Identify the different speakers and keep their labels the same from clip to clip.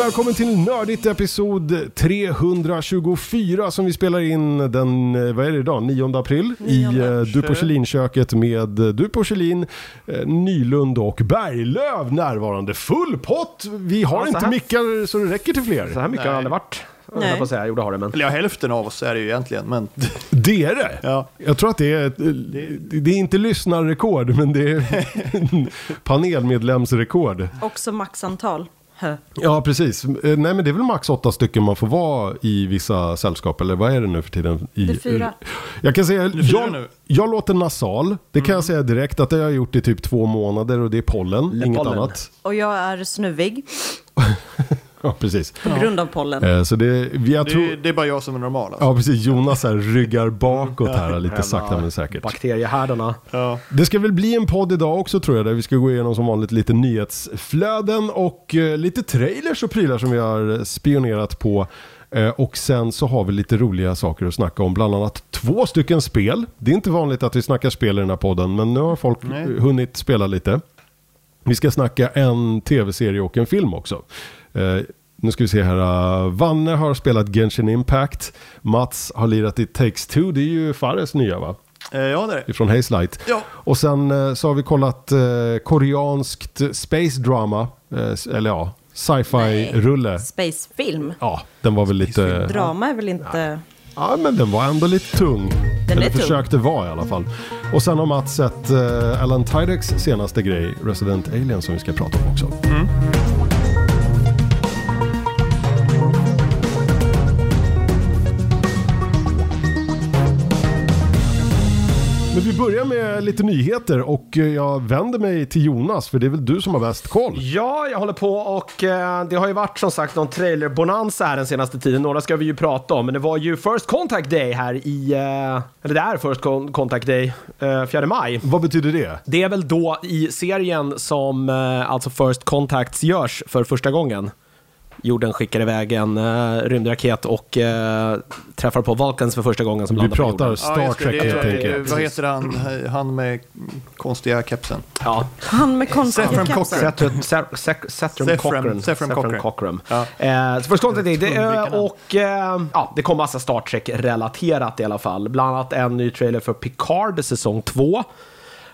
Speaker 1: Välkommen till Nördigt episod 324 som vi spelar in den, eh, vad är det idag, 9 april i eh, Du porslinköket med eh, Du porslin, eh, Nylund och Berglöv närvarande. Full pott! Vi har
Speaker 2: Ja, så
Speaker 1: inte
Speaker 2: här-
Speaker 1: mickar så det räcker till
Speaker 2: Så
Speaker 1: fler.
Speaker 2: här mycket har det
Speaker 3: Nej.
Speaker 2: aldrig varit. Jag
Speaker 4: Nej.
Speaker 2: höll på att säga, jo det har det men.
Speaker 3: Eller ja, hälften av oss är det ju egentligen, men
Speaker 1: Det är det!
Speaker 3: ja.
Speaker 1: Jag tror att det är, ett- eh, det, det är inte lyssnarrekord, men det är panelmedlemsrekord.
Speaker 4: Också maxantal. Hö.
Speaker 1: Ja, precis. Eh, Nej, men det är väl max åtta stycken man får vara i vissa sällskap, eller vad är det nu för tiden? I, eh,
Speaker 4: Det är fyra.
Speaker 1: Jag kan säga,
Speaker 3: är fyra
Speaker 1: jag,
Speaker 3: nu. Mm.
Speaker 1: jag låter nasal. Det kan jag säga direkt att det har jag gjort i typ två månader och det är pollen,
Speaker 2: Le
Speaker 1: inget
Speaker 2: pollen.
Speaker 1: annat.
Speaker 4: Och jag är snuvig
Speaker 1: Ja, precis.
Speaker 4: på grund av pollen.
Speaker 1: Eh, Så det, vi- jag
Speaker 3: det,
Speaker 1: tror...
Speaker 3: är- det är bara jag som är normal. Alltså.
Speaker 1: Ja, precis. Jonas här ryggar bakåt här lite sakta men säkert.
Speaker 2: Bakteriehärdarna.
Speaker 3: Ja.
Speaker 1: Det ska väl bli en podd idag också tror jag, där vi ska gå igenom som vanligt lite nyhetsflöden och eh, lite trailers och prylar som vi har spionerat på. Eh, och sen så har vi lite roliga saker att snacka om, bland annat två stycken spel. Det är inte vanligt att vi snackar spel i den här podden, men nu har folk
Speaker 3: Nej.
Speaker 1: eh, hunnit spela lite. Vi ska snacka en tv-serie och en film också. Eh, nu ska vi se här. eh, Vanne har spelat Genshin Impact. Mats har lirat i Takes Two. Det är ju Fares nya va?
Speaker 3: Eh, ja, det är det.
Speaker 1: ifrån Haze Light.
Speaker 3: Ja.
Speaker 1: Och sen eh, så har vi kollat eh, koreanskt space drama, eh, s- eller ja, sci-fi-rulle.
Speaker 4: Spacefilm.
Speaker 1: Ja, den var väl lite...
Speaker 4: Drama är väl inte...
Speaker 1: Ja, men den var ändå lite tung.
Speaker 4: Den
Speaker 1: eller
Speaker 4: är tung.
Speaker 1: försökte vara i alla fall. Och sen har Mats sett eh, Alan Tideks senaste grej, Resident Alien, som vi ska prata om också.
Speaker 3: Mm.
Speaker 1: Men vi börjar med lite nyheter och eh, jag vänder mig till Jonas, för det är väl du som har bäst koll?
Speaker 2: Ja, jag håller på och eh, det har ju varit som sagt någon trailerbonanza här den senaste tiden. Några ska vi ju prata om, men det var ju First Contact Day här i... Eh, eller det är First Con- Contact Day, eh, 4 maj.
Speaker 1: Vad betyder det?
Speaker 2: Det är väl då i serien som eh, alltså First Contacts görs för första gången. Jorden skickar iväg en eh, rymdraket och eh, träffar på Valkans för första gången som
Speaker 1: Vi
Speaker 2: landar på
Speaker 1: pratar
Speaker 2: jorden.
Speaker 3: ja,
Speaker 1: Star
Speaker 3: just
Speaker 1: Trek
Speaker 3: det,
Speaker 1: helt
Speaker 3: det, är-
Speaker 1: enkelt.
Speaker 3: Vad heter han, han med konstiga kepsen?
Speaker 2: Ja,
Speaker 4: Han med konstiga
Speaker 3: Saffron
Speaker 4: kepsar.
Speaker 2: Sethrum
Speaker 3: Cochran.
Speaker 2: Sethrum
Speaker 3: Sethrum-
Speaker 2: Cochran.
Speaker 3: Sethrum
Speaker 2: Sethrum
Speaker 3: Cochran.
Speaker 2: Cochran.
Speaker 3: Ja.
Speaker 2: Eh, Så First Contact Day, det,
Speaker 3: Tungvrickaren.
Speaker 2: eh, och eh, ja, det kom massa Star Trek-relaterat i alla fall. Bland annat en ny trailer för Picard säsong 2.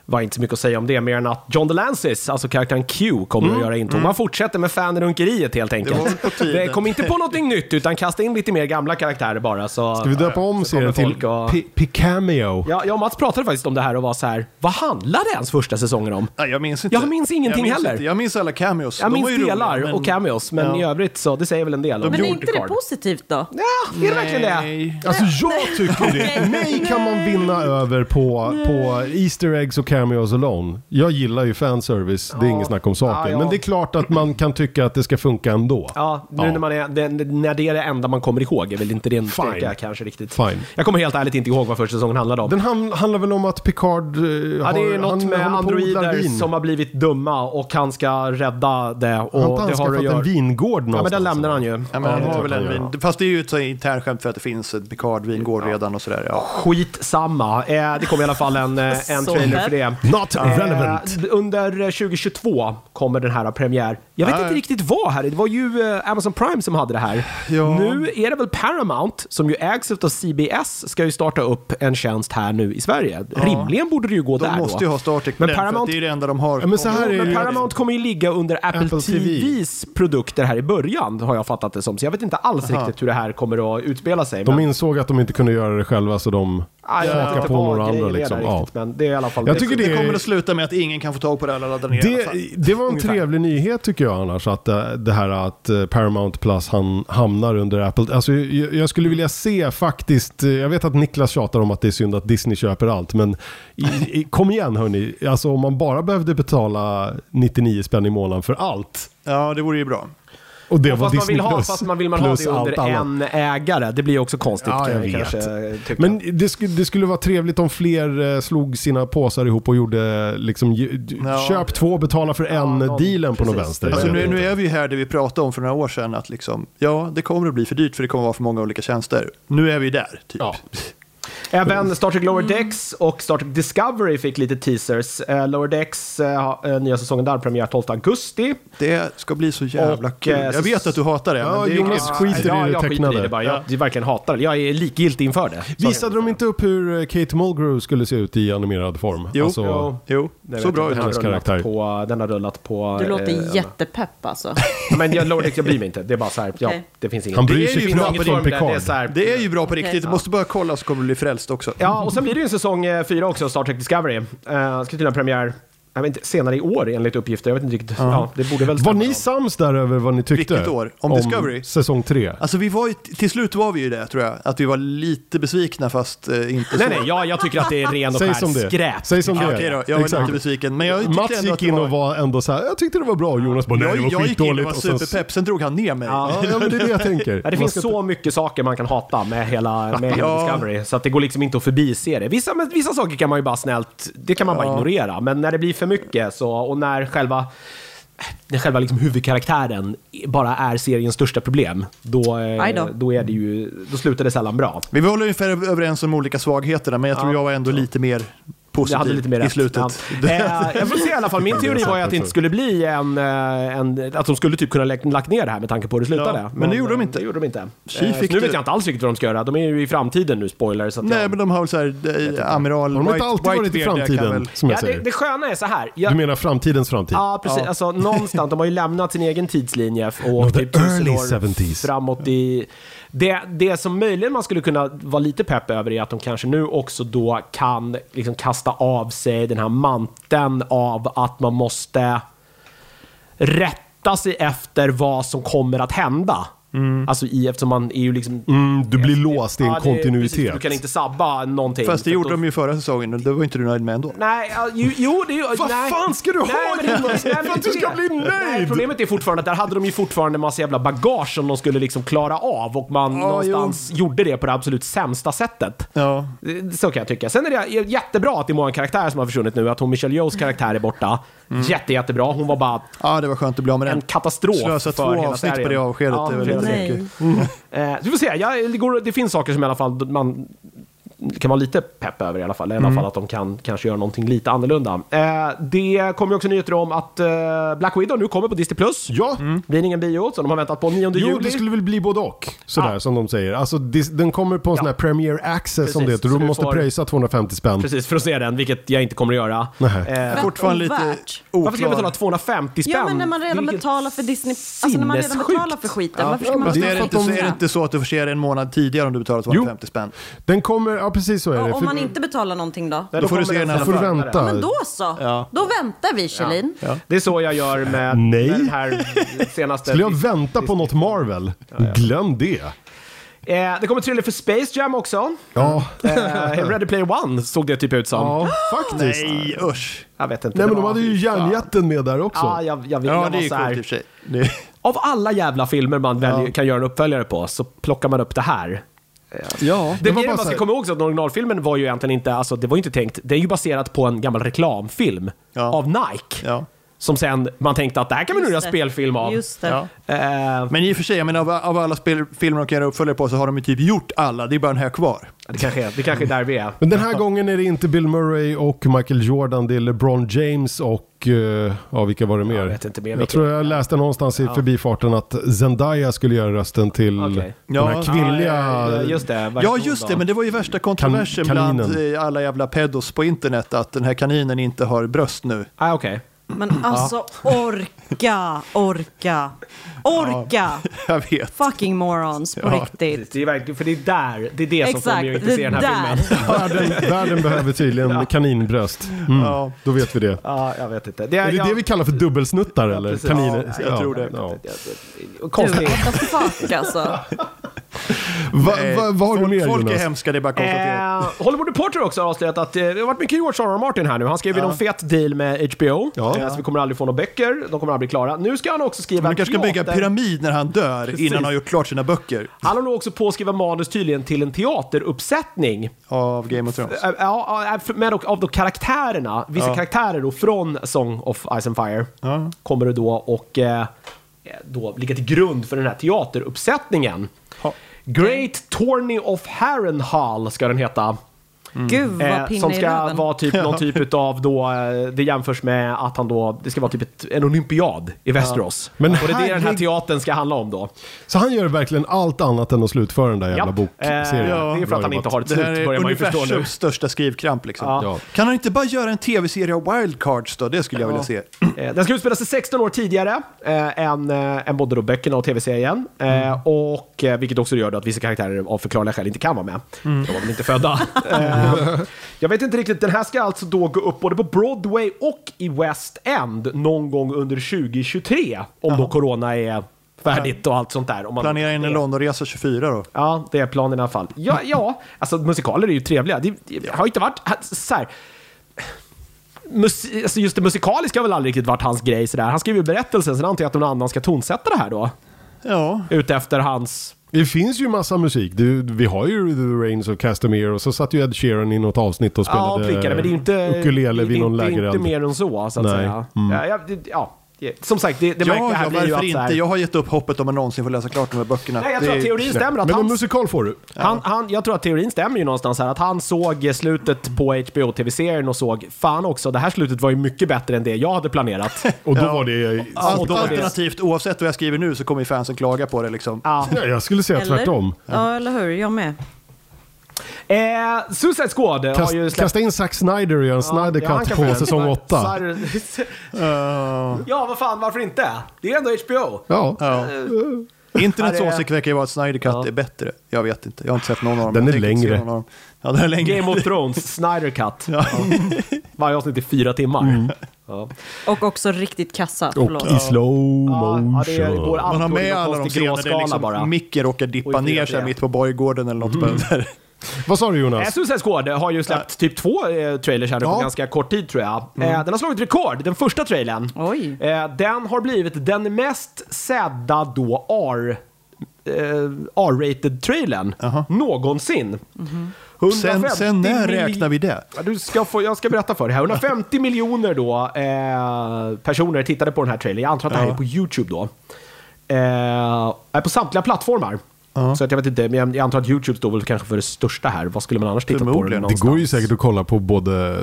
Speaker 2: Var inte så mycket att säga om det, mer än att John DeLanceis, alltså karaktären Q, kommer att göra intåg. Man fortsätter med fanrunkeriet helt
Speaker 3: Mm, var väl
Speaker 2: enkelt.
Speaker 3: på tiden.
Speaker 2: Det kom inte på någonting nytt, utan kasta in lite mer gamla karaktärer bara. Så,
Speaker 1: Ska vi döpa om
Speaker 2: så
Speaker 1: serien
Speaker 2: kommer
Speaker 1: till
Speaker 2: folk och-
Speaker 1: Pi- Picameo?
Speaker 2: Ja, jag och Mats pratade faktiskt om det här och var så här, vad handlade ens första säsongen om?
Speaker 3: Nej, jag minns inte.
Speaker 2: Jag minns ingenting
Speaker 3: jag minns
Speaker 2: heller.
Speaker 3: Inte. Jag minns alla cameos.
Speaker 2: Jag
Speaker 3: De
Speaker 2: minns
Speaker 3: var ju
Speaker 2: delar
Speaker 3: roliga, men-
Speaker 2: och cameos, men
Speaker 3: Ja.
Speaker 2: i övrigt så, det säger väl en del om
Speaker 3: De
Speaker 4: Men är
Speaker 3: gjorde
Speaker 4: inte det
Speaker 2: Picard.
Speaker 4: positivt då?
Speaker 2: Ja, är det verkligen det?
Speaker 3: Nej.
Speaker 1: Alltså jag tycker det. Mig kan man vinna över på, på Easter eggs och cameos alone. Jag gillar ju fanservice, det är inget snack om saken.
Speaker 2: Ja, ja.
Speaker 1: Men det är klart att man kan tycka att det ska funka ändå.
Speaker 2: Ja, nu
Speaker 1: Ja.
Speaker 2: När, man är, det, när det är det enda man kommer ihåg är väl inte det en styrka
Speaker 1: Fine.
Speaker 2: kanske riktigt.
Speaker 1: Fine.
Speaker 2: Jag kommer helt ärligt inte ihåg vad första säsongen handlade om.
Speaker 1: Den ham- handlar väl om att Picard eh,
Speaker 2: ja, det är något
Speaker 1: han-
Speaker 2: med
Speaker 1: han håller på och odlar
Speaker 2: androider
Speaker 1: vin.
Speaker 2: som har blivit dumma och han ska rädda det. Och
Speaker 1: Han har
Speaker 2: det har
Speaker 1: anskaffat
Speaker 2: att
Speaker 1: en
Speaker 2: göra...
Speaker 1: vingård
Speaker 2: Ja, men
Speaker 1: någonstans.
Speaker 2: den lämnar han ju.
Speaker 3: Ja, men han
Speaker 1: det
Speaker 3: har
Speaker 1: tror
Speaker 3: väl
Speaker 1: jag
Speaker 3: en
Speaker 1: han gör.
Speaker 3: vin. Fast det är ju ett så här internskämt för att det finns ett Picard-vingård redan och sådär. Ja.
Speaker 2: Skitsamma. Eh, det kommer i alla fall en, eh, en
Speaker 4: Så
Speaker 2: trailer för
Speaker 4: bad.
Speaker 2: det.
Speaker 1: Not relevant.
Speaker 2: Eh, under 2022 kommer den här eh, premiär. Jag vet
Speaker 3: Nej.
Speaker 2: inte riktigt vad här. Det var ju eh, Amazon Prime som hade det här.
Speaker 3: Ja.
Speaker 2: Nu är det väl Paramount, som ju ägs av CBS, ska ju starta upp en tjänst här nu i Sverige. Rimligen borde det ju gå
Speaker 3: De
Speaker 2: där
Speaker 3: måste
Speaker 2: då.
Speaker 3: ju ha Star Trek på
Speaker 2: Men
Speaker 3: den, för att
Speaker 2: Paramount-
Speaker 3: det är det enda de har.
Speaker 1: Ja, men så här är
Speaker 2: Men
Speaker 1: ju-
Speaker 2: Paramount kommer ju ligga under Apple,
Speaker 1: Apple TV.
Speaker 2: TVs produkter här i början, har jag fattat det som. Så jag vet inte alls riktigt hur det här kommer att utspela sig.
Speaker 1: De
Speaker 2: men-
Speaker 1: insåg att de inte kunde göra det själva så de
Speaker 2: Ah, jag vet
Speaker 1: hakar
Speaker 2: inte
Speaker 1: på
Speaker 2: vad
Speaker 1: några
Speaker 2: grejen
Speaker 1: andra.
Speaker 2: är där
Speaker 1: Liksom. Ja.
Speaker 2: riktigt, Men det är i alla fall
Speaker 1: Jag tycker det
Speaker 3: Det
Speaker 1: är-
Speaker 3: kommer att sluta med att ingen kan få tag på det eller ladda ner
Speaker 1: Det,
Speaker 3: Alltså,
Speaker 1: det var en
Speaker 2: Ungefär.
Speaker 1: trevlig nyhet tycker jag annars, att eh, det här att eh, Paramount Plus han, hamnar under Apple. Alltså, jag, jag skulle vilja se faktiskt, eh, jag vet att Niklas tjatar om att det är synd att Disney köper allt, men i, i, kom igen hörni, alltså, om man bara behövde betala 99 spänn i månaden för allt.
Speaker 3: Ja, det vore ju bra.
Speaker 1: Och det
Speaker 2: Och
Speaker 1: var
Speaker 2: fast man
Speaker 1: Disney
Speaker 2: vill ha,
Speaker 1: Plus.
Speaker 2: fast man vill man ha
Speaker 1: plus
Speaker 2: det under
Speaker 1: allt annat.
Speaker 2: en ägare. Det blir ju också konstigt
Speaker 1: Ja, jag
Speaker 2: kan jag
Speaker 1: vet.
Speaker 3: eh,
Speaker 2: kanske tycka.
Speaker 1: Men det, sku- det skulle vara trevligt om fler eh, slog sina påsar ihop och gjorde eh, liksom, ju- d-
Speaker 3: Ja.
Speaker 1: köp två, betala för en
Speaker 2: någon-
Speaker 1: dealen på någon
Speaker 2: precis.
Speaker 1: vänster.
Speaker 3: Alltså
Speaker 1: Jag
Speaker 3: nu,
Speaker 1: vet
Speaker 3: nu
Speaker 1: inte.
Speaker 3: är vi ju här det vi pratade om för några år sedan, att liksom, ja, det kommer att bli för dyrt för det kommer att vara för många olika tjänster. Nu är vi där, typ.
Speaker 1: Ja.
Speaker 2: Även Star Trek Lower Decks och Star Trek Discovery fick lite teasers. Eh, Lower Decks, eh, har- eh, nya säsongen där, premiär 12 augusti.
Speaker 3: Det ska bli så jävla
Speaker 2: Och,
Speaker 3: kul.
Speaker 2: eh,
Speaker 3: Jag vet att du hatar det,
Speaker 1: Ja,
Speaker 3: men det är
Speaker 1: Jonas
Speaker 3: grymt.
Speaker 1: skiter i
Speaker 2: Ja,
Speaker 1: det
Speaker 2: jag skiter i det
Speaker 1: tecknade.
Speaker 2: bara. Jag jag verkligen hatar det. Jag är likgiltig inför det. Så-
Speaker 1: Visade de inte upp hur eh, Kate Mulgrew skulle se ut i animerad form?
Speaker 3: Jo.
Speaker 1: Alltså,
Speaker 2: Jo.
Speaker 3: Jo,
Speaker 2: Nej,
Speaker 3: så
Speaker 2: vet
Speaker 3: bra
Speaker 2: inte,
Speaker 3: ut.
Speaker 2: den har
Speaker 1: hans
Speaker 2: rullat
Speaker 1: karaktär.
Speaker 2: På, den har rullat på...
Speaker 4: Du
Speaker 2: eh,
Speaker 4: låter jättepepp alltså.
Speaker 2: Men jag, Lower Decks, jag bryr mig inte. Det är bara så här, ja,
Speaker 4: Okej.
Speaker 2: det finns inget.
Speaker 1: Han
Speaker 2: Det
Speaker 1: bryr
Speaker 2: är
Speaker 1: sig
Speaker 2: ju
Speaker 1: knappt
Speaker 2: inget
Speaker 1: om
Speaker 2: form där,
Speaker 1: Picard.
Speaker 2: Det är så här,
Speaker 3: Det är ju bra på riktigt,
Speaker 4: Okej.
Speaker 3: du måste bara kolla så kommer du bli frälst också.
Speaker 2: Ja, och sen blir det ju en säsong eh, fyra också, Star Trek Discovery. Eh, ska tydligen ha premiär jag vet inte, senare i år enligt uppgifter. Jag vet inte riktigt. Ja, det borde väl
Speaker 1: Var
Speaker 2: stämma.
Speaker 1: ni sams där över vad ni tyckte?
Speaker 3: Vilket år? Om Discovery?
Speaker 1: Säsong tre?
Speaker 3: Alltså vi var ju, till slut var vi ju det tror jag, att vi var lite besvikna fast eh, inte
Speaker 2: Nej,
Speaker 3: så.
Speaker 2: nej, jag, jag tycker att det är ren och
Speaker 1: Säg
Speaker 2: skär
Speaker 1: som det
Speaker 2: skräp.
Speaker 1: Säg som
Speaker 3: Ja,
Speaker 1: det
Speaker 3: okej då, jag var
Speaker 1: Exakt.
Speaker 3: lite besviken. Men jag tyckte
Speaker 1: Mats
Speaker 3: ändå
Speaker 1: gick
Speaker 3: att det
Speaker 1: in
Speaker 3: var...
Speaker 1: och var ändå så här, jag tyckte det var bra. Jonas bara, nej det
Speaker 3: jag,
Speaker 1: var
Speaker 3: jag gick in och
Speaker 1: skitdåligt.
Speaker 3: var
Speaker 1: Och sen-
Speaker 3: superpepp, sen drog han ner mig.
Speaker 1: Ja, ja, men det är det jag tänker.
Speaker 2: Ja, det
Speaker 1: Man
Speaker 2: finns
Speaker 1: ska
Speaker 2: så mycket saker man kan hata med hela, med hela
Speaker 3: Ja.
Speaker 2: Discovery, så att det går liksom inte att förbise det. Vissa, men vissa saker kan man ju bara snällt, det kan man bara ignorera, men när det blir för mycket så, och när själva när själva liksom huvudkaraktären bara är seriens största problem, då, eh,
Speaker 4: Aj då.
Speaker 2: då, är det ju, då slutar det sällan bra.
Speaker 3: Vi var väl ungefär överens om olika svagheterna, men jag tror jag var ändå lite mer positiv
Speaker 2: Jag hade lite mer
Speaker 3: i
Speaker 2: rätt.
Speaker 3: slutet.
Speaker 2: Ja. Eh, jag får se i alla fall. Min teori
Speaker 1: sagt
Speaker 2: var ju att det inte
Speaker 3: alltså.
Speaker 1: också.
Speaker 2: skulle bli en, eh, en... Att de skulle typ kunna lä- lagt ner det här med tanke på hur det slutade.
Speaker 3: Ja, men det gjorde de
Speaker 2: eh,
Speaker 3: inte.
Speaker 2: Det gjorde de inte.
Speaker 3: Tji,
Speaker 2: Eh,
Speaker 3: fick
Speaker 2: nu
Speaker 3: du.
Speaker 2: vet jag inte alls riktigt vad de ska göra. De är ju i framtiden nu, spoiler. Så att
Speaker 3: Nej,
Speaker 2: jag-
Speaker 3: men de har väl så här, eh, amiral...
Speaker 1: Har de inte
Speaker 3: White-
Speaker 1: alltid varit i
Speaker 3: Whitebeard, jag kan
Speaker 1: framtiden,
Speaker 3: väl-
Speaker 1: som jag
Speaker 2: ja, det,
Speaker 1: säger?
Speaker 2: Alltså, det sköna är så här. Jag,
Speaker 1: Du menar framtidens framtid?
Speaker 2: Ja, precis.
Speaker 3: Ja.
Speaker 2: Alltså, någonstans, de har ju lämnat sin egen tidslinje och åkt
Speaker 1: the
Speaker 2: typ tusen
Speaker 1: early
Speaker 2: år
Speaker 1: 70s.
Speaker 2: framåt i... Det, det som möjligen man skulle kunna vara lite pepp över är att de kanske nu också då kan liksom kasta av sig den här manteln av att man måste rätta sig efter vad som kommer att hända. Alltså i, eftersom man är ju liksom...
Speaker 1: Mm, du blir låst i en
Speaker 2: Ja, det- precis,
Speaker 1: kontinuitet.
Speaker 2: du kan inte sabba någonting.
Speaker 3: Fast
Speaker 2: För
Speaker 3: det
Speaker 2: att
Speaker 3: gjorde
Speaker 2: då-
Speaker 3: de ju förra säsongen och det var inte du nöjd med ändå.
Speaker 2: Nej, ja, jo, jo det är
Speaker 1: Vad
Speaker 2: nej.
Speaker 1: fan ska du ha,
Speaker 2: men det-
Speaker 1: Jonas?
Speaker 2: nej, men
Speaker 1: För att du
Speaker 2: det-
Speaker 1: ska bli nöjd.
Speaker 2: Nej, problemet är fortfarande att där hade de ju fortfarande en massa jävla bagage som de skulle liksom klara av och man
Speaker 3: Ja,
Speaker 2: någonstans gjorde det på det absolut sämsta sättet.
Speaker 3: Ja.
Speaker 2: Det- Så kan jag tycka. Sen är det jättebra att det är många karaktärer som har försvunnit nu, att hon Michelle Yeohs kärlek är borta.
Speaker 1: Mm.
Speaker 2: Jätte, jättebra. Hon var bara
Speaker 3: ja, det var skönt att bli av med
Speaker 2: en
Speaker 3: den.
Speaker 2: katastrof
Speaker 3: Slösa
Speaker 2: för
Speaker 3: två
Speaker 2: hela
Speaker 3: avsnitt på
Speaker 2: serien.
Speaker 3: det avskedet
Speaker 2: Ja,
Speaker 3: är väl
Speaker 2: precis.
Speaker 3: lite
Speaker 4: Nej.
Speaker 3: mycket.
Speaker 2: Eh, vi får se. Jag, det, går, det finns saker som i alla fall man kan vara lite pepp över i alla fall. I
Speaker 1: Mm.
Speaker 2: alla fall att de kan kanske göra någonting lite annorlunda. Eh, det kom ju också nyheter om att eh, Black Widow nu kommer på Disney+. Plus.
Speaker 1: Ja,
Speaker 2: Blir ingen bio, som de har väntat på 9
Speaker 1: jo
Speaker 2: juli.
Speaker 1: det skulle väl bli både och. Sådär som de säger. Alltså dis- den kommer på en sån här Premier Access som det
Speaker 2: Precis,
Speaker 1: heter.
Speaker 2: så
Speaker 1: Du
Speaker 2: du
Speaker 1: måste
Speaker 2: får-
Speaker 1: pröjsa 250 spänn.
Speaker 2: Precis, för att se den, vilket jag inte kommer att göra.
Speaker 1: Nej.
Speaker 2: Eh,
Speaker 3: Fortfarande lite
Speaker 4: Värt.
Speaker 2: varför ska jag betala
Speaker 3: oklar.
Speaker 2: 250 spänn?
Speaker 4: Ja men när man redan
Speaker 2: Vilket-
Speaker 4: betalar för Disney, alltså när man redan
Speaker 2: sinnessjukt.
Speaker 4: betalar för skiten, varför
Speaker 1: ja,
Speaker 4: ska man
Speaker 1: men
Speaker 3: Fast
Speaker 1: Det är
Speaker 3: är det,
Speaker 1: för
Speaker 3: inte,
Speaker 1: att
Speaker 3: så,
Speaker 1: de-
Speaker 3: är det inte så att du får se det en månad tidigare om du betalar 250 spänn?
Speaker 1: Den kommer, ja precis så är det. För,
Speaker 4: Om man inte betalar någonting då?
Speaker 2: Nej,
Speaker 3: Då får du
Speaker 2: kommer
Speaker 3: se den i alla
Speaker 1: får du
Speaker 2: fall.
Speaker 1: vänta.
Speaker 4: Men då så!
Speaker 3: Ja.
Speaker 4: Då väntar vi Kjellin.
Speaker 2: Det är så jag gör med
Speaker 1: Nej.
Speaker 2: den här senaste...
Speaker 1: Skulle jag vänta på något Marvel? Glöm det.
Speaker 2: Eh, det kommer trailer för Space Jam också.
Speaker 1: Ja,
Speaker 2: Eh, Ready Player One såg det typ ut som.
Speaker 1: ja faktiskt. Nej.
Speaker 3: Nej, usch.
Speaker 2: Jag vet inte.
Speaker 1: Nej men
Speaker 2: det
Speaker 1: de
Speaker 2: var-
Speaker 1: hade ju järnjätten med där också.
Speaker 2: Ja, jag, jag, vill-
Speaker 3: Ja,
Speaker 2: jag
Speaker 3: det typ-
Speaker 2: var
Speaker 3: är ju
Speaker 2: så
Speaker 3: coolt i
Speaker 2: här,
Speaker 3: och för sig. Det-
Speaker 2: Av alla jävla filmer man väljer, kan göra en uppföljare på så plockar man upp det här.
Speaker 1: Ja,
Speaker 2: Det, var man
Speaker 1: så
Speaker 2: ska
Speaker 1: här-
Speaker 2: komma ihåg också att originalfilmen var ju egentligen inte, alltså det var ju inte tänkt, det är ju baserat på en gammal reklamfilm
Speaker 3: Ja.
Speaker 2: av Nike.
Speaker 3: Ja.
Speaker 2: Som sen man tänkte att det här kan vi nu
Speaker 4: Just
Speaker 2: göra
Speaker 4: det.
Speaker 2: spelfilm av.
Speaker 4: Just det.
Speaker 3: Ja.
Speaker 2: Eh,
Speaker 3: Men i och för sig, jag menar, av, av alla spel, filmer de kan göra uppföljare på så har de ju typ gjort alla, det är bara den här kvar.
Speaker 2: det, kanske är, det kanske är där vi är.
Speaker 1: Men den här gången är det inte Bill Murray och Michael Jordan, det är LeBron James och, eh, ja vilka var det mer? Jag
Speaker 2: vet inte mer
Speaker 1: Jag
Speaker 2: vilka.
Speaker 1: tror jag läste någonstans i förbifarten att Zendaya skulle göra rösten till
Speaker 2: Okej.
Speaker 1: den här
Speaker 3: Ja,
Speaker 1: kvinnliga...
Speaker 2: Ja, Eh, just det.
Speaker 3: Ja, just det, men det var ju värsta kontroversen
Speaker 1: Kan- kaninen.
Speaker 3: bland eh, alla jävla pedos på internet att den här kaninen inte har bröst nu.
Speaker 2: Ah, okej.
Speaker 4: Men alltså orka, orka, orka!
Speaker 3: Jag vet.
Speaker 4: Fucking morons på
Speaker 3: Ja.
Speaker 4: riktigt.
Speaker 2: Det är verkligen, för det är där, det är det som får
Speaker 4: Exakt,
Speaker 2: mig att inte se
Speaker 4: det
Speaker 2: den här filmen.
Speaker 4: där.
Speaker 1: världen, världen behöver tydligen kaninbröst. Mm,
Speaker 3: Ja.
Speaker 1: Då vet vi det.
Speaker 2: Ja, jag vet inte. Det
Speaker 1: Är det
Speaker 2: jag-
Speaker 1: det vi kallar för dubbelsnuttar eller?
Speaker 2: precis.
Speaker 1: Kaniner?
Speaker 2: Ja,
Speaker 3: jag tror det.
Speaker 1: Ja.
Speaker 2: Konstigt.
Speaker 4: Du, what the fuck alltså.
Speaker 1: Va,
Speaker 3: Nej,
Speaker 1: va, vad har du
Speaker 3: Eh, folk,
Speaker 1: mer
Speaker 3: Folk är
Speaker 1: Jonas?
Speaker 3: hemska, det är bara att konstatera.
Speaker 2: Eh, Hollywood Reporter har också avslöjat att eh, det har varit mycket George R. R. Martin här nu. Han skrev ju någon fet deal med HBO.
Speaker 1: Ja.
Speaker 2: Eh, så vi kommer aldrig få några böcker. De kommer aldrig bli klara. Nu ska han också skriva
Speaker 3: Man
Speaker 2: en
Speaker 3: kanske ska bygga en
Speaker 2: teater-
Speaker 3: pyramid när han dör innan han har gjort klart sina böcker
Speaker 2: Han håller nog också på att skriva manus tydligen till en teateruppsättning.
Speaker 3: av Game of Thrones.
Speaker 2: Eh, Ja, ja, men dock av då karaktärerna, vissa karaktärer då från Song of Ice and Fire
Speaker 3: Ja.
Speaker 2: kommer det då och eh, då ligga till grund för den här teateruppsättningen.
Speaker 3: Ja.
Speaker 2: Great Tourney of Harrenhal ska den heta.
Speaker 4: Gud vad
Speaker 2: Eh, som
Speaker 4: pinne i
Speaker 2: ska
Speaker 4: röven.
Speaker 2: vara typ någon typ av då, eh, det jämförs med att han då, det ska vara typ ett, en olympiad i Västerås.
Speaker 1: Men
Speaker 2: och det är det den här
Speaker 1: herregud.
Speaker 2: teatern ska handla om då.
Speaker 1: Så han gör verkligen allt annat än att slutföra den där jävla
Speaker 2: Japp.
Speaker 1: bokserien.
Speaker 2: Eh, det är för
Speaker 1: Bra
Speaker 2: att han inte
Speaker 1: jobbat.
Speaker 2: har ett
Speaker 3: Det
Speaker 2: slut,
Speaker 3: här är
Speaker 2: börjar man ju förstå nu.
Speaker 3: universums största skrivkramp liksom.
Speaker 1: Ja.
Speaker 3: Kan han inte bara göra en tv-serie av Wildcards då? Det skulle jag vilja se.
Speaker 2: Eh, Den ska utspela sig 16 år tidigare eh, än, eh, än både då böckerna och tv-serien. Eh,
Speaker 3: Mm.
Speaker 2: och, eh, vilket också gör då att vissa karaktärer av förklarliga skäl inte kan vara med.
Speaker 3: Mm.
Speaker 2: De var väl inte födda. eh, jag vet inte riktigt, den här ska alltså då gå upp både på Broadway och i West End någon gång under 2023. Om då corona är färdigt och allt sånt där. Om man-
Speaker 3: Planera in en
Speaker 2: Ja.
Speaker 3: Londonresa 24 då.
Speaker 2: Ja, det är planen i alla fall. Ja, ja alltså musikaler är ju trevliga. Det, det har ju inte varit så här. Mus, alltså just det musikaliska har väl aldrig riktigt varit hans grej sådär. Han skriver ju berättelsen, sen antar jag att någon annan ska tonsätta det här då.
Speaker 3: Ja,
Speaker 2: Utefter hans...
Speaker 1: Det finns ju massa musik. Du, vi har ju The Rains of Castamere och så satt ju Ed Sheeran i något avsnitt och
Speaker 2: Ja,
Speaker 1: spelade
Speaker 2: prickade, men det är ju inte...
Speaker 1: ukulele
Speaker 2: det är
Speaker 1: vid någon
Speaker 2: inte,
Speaker 1: lägereld.
Speaker 2: inte mer än så, så att
Speaker 1: Nej. Mm.
Speaker 2: säga. Ja, ja, det- ja, det- som sagt, det, det
Speaker 3: ja,
Speaker 2: märkliga
Speaker 3: ja
Speaker 2: här blir ju
Speaker 3: varför
Speaker 2: att... så här-
Speaker 3: inte? Jag har gett upp hoppet om jag någonsin får läsa klart de här böckerna.
Speaker 2: Nej, jag tror
Speaker 3: Det
Speaker 2: att
Speaker 3: är-
Speaker 2: teorin stämmer. Att
Speaker 1: Men en
Speaker 2: han
Speaker 1: musikal får du.
Speaker 2: Han, han, jag tror att teorin stämmer ju någonstans här. Att han såg slutet på HBO-tv-serien och såg, fan också, det här slutet var ju mycket bättre än det jag hade planerat.
Speaker 1: Och då var det...
Speaker 3: Allt,
Speaker 2: då är det-
Speaker 3: alternativt, oavsett vad jag skriver nu så kommer ju fansen klaga på det liksom.
Speaker 2: ja.
Speaker 1: Ja, jag skulle säga
Speaker 4: Eller?
Speaker 1: tvärtom.
Speaker 4: Ja, eller hur? Jag med.
Speaker 2: eh, Suicide Squad
Speaker 1: Kast,
Speaker 2: har ju släppt...
Speaker 1: Kasta in Zack Snyder och gör en Snyder
Speaker 2: Ja, han
Speaker 1: Cut
Speaker 2: kan
Speaker 1: på
Speaker 2: få-
Speaker 1: säsong 8.
Speaker 2: Sar-
Speaker 3: Eh,
Speaker 2: ja, vad fan, varför inte? Det är ändå HBO.
Speaker 1: Ja.
Speaker 3: Ja. Internets
Speaker 2: Ja, det är-
Speaker 3: åsikt verkar ju vara att Snyder Cut
Speaker 2: Ja.
Speaker 3: är bättre. Jag vet inte, jag har inte sett någon av dem.
Speaker 1: Den
Speaker 3: Jag
Speaker 1: är
Speaker 3: tänker inte se
Speaker 1: längre.
Speaker 3: någon av dem. Ja, den är längre.
Speaker 2: Game of Thrones, Snyder Cut.
Speaker 3: Ja. Mm.
Speaker 2: Varje avsnitt är fyra timmar. Ja.
Speaker 4: Och också riktigt kassa.
Speaker 2: Oh.
Speaker 4: Förlåt.
Speaker 1: Och i slow
Speaker 2: Ja,
Speaker 1: motion.
Speaker 2: ja, det går
Speaker 3: Man har
Speaker 2: allt i
Speaker 3: med
Speaker 2: någon
Speaker 3: alla de
Speaker 2: konstig
Speaker 3: scener där
Speaker 2: gråskala
Speaker 3: liksom
Speaker 2: bara.
Speaker 3: micken råkar dippa
Speaker 2: Och i
Speaker 3: ner sig
Speaker 2: 3D.
Speaker 3: mitt på borggården eller något. Mm. Där.
Speaker 1: Vad sa du
Speaker 2: Eh,
Speaker 1: Jonas?
Speaker 2: Suicide Squad har ju släppt typ två eh, trailers här nu på
Speaker 1: Ja.
Speaker 2: ganska kort tid tror jag. Eh, den har slagit rekord, den första trailern.
Speaker 4: Oj.
Speaker 2: Eh, den har blivit den mest sedda då R, eh, R-rated trailern någonsin.
Speaker 3: Sen, sen när räknar vi det?
Speaker 2: Ja, Du ska få, jag ska berätta för dig här. 150 miljoner då, eh, personer tittade på den här trailern. Jag antar att det här är på YouTube då. Eh, är på samtliga plattformar. Så att jag vet inte, men jag, jag antar att YouTube står väl kanske för det största här. Vad skulle man annars titta på?
Speaker 3: Förmodligen.
Speaker 1: Det går ju säkert att kolla på både...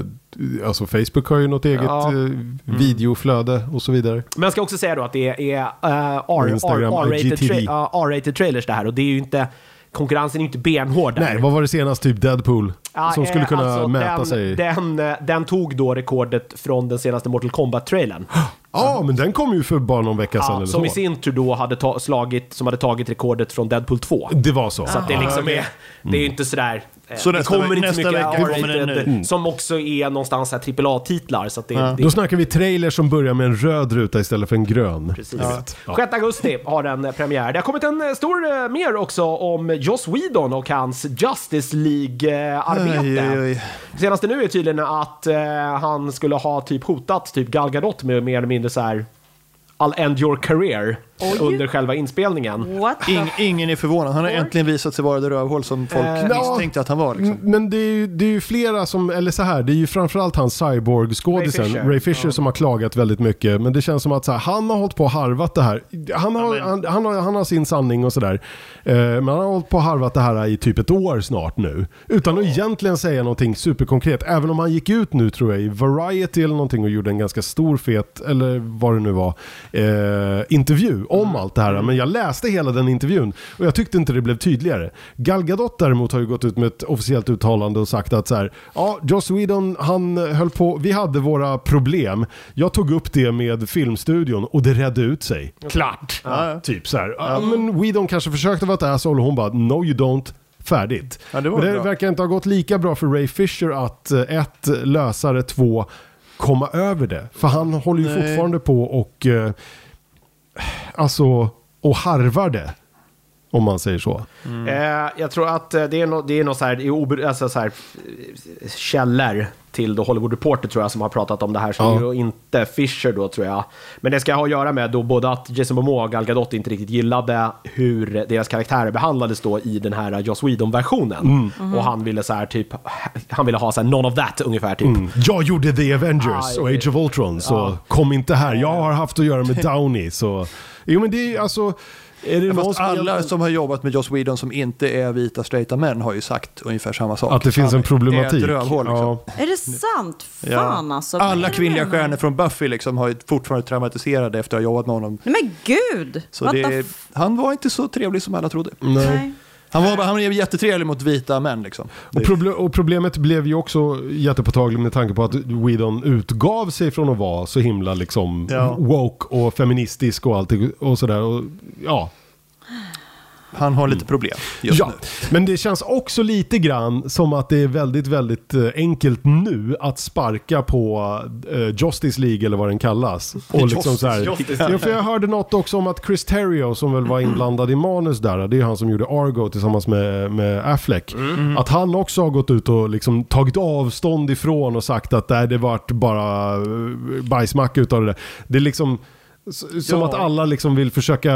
Speaker 1: Alltså Facebook har ju något eget
Speaker 2: Ja. Mm.
Speaker 1: eh, videoflöde och så vidare.
Speaker 2: Men jag ska också säga då att det är eh, R-
Speaker 1: Instagram,
Speaker 2: R- R-rated
Speaker 1: IGTV.
Speaker 2: tra- ja, R-rated trailers det här och det är ju inte, konkurrensen är ju inte benhård där.
Speaker 1: Nej, vad var det senast? Typ Deadpool.
Speaker 2: Ja,
Speaker 1: som skulle
Speaker 2: eh,
Speaker 1: kunna
Speaker 2: alltså,
Speaker 1: mäta
Speaker 2: den,
Speaker 1: sig.
Speaker 2: Den, eh, den tog då rekordet från den senaste Mortal Kombat-trailern.
Speaker 1: Ja, men den kom ju för bara någon vecka
Speaker 3: Alltså,
Speaker 1: sedan
Speaker 2: Ja,
Speaker 1: eller
Speaker 2: som
Speaker 1: så.
Speaker 2: i sin tur då hade ta- slagit, som hade tagit rekordet från Deadpool 2.
Speaker 1: Det var så.
Speaker 2: Så att det liksom är, det är ju inte sådär... eh,
Speaker 3: Så
Speaker 2: det
Speaker 3: nästa
Speaker 2: kommer
Speaker 3: ve-
Speaker 2: inte
Speaker 3: nästa
Speaker 2: så mycket
Speaker 3: vecka kommer Mm.
Speaker 2: R-rated,
Speaker 3: den nu.
Speaker 2: eh, Som också är någonstans så här AAA-titlar. Så att det, det,
Speaker 1: Då snackar vi trailer som börjar med en röd ruta istället för en grön.
Speaker 2: Precis. 6 augusti har den eh, premiär. Det har kommit en eh, stor eh, mer också om Joss Whedon och hans Justice
Speaker 3: Oj, oj,
Speaker 2: League-arbete.
Speaker 3: oj.
Speaker 2: Senaste nu är tydligen att eh, han skulle ha typ hotat typ Gal Gadot med mer eller mindre så här I'll end your career under själva inspelningen.
Speaker 4: What the
Speaker 3: Ing, ingen är förvånad. Han har äntligen visat sig vara det rövhål som folk Eh, misstänkte att han var. Liksom.
Speaker 1: Mm, Men det är, ju, det är ju flera som, eller så här, det är ju framförallt han cyborg-skådisen,
Speaker 2: Ray
Speaker 1: Ray
Speaker 2: Fisher.
Speaker 1: Fisher, som har klagat väldigt mycket. Men det känns som att så här, han har hållit på och harvat det här. Han har, han, han har, han har sin sanning och sådär. Eh, men han har hållit på och harvat det här i typ ett år snart nu. Utan att egentligen säga någonting superkonkret. Även om han gick ut nu tror jag i Variety eller någonting och gjorde en ganska stor fet, eller vad det nu var, eh, intervju om allt det här. Men jag läste hela den intervjun och jag tyckte inte det blev tydligare. Gal Gadot däremot har ju gått ut med ett officiellt uttalande och sagt att så här, ja, Joss Whedon, han eh, höll på, vi hade våra problem. Jag tog upp det med filmstudion och det redde ut sig. Klart! Typ så här, ja, men Whedon kanske försökte vara ett asshole och hon bara, no you don't. Färdigt.
Speaker 3: Ja, det var
Speaker 1: Men
Speaker 3: bra.
Speaker 1: verkar inte ha gått lika bra för Ray Fisher att eh, ett, lösa det, två, komma över det. För han håller ju
Speaker 3: Nej.
Speaker 1: fortfarande på och eh, alltså, och harvar det. Om man säger så.
Speaker 3: Mm.
Speaker 2: Eh, jag tror att eh, det är något, det är något så här, i obe- alltså så här, eh, källor till då Hollywood Reporter tror jag som har pratat om det här. Så
Speaker 1: Ja.
Speaker 2: det är då inte Fisher då tror jag. Men det ska ha att göra med då både att Jason Momoa och Gal Gadot inte riktigt gillade hur deras karaktärer behandlades då i den här Joss Whedon-versionen. Och han ville så här typ, han ville ha så här none of that ungefär typ.
Speaker 1: Jag gjorde The Avengers
Speaker 2: Aj.
Speaker 1: och Age of Ultron, så kom inte här. Jag har haft att göra med Downey, så... Jo men det är ju alltså... Är det någon
Speaker 3: Fast
Speaker 1: som
Speaker 3: alla som har jobbat med Joss Whedon som inte är vita straighta män har ju sagt ungefär samma sak.
Speaker 1: Att det finns en problematik.
Speaker 3: Det är ett rövhål liksom.
Speaker 1: Ja.
Speaker 4: Är det sant? Fan alltså.
Speaker 3: Alla
Speaker 4: vad är
Speaker 3: kvinnliga
Speaker 4: det med-
Speaker 3: stjärnor från Buffy liksom har ju fortfarande traumatiserade efter att ha jobbat med honom.
Speaker 4: Nej men gud!
Speaker 3: Så
Speaker 4: What the
Speaker 3: det,
Speaker 4: f-
Speaker 3: han var inte så trevlig som alla trodde.
Speaker 4: Nej.
Speaker 3: Han var, han var jättetrevlig mot vita män liksom.
Speaker 1: Och,
Speaker 3: Det-
Speaker 1: proble- och problemet blev ju också jättepåtagligt med tanke på att Whedon utgav sig från att vara så himla liksom
Speaker 3: Ja.
Speaker 1: woke och feministisk och allt och sådär. Och, ja.
Speaker 3: Han har
Speaker 2: Mm.
Speaker 3: lite problem just
Speaker 1: ja.
Speaker 3: nu.
Speaker 1: Men det känns också lite grann som att det är väldigt, väldigt eh, enkelt nu att sparka på eh, Justice League eller vad den kallas. Och liksom så här,
Speaker 2: Justice
Speaker 1: ja, för jag hörde något också om att Chris Terrio som väl var inblandad i manus där, det är han som gjorde Argo tillsammans med, med Affleck,
Speaker 3: Mm.
Speaker 1: att han också har gått ut och liksom tagit avstånd ifrån och sagt att nej, det vart bara eh, bajsmacka utav det där. Det är liksom s- som
Speaker 3: Ja.
Speaker 1: att alla liksom vill försöka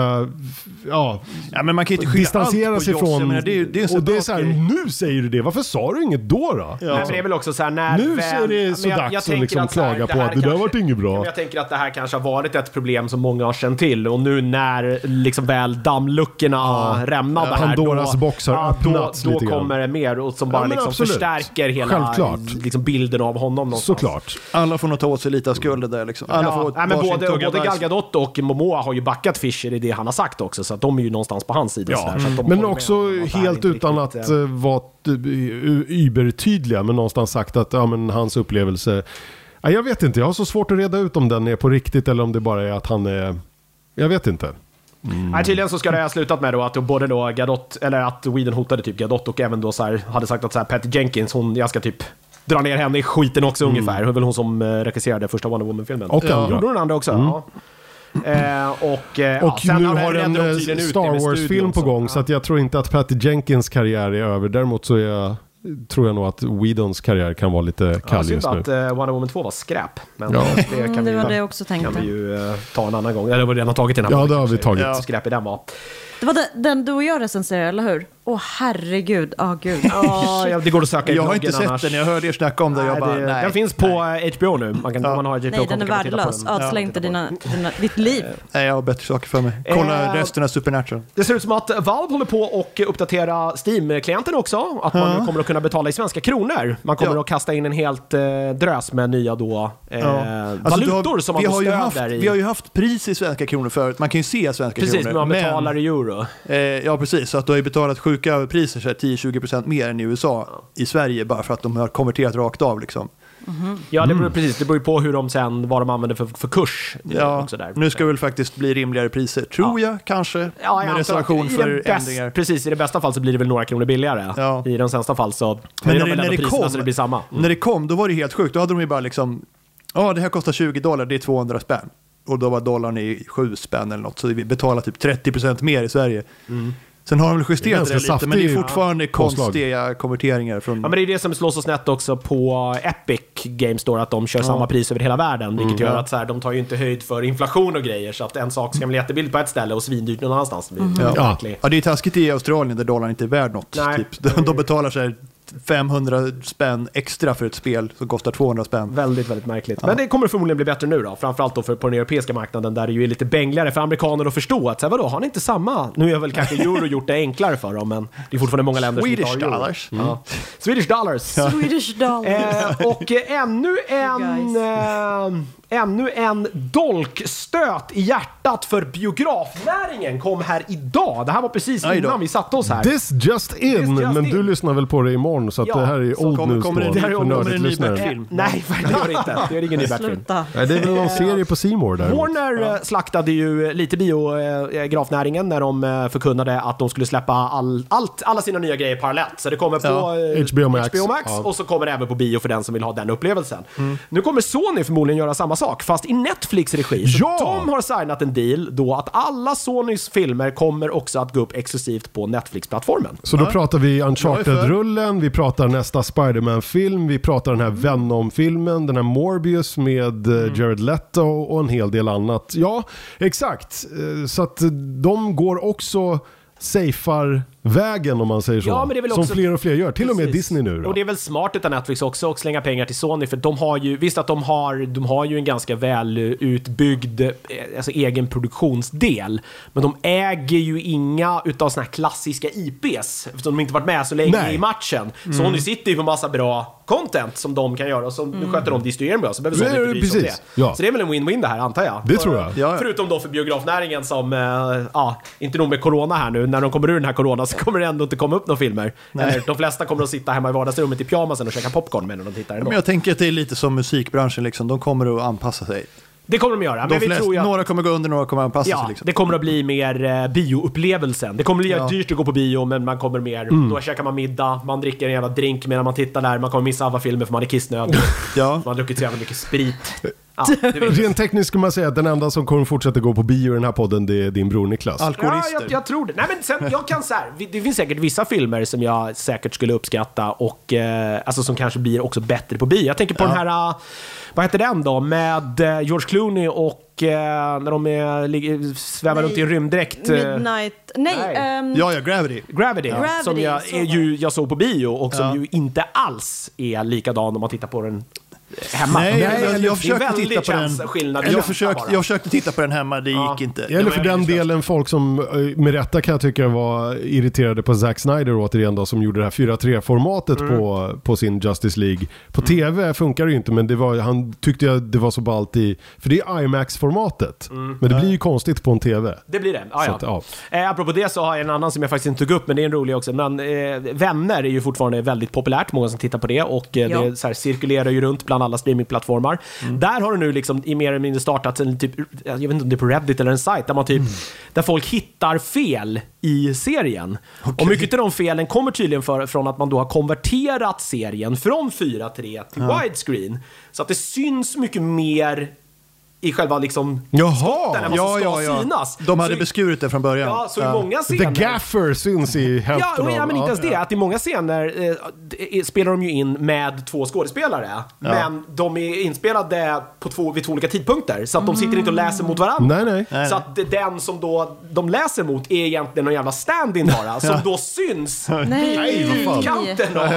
Speaker 1: ja,
Speaker 3: Ja, men man kan ju inte skylla
Speaker 1: distansera
Speaker 3: allt på
Speaker 1: sig
Speaker 3: Joss.
Speaker 1: från...
Speaker 3: Jag menar, det är ju- det är en
Speaker 1: och det är
Speaker 3: separat
Speaker 1: så här,
Speaker 3: grej.
Speaker 1: nu säger du det, varför sa du inget då? då?
Speaker 3: Ja.
Speaker 2: Nej, men det är väl också så här när
Speaker 1: Nu
Speaker 2: väl-
Speaker 1: så är det
Speaker 2: men
Speaker 1: så dags att
Speaker 2: tänker
Speaker 1: liksom
Speaker 2: så här,
Speaker 1: klaga på
Speaker 2: här
Speaker 1: att det där
Speaker 2: kanske-
Speaker 1: vart inget bra.
Speaker 2: Ja, men Jag tänker att det här kanske har varit ett problem som många har känt till och nu när liksom väl dammluckorna har rämnade här.
Speaker 1: Pandoras
Speaker 2: då-
Speaker 1: box har
Speaker 2: ja, då,
Speaker 1: öppnats
Speaker 2: då
Speaker 1: lite grann.
Speaker 2: kommer det mer och som
Speaker 1: Ja,
Speaker 2: bara
Speaker 1: men
Speaker 2: liksom
Speaker 1: absolut.
Speaker 2: förstärker hela
Speaker 1: Självklart.
Speaker 2: liksom, bilden av honom någonstans.
Speaker 1: Såklart.
Speaker 3: Alla får nog ta åt sig lite av skulden där liksom. Alla
Speaker 2: Ja,
Speaker 3: får
Speaker 2: nej, men
Speaker 3: varsin
Speaker 2: både
Speaker 3: tugga
Speaker 2: både
Speaker 3: bajs.
Speaker 2: Gal Gadot och Momoa har ju backat Fisher i det han har sagt också, så att de är ju någonstans på hans sida. så där, så att
Speaker 1: Men
Speaker 2: de håller med
Speaker 1: också
Speaker 2: honom att det här
Speaker 1: helt
Speaker 2: inte
Speaker 1: utan
Speaker 2: riktigt,
Speaker 1: att
Speaker 2: eh,
Speaker 1: eh, vara t- y- übertydliga, men någonstans sagt att ja, men hans upplevelse... Ja, jag vet inte, jag har så svårt att reda ut om den är på riktigt eller om det bara är att han är... Jag vet inte.
Speaker 2: Nej, tydligen så ska det ha slutat med då att både då Gadot, eller att Whedon hotade typ Gadot och även då så här, hade sagt att så här, Patty Jenkins, hon, jag ska typ dra ner henne i skiten också ungefär. Det var väl hon som eh, regisserade första Wonder Woman-filmen.
Speaker 1: Mm. Och andra. Mm.
Speaker 2: Gjorde hon andra också? Ja. Eh, och eh,
Speaker 1: Och
Speaker 2: ja, sen
Speaker 1: nu
Speaker 2: hade-
Speaker 1: har en
Speaker 2: redde de
Speaker 1: eh,
Speaker 2: tydligen ut det med
Speaker 1: Star Wars-film
Speaker 2: studion
Speaker 1: på
Speaker 2: så-
Speaker 1: gång,
Speaker 2: ja.
Speaker 1: så att jag tror inte att Patty Jenkins karriär är över. Däremot så är jag, tror jag nog att Whedons karriär kan vara lite
Speaker 2: Ja,
Speaker 1: kall
Speaker 2: synd
Speaker 1: just nu.
Speaker 2: att eh, Wonder Woman 2 var skräp. Men
Speaker 1: Ja.
Speaker 2: det kan
Speaker 4: Mm,
Speaker 2: vi
Speaker 4: det
Speaker 2: ju,
Speaker 4: var det jag också
Speaker 2: kan vi
Speaker 4: tänkte.
Speaker 2: ju eh, ta en annan gång. Eller det har vi redan tagit i den här
Speaker 1: Ja, det
Speaker 2: podden
Speaker 1: har vi
Speaker 2: kanske.
Speaker 1: tagit.
Speaker 2: Hur skräpig den var.
Speaker 4: Det var den, den du och jag recenserade, eller hur? Åh herregud, åh gud.
Speaker 2: Ja, ja, det går att söka i
Speaker 3: Jag har
Speaker 2: bloggen
Speaker 3: inte sett
Speaker 2: annars.
Speaker 3: den, jag hörde er snacka om det.
Speaker 2: Nej,
Speaker 3: Jag bara,
Speaker 2: det,
Speaker 3: nej.
Speaker 2: den finns på eh, HBO nu. Man kan, om man har HBO
Speaker 4: Nej,
Speaker 2: kan
Speaker 4: den är
Speaker 2: man titta på
Speaker 4: värdelös.
Speaker 2: den.
Speaker 4: Ödsla inte dina, dina, ditt liv.
Speaker 3: Nej, jag har bättre saker för mig. Kolla
Speaker 2: Eh.
Speaker 3: resten av Supernatural.
Speaker 2: Det ser ut som att eh, Valve håller på och uppdatera Steam-klienten också. Att man nu kommer att kunna betala i svenska kronor. Man kommer
Speaker 3: Ja.
Speaker 2: att kasta in en helt eh, drös med nya då, eh,
Speaker 3: Alltså, du
Speaker 2: valutor
Speaker 3: har-
Speaker 2: som man
Speaker 3: vi
Speaker 2: då
Speaker 3: har ju
Speaker 2: stöder
Speaker 3: haft,
Speaker 2: i.
Speaker 3: Vi har ju haft pris i svenska kronor förut. Man kan ju se svenska
Speaker 2: Precis, men
Speaker 3: kronor.
Speaker 2: man betalar i euro.
Speaker 3: Eh, ja, precis. Så att du har ju betalat sjuka priser, så här 10-20% mer än i USA i Sverige bara för att de har konverterat rakt av. Liksom.
Speaker 2: Ja, det
Speaker 3: Mm.
Speaker 2: beror, precis. Det beror ju på hur de sen, vad de använder för, för kurs. eh,
Speaker 3: Ja,
Speaker 2: också där.
Speaker 3: nu ska det väl faktiskt bli rimligare priser, tror jag kanske.
Speaker 2: Ja, jag
Speaker 3: med
Speaker 2: antar att
Speaker 3: reservation
Speaker 2: i
Speaker 3: för
Speaker 2: den bäst-
Speaker 3: ändringar.
Speaker 2: Precis, i det bästa fall så blir det väl några kronor billigare.
Speaker 3: Ja.
Speaker 2: I den sämsta fall så
Speaker 3: Men
Speaker 2: höjer de
Speaker 3: när det,
Speaker 2: väl
Speaker 3: när,
Speaker 2: ändå
Speaker 3: det
Speaker 2: priserna
Speaker 3: kom,
Speaker 2: så det blir samma. Mm.
Speaker 3: när det kom, då var det helt sjukt. Då hade de ju bara liksom, ja det här kostar 20 dollar, det är 200 spänn. Och då var dollarn i 7 spänn eller något, så vi betalar typ 30% mer i Sverige.
Speaker 2: Mm.
Speaker 3: Sen har de väl
Speaker 1: Det är
Speaker 3: justerat det,
Speaker 1: ganska
Speaker 3: lite, men det är
Speaker 1: saftig
Speaker 3: fortfarande
Speaker 1: påslag.
Speaker 3: konstiga konverteringar från...
Speaker 2: Ja, men det är det som slår så snett också på Epic Games Store, att de kör samma pris över hela världen. Vilket
Speaker 3: Mm.
Speaker 2: gör att så här, de tar ju inte höjd för inflation och grejer, så att en sak ska bli jättebillig på ett ställe och svindyrt någon annanstans. Det blir
Speaker 3: Mm-hmm. Ja.
Speaker 2: verkligen-
Speaker 3: ja, det är taskigt i Australien där dollarn inte är värd något.
Speaker 2: Nej.
Speaker 3: Typ. De, de betalar så här 500 spänn extra för ett spel som kostar 200 spänn.
Speaker 2: Väldigt, väldigt märkligt. Men det kommer förmodligen bli bättre nu då. Framförallt då för, på den europeiska marknaden där det ju är lite bängligare för amerikaner att förstå att så här, vadå, har ni inte samma? Nu har väl kanske euro gjort det enklare för dem, men det är fortfarande många länder
Speaker 3: Swedish
Speaker 2: som inte har euro.
Speaker 3: dollars.
Speaker 2: Ja. Swedish dollars.
Speaker 4: Swedish dollar.
Speaker 2: Eh, och eh, ännu en, eh, ännu en dolkstöt i hjärtat för biografnäringen kom här idag. Det här var precis
Speaker 3: Aj då.
Speaker 2: innan vi satte oss här.
Speaker 1: This just in,
Speaker 2: This just
Speaker 1: men du
Speaker 2: in.
Speaker 1: lyssnar väl på det imorgon så att
Speaker 2: Ja,
Speaker 1: det här är
Speaker 2: så
Speaker 1: old
Speaker 3: kommer-
Speaker 1: news
Speaker 3: kommer det
Speaker 1: då,
Speaker 3: en ny-
Speaker 1: för
Speaker 3: kommer det en ny
Speaker 1: nördigt-lyssnare.
Speaker 3: Bert
Speaker 2: Eh,
Speaker 3: film.
Speaker 2: Nej, det gör det inte. Det är ingen ny Batman.
Speaker 4: Sluta.
Speaker 1: Nej, det är väl någon serie på C More där.
Speaker 2: Warner eh, slaktade ju eh, lite biografnäringen när de eh, förkunnade att de skulle släppa all, allt, alla sina nya grejer parallellt. Så det kommer på
Speaker 3: Ja,
Speaker 2: eh,
Speaker 1: HBO Max. Ja. Mm.
Speaker 2: och så kommer det även på bio för den som vill ha den upplevelsen. Nu kommer Sony förmodligen göra samma samma sak, fast i Netflix regi. Så
Speaker 1: Ja!
Speaker 2: de har signat en deal då att alla Sonys filmer kommer också att gå upp exklusivt på Netflix-plattformen.
Speaker 1: Så då pratar vi Uncharted-rullen, vi pratar nästa Spiderman-film, vi pratar den här Venom-filmen, den här Morbius med
Speaker 2: Mm.
Speaker 1: eh, Jared Leto och en hel del annat. Ja, exakt. Eh, Så att eh, de går också safear vägen om man säger så.
Speaker 2: Ja, men det är väl
Speaker 1: Som
Speaker 2: också-
Speaker 1: fler och fler gör, till och med
Speaker 2: Precis.
Speaker 1: Disney nu då.
Speaker 2: Och det är väl smart utan Netflix också att slänga pengar till Sony för de har ju, visst att de har, de har ju en ganska väl utbyggd eh, alltså egen produktionsdel. Men de äger ju inga utav såna här klassiska IPs eftersom de inte varit med så länge
Speaker 1: Nej. Mm.
Speaker 2: i matchen. Sony sitter ju på massa bra content som de kan göra och som nu sköter de distribueringen bra så behöver Sony
Speaker 1: Nej,
Speaker 2: inte bry sig om
Speaker 1: precis.
Speaker 2: det.
Speaker 1: Mm. Ja.
Speaker 2: Så det är väl en win-win det här antar jag.
Speaker 1: Det
Speaker 2: För-
Speaker 1: tror jag.
Speaker 3: Ja, ja.
Speaker 2: Förutom då för biografnäringen som, eh, ja, inte nog med corona här nu, när de kommer ur den här corona så kommer det ändå inte komma upp några filmer. Eller, de flesta kommer att sitta hemma i vardagsrummet i pyjamasen och käka popcorn medan de tittar ändå.
Speaker 3: Men jag tänker att det är lite som musikbranschen, liksom. de kommer att anpassa sig.
Speaker 2: Det kommer de göra,
Speaker 3: De
Speaker 2: men vi
Speaker 3: flest,
Speaker 2: tror ju att...
Speaker 3: Några kommer gå under, några kommer anpassa
Speaker 2: Ja,
Speaker 3: sig. Liksom.
Speaker 2: det kommer att bli mer eh, bioupplevelsen. Det kommer att bli
Speaker 3: Ja. Mm.
Speaker 2: dyrt att gå på bio, men man kommer mer... Då käkar man middag, man dricker en jävla drink medan man tittar där, man kommer missa alla filmer för man är kissnödig.
Speaker 3: Ja.
Speaker 2: Man har druckit så jävla mycket sprit. Ja, du vet.
Speaker 1: Rent tekniskt skulle man säga att den enda som kommer fortsätta gå på bio i den här podden, det är din bror Niklas.
Speaker 3: Alkoholister.
Speaker 2: Ja, jag, jag tror det. Nej, men sen, jag kan så här, vi- det finns säkert vissa filmer som jag säkert skulle uppskatta och eh, alltså, som kanske blir också bättre på bio. Jag tänker på den här, eh, vad heter den då, med eh, George Clooney och eh, när de är, ligger, svävar
Speaker 4: Nej.
Speaker 2: runt i en rymddräkt. eh,
Speaker 4: Midnight... Nej,
Speaker 2: Nej.
Speaker 4: ehm,
Speaker 3: ja, ja, Gravity.
Speaker 2: Gravity,
Speaker 4: Gravity,
Speaker 2: som jag,
Speaker 4: så
Speaker 2: är
Speaker 4: var
Speaker 2: ju, jag såg på bio och som
Speaker 3: Ja.
Speaker 2: ju inte alls är likadan om man tittar på den hemma.
Speaker 3: Nej, Ah, jag, jag,
Speaker 2: det är
Speaker 3: försökte
Speaker 2: väldigt
Speaker 3: titta på
Speaker 2: chans-
Speaker 3: den.
Speaker 2: skillnad i känsla
Speaker 3: jag, försökte,
Speaker 2: bara.
Speaker 3: jag försökte titta på den hemma, det
Speaker 2: Ja.
Speaker 3: gick inte.
Speaker 1: Eller för
Speaker 2: Ja, men
Speaker 1: den
Speaker 2: jag förstår.
Speaker 1: delen folk som eh, med rätta kan jag tycka var irriterade på Zack Snyder återigen då som gjorde det här 4-3-formatet
Speaker 2: Mm.
Speaker 1: på, på sin Justice League. På tv funkar det ju inte men det var, han tyckte jag det var så ballt i, för det är IMAX-formatet.
Speaker 2: Mm.
Speaker 1: Men det blir ju konstigt på en tv.
Speaker 2: Det blir det. Ah,
Speaker 1: Så
Speaker 2: ja.
Speaker 1: att, ja.
Speaker 2: Eh, apropå det så har jag en annan som jag faktiskt inte tog upp, men det är en rolig också. Men eh, Vänner är ju fortfarande väldigt populärt, många som tittar på det och eh,
Speaker 4: Ja.
Speaker 2: det så här, cirkulerar ju runt bland alla streamingplattformar. Där har det nu liksom i mer eller mindre startat en typ, jag vet inte om det är på Reddit eller en sajt, där man typ, där folk hittar fel i serien. Och mycket av de felen kommer tydligen för, från att man då har konverterat serien från 4.3 till widescreen. Så att det syns mycket mer i själva liksom
Speaker 1: Jaha!
Speaker 2: Där man
Speaker 3: Ja,
Speaker 2: ska
Speaker 3: ja, ja.
Speaker 2: synas.
Speaker 3: De hade
Speaker 2: Så-
Speaker 3: beskurit det från början.
Speaker 2: Ja, så i många
Speaker 1: The
Speaker 2: scener...
Speaker 1: Gaffer syns i
Speaker 2: Ja,
Speaker 1: hälften
Speaker 2: och, ja,
Speaker 1: av-
Speaker 2: men inte ens det. Att i många scener eh, det är- spelar de ju in med två skådespelare. Men de är inspelade på två, vid två olika tidpunkter. Så att de sitter inte och läser mot varandra.
Speaker 1: Nej, nej.
Speaker 3: nej.
Speaker 2: Så att den som då de läser mot är egentligen någon jävla stand-in bara. Som då syns
Speaker 4: Nej,
Speaker 2: i
Speaker 4: vad fan.
Speaker 2: utkanten av...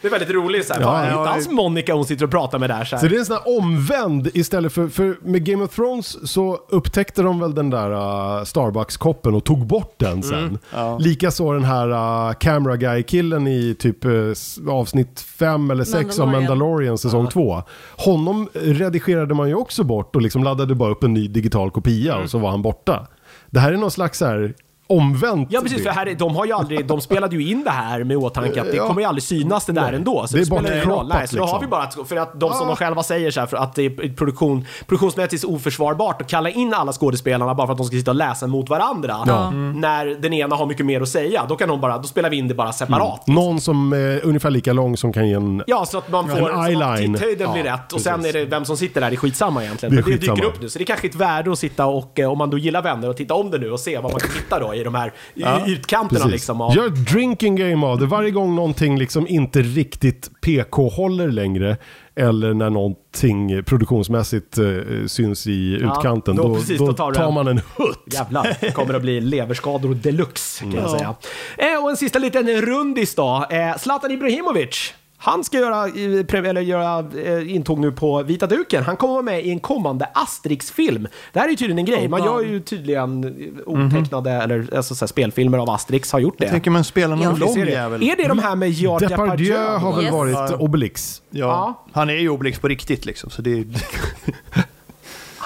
Speaker 2: Det är väldigt roligt såhär.
Speaker 1: Ja,
Speaker 2: Ja,
Speaker 1: ja,
Speaker 2: inte
Speaker 1: ja.
Speaker 2: alls Monica hon sitter och pratar med där
Speaker 1: Så
Speaker 2: såhär.
Speaker 1: det är en sån här omvänd istället för, för med Game of Thrones så upptäckte de väl den där uh, Starbucks-koppen och tog bort
Speaker 2: Mm.
Speaker 1: den sen. Likaså den här uh, Camera Guy-killen i typ uh, s- avsnitt 5 eller 6 av
Speaker 4: Mandalorian.
Speaker 1: Mandalorian säsong 2. Honom redigerade man ju också bort och liksom laddade bara upp en ny digital kopia
Speaker 2: Mm.
Speaker 1: och så var han borta. Det här är någon slags så här omvänt
Speaker 2: Ja precis,
Speaker 1: bild.
Speaker 2: för här, är- de, har ju aldrig, de spelade ju in det här med åtanke att det
Speaker 1: Ja.
Speaker 2: kommer ju aldrig synas det där ändå. Så
Speaker 1: Det är
Speaker 2: det, spelar ingen roll.
Speaker 1: bortkloppat,
Speaker 2: Nej, så då har vi
Speaker 1: liksom.
Speaker 2: bara att, för att de som
Speaker 1: Ja.
Speaker 2: de själva säger så här, för att det är produktion, produktionsmässigt oförsvarbart att kalla in alla skådespelarna bara för att de ska sitta och läsa mot varandra. Mm.
Speaker 1: Ja.
Speaker 2: När den ena har mycket mer att säga, då kan de bara, då spelar vi in det bara separat.
Speaker 1: Någon som är ungefär lika lång som kan ge en...
Speaker 2: Ja, så att man
Speaker 1: En
Speaker 2: får så att
Speaker 1: eyeline.
Speaker 2: titthöjden blir
Speaker 1: Ja,
Speaker 2: rätt och sen är
Speaker 1: precis.
Speaker 2: det vem som sitter där, det är skitsamma egentligen.
Speaker 1: Det är
Speaker 2: Men det dyker
Speaker 1: skitsamma.
Speaker 2: upp nu, så det är kanske ett värde att sitta och, eh, om man då gillar vänner, och titta om det nu och se vad man kan hitta då i de här i- utkanterna
Speaker 1: Precis.
Speaker 2: liksom. Av,
Speaker 1: Gör ett drinking game av det. Varje gång någonting liksom inte riktigt PK håller längre eller när någonting produktionsmässigt eh, syns i utkanten,
Speaker 2: då
Speaker 1: då,
Speaker 2: precis,
Speaker 1: då,
Speaker 2: då tar
Speaker 1: tar,
Speaker 2: du en.
Speaker 1: man en hutt.
Speaker 2: Jävlar, det kommer att bli leverskador deluxe kan
Speaker 1: Mm.
Speaker 2: jag säga. Eh, och en sista liten rundis då. Eh, Zlatan Ibrahimovic. Han ska göra, eh, pre- eller göra eh, intåg nu på vita duken. Han kommer vara med i en kommande Asterix-film. Det här är ju tydligen en grej. Man gör ju tydligen
Speaker 1: Mhm.
Speaker 2: eh, otecknade, eller alltså, så här, spelfilmer av Asterix har gjort det.
Speaker 3: Tänker man spela någon
Speaker 4: Ja.
Speaker 3: lång
Speaker 2: Ser det.
Speaker 3: jävel?
Speaker 2: Är det de här med Gerard
Speaker 1: Depardieu har väl
Speaker 4: Yes.
Speaker 1: varit Obelix?
Speaker 3: Ja. Han är ju Obelix på riktigt liksom. Så det är...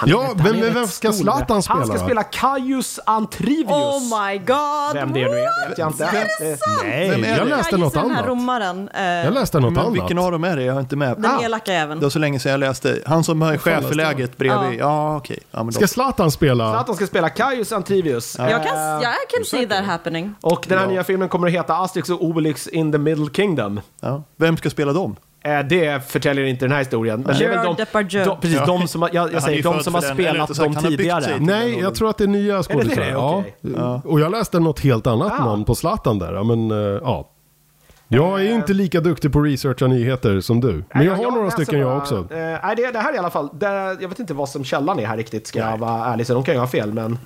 Speaker 1: Ja,
Speaker 2: Han är
Speaker 1: vem,
Speaker 2: rätt
Speaker 1: vem ska
Speaker 2: stor.
Speaker 1: Zlatan spela?
Speaker 2: Han ska
Speaker 1: va?
Speaker 2: spela Caius Antrivius.
Speaker 4: Oh my god!
Speaker 2: Vem det nu är vet jag inte.
Speaker 4: Är det sant?
Speaker 1: Nej,
Speaker 3: Vem är
Speaker 1: jag
Speaker 3: det?
Speaker 1: läste
Speaker 4: jag
Speaker 1: något
Speaker 4: gissar den här
Speaker 1: annat.
Speaker 4: romaren. eh,
Speaker 1: Jag läste
Speaker 2: Mm,
Speaker 1: något
Speaker 3: Men
Speaker 1: annat.
Speaker 3: vilken av dem är det? Jag är inte med.
Speaker 4: Den
Speaker 3: Ah,
Speaker 4: elaka
Speaker 3: det
Speaker 4: även.
Speaker 3: var så länge sedan jag läste. Han som är chef för läget bredvid. Ja, okej. Ja, men då-
Speaker 1: Ska Zlatan spela?
Speaker 2: Zlatan ska spela Caius Antrivius.
Speaker 4: Jag kan,
Speaker 2: Eh,
Speaker 4: jag kan see that happening.
Speaker 2: Och den här
Speaker 3: Ja.
Speaker 2: nya filmen kommer att heta Asterix och Obelix in the Middle Kingdom.
Speaker 3: ja. Vem ska spela dem?
Speaker 2: Eh, det förtäljer inte den här historien. Men det är väl
Speaker 4: Gerard
Speaker 2: de,
Speaker 4: Depardieu.
Speaker 2: de, precis,
Speaker 3: Ja.
Speaker 2: de som, har- jag,
Speaker 3: Ja,
Speaker 2: jag säger,
Speaker 3: han är
Speaker 2: de
Speaker 3: ju
Speaker 2: som har
Speaker 3: född för den, eller
Speaker 2: spelat
Speaker 3: rättare sagt,
Speaker 2: dem
Speaker 3: han har byggt sig
Speaker 2: tidigare.
Speaker 3: till-
Speaker 1: Nej, jag tror att det är nya
Speaker 2: det det?
Speaker 1: skådisar. ja.
Speaker 2: Okej. Ah.
Speaker 1: Och jag läste något helt annat namn på Zlatan där. Ja, Men, eh, ja. Jag är inte lika duktig på att researcha nyheter som du. Men
Speaker 2: Nej,
Speaker 1: jag har några
Speaker 2: läser
Speaker 1: stycken jag
Speaker 2: bara-
Speaker 1: också.
Speaker 2: Eh, nej, det, det här i alla fall. Det, jag vet inte vad som källan är här riktigt, ska jag vara ärlig. Så de kan ju ha fel, men...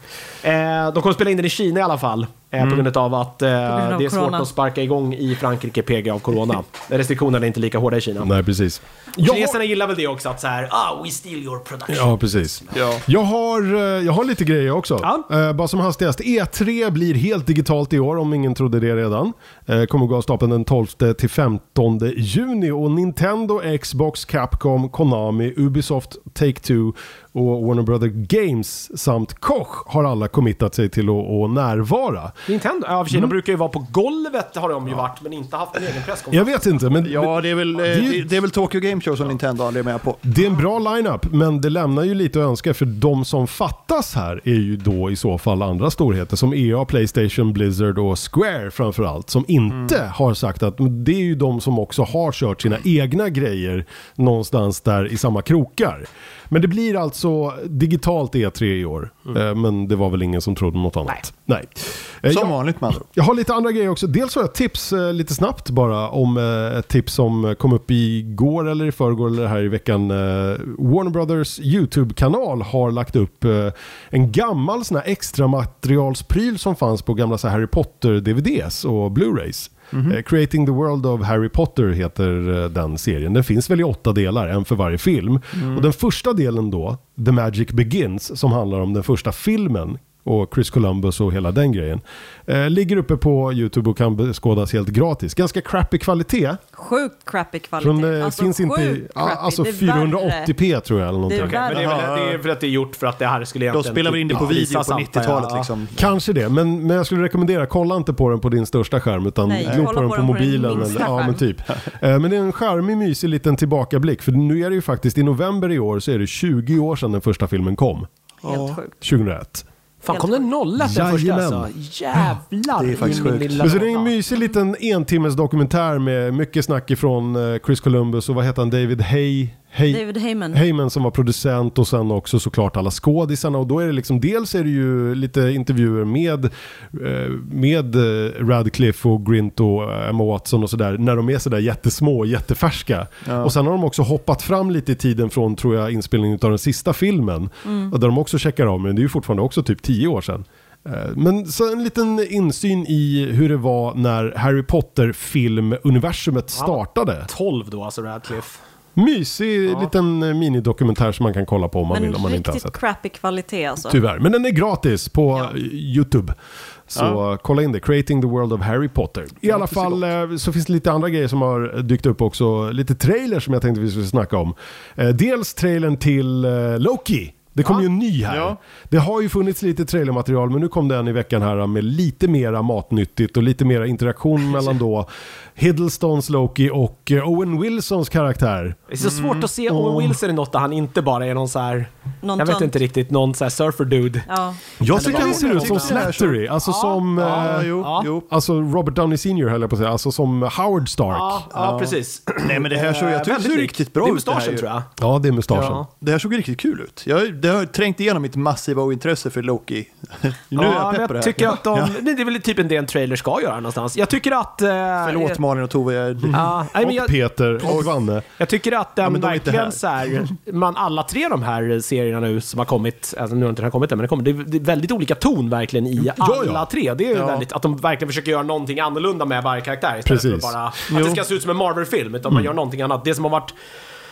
Speaker 2: Eh, de kommer spela in den i Kina i alla fall. Eh,
Speaker 3: Mm.
Speaker 2: På grund av att eh,
Speaker 4: grund av
Speaker 2: det är svårt
Speaker 4: corona.
Speaker 2: att sparka igång i Frankrike PG av corona. Restriktionerna är inte lika hårda i Kina.
Speaker 1: Nej, precis.
Speaker 2: Kineserna gillar väl det också, att så här, ah, we steal your production.
Speaker 1: Ja, precis.
Speaker 3: Ja.
Speaker 1: Jag, har, eh, jag har lite grejer också.
Speaker 2: Ja.
Speaker 1: Eh, bara som hastigast. E3 blir helt digitalt i år, om ingen trodde det redan. Eh, kommer gå av stapeln den 12 till 15 juni. Och Nintendo, Xbox, Capcom, Konami, Ubisoft, Take-Two och Warner Brother Games samt Koch har alla committat sig till att, att närvara.
Speaker 2: Nintendo, ja, för Kina brukar ju vara på golvet, har de ju varit, men inte haft en egen presskonferens.
Speaker 1: Jag vet inte, men
Speaker 3: Ja, det är väl, eh,
Speaker 1: är ju-
Speaker 3: det, det är väl Tokyo Game Show som Nintendo aldrig är med på.
Speaker 1: Det är en bra lineup, men det lämnar ju lite att önska för de som fattas här är ju då i så fall andra storheter som EA, Playstation, Blizzard och Square framförallt som inte har sagt att men det är ju de som också har kört sina egna grejer någonstans där i samma krokar. Men det blir alltså digitalt E3 i år, Eh, men det var väl ingen som trodde något annat. Nej. Eh,
Speaker 3: Som
Speaker 1: jag-
Speaker 3: vanligt med andra ord.
Speaker 1: jag har lite andra grejer också. Dels har jag tips eh, lite snabbt bara om eh, ett tips som eh, kom upp igår eller i förrgår eller här i veckan. Eh, Warner Brothers YouTube-kanal har lagt upp eh, en gammal sån här extra materialspryl som fanns på gamla så här Harry Potter-DVDs och Blu-rays. Eh, Creating the World of Harry Potter heter eh, den serien. Den finns väl i åtta delar, en för varje film. Och den första delen då, The Magic Begins, som handlar om den första filmen och Chris Columbus och hela den grejen. Eh, ligger uppe på YouTube och kan beskådas helt gratis. Ganska crappy kvalitet.
Speaker 4: Sjukt crappy kvalitet.
Speaker 1: Från, eh,
Speaker 4: alltså,
Speaker 1: finns inte, i-
Speaker 4: sjukt
Speaker 1: ja,
Speaker 4: crappy.
Speaker 1: alltså
Speaker 4: Det är värre.
Speaker 1: 480p tror jag eller någonting.
Speaker 4: Det är värre.
Speaker 2: Men det är, väl, det är för att det är gjort för att det här skulle
Speaker 3: De
Speaker 2: egentligen...
Speaker 3: spelar väl in det på
Speaker 2: Ja,
Speaker 3: video
Speaker 2: visas,
Speaker 3: på
Speaker 2: antar jag.
Speaker 3: 90-talet
Speaker 2: Ja.
Speaker 3: liksom.
Speaker 1: Kanske det, men, men jag skulle rekommendera, kolla inte på den på din största skärm utan
Speaker 4: Nej,
Speaker 1: glo
Speaker 4: kolla
Speaker 1: på den på,
Speaker 4: på den på din
Speaker 1: mobilen.
Speaker 4: minsta
Speaker 1: eller, ja,
Speaker 4: skärm.
Speaker 1: men, typ. Eh, men det är en charmig, mysig liten tillbakablick. För nu är det ju faktiskt, i november i år så är det 20 år sedan den första filmen kom.
Speaker 4: Helt sjukt.
Speaker 1: 2001.
Speaker 2: Fan, kom den 01 den första
Speaker 1: Jajamän.
Speaker 2: alltså? Jävlar!
Speaker 3: Det är faktiskt
Speaker 2: i min
Speaker 3: sjukt.
Speaker 2: lilla
Speaker 1: Men så det är en
Speaker 2: låda.
Speaker 1: mysig liten entimmes dokumentär med mycket snack ifrån eh, Chris Columbus och vad heter han, David Hay? Hay
Speaker 4: David Heyman.
Speaker 1: Heyman som var producent och sen också såklart alla skådisarna och då är det liksom dels är det ju lite intervjuer med, eh, med eh, Radcliffe och Grint och eh, Emma Watson och sådär när de är sådär jättesmå och jättefärska. Och sen har de också hoppat fram lite i tiden från tror jag inspelningen av den sista filmen och där de också checkar av men det är ju fortfarande också typ tio år sedan. Eh, Men så en liten insyn i hur det var när Harry Potter-filmuniversumet startade.
Speaker 2: 12 då, alltså Radcliffe.
Speaker 1: Mysig liten eh, minidokumentär som man kan kolla på om man
Speaker 4: Men
Speaker 1: vill om man inte har
Speaker 4: riktigt
Speaker 1: sett. Typ.
Speaker 4: crappy kvalitet alltså.
Speaker 1: Tyvärr, men den är gratis på eh, YouTube. Så eh, kolla in det, Creating the World of Harry Potter. I alla fall eh, så finns det lite andra grejer som har eh, dykt upp också. Lite trailers som jag tänkte vi skulle snacka om. Eh, Dels trailern till eh, Loki. Det kom ju en ny här.
Speaker 3: Ja.
Speaker 1: Det har ju funnits lite trailermaterial men nu kom den i veckan här med lite mera matnyttigt och lite mera interaktion mellan då Hiddlestons Loki och eh, Owen Wilsons karaktär.
Speaker 2: Det är så svårt att se Owen Wilson i något där han inte bara är någon så här...
Speaker 4: Någon
Speaker 2: jag vet
Speaker 4: tönt.
Speaker 2: inte riktigt, någon så här surfer-dude.
Speaker 4: Ja.
Speaker 1: Jag tycker han ser ut som
Speaker 3: Jag tycker det är så.
Speaker 1: Slattery, alltså som...
Speaker 3: Ja,
Speaker 1: eh,
Speaker 3: jo, jo.
Speaker 1: Alltså Robert Downey Sr höll jag på att säga, alltså som Howard Stark.
Speaker 2: Ja,
Speaker 1: Ja,
Speaker 2: ja, precis. Eh,
Speaker 3: Nej Eh, men det här såg, jag tycker det
Speaker 2: Väldigt
Speaker 3: såg
Speaker 2: likt.
Speaker 3: riktigt bra
Speaker 2: Det är
Speaker 3: ut. Det här,
Speaker 2: mustaschen
Speaker 3: ju.
Speaker 2: tror jag.
Speaker 1: det är mustaschen.
Speaker 2: Ja.
Speaker 3: det här såg riktigt kul ut. Jag, det har trängt igenom mitt massiva ointresse för Loki. nu är
Speaker 2: ja,
Speaker 3: jag
Speaker 2: men
Speaker 3: pepp på det
Speaker 2: jag
Speaker 3: här.
Speaker 2: tycker att de... Men det är väl typ en del trailer ska göra någonstans. Jag tycker att... Eh,
Speaker 3: Förlåt Malin och Tove, jag,
Speaker 2: Ja, nej, men
Speaker 1: Och
Speaker 2: jag,
Speaker 1: Peter och Vanne.
Speaker 2: jag tycker att den
Speaker 3: men de är inte här.
Speaker 2: verkligen så här, man alla tre de här serierna nu som har kommit, alltså nu har inte den här kommit än, men det kommer, det är, det är väldigt olika ton verkligen i
Speaker 1: ja.
Speaker 2: alla tre. Det är ju
Speaker 3: Ja.
Speaker 2: väldigt, att de verkligen försöker göra någonting annorlunda med varje karaktär istället för
Speaker 1: Precis.
Speaker 2: att bara, att det ska se ut som en Marvel-film, utan
Speaker 3: Mm.
Speaker 2: man gör någonting annat. Det som har varit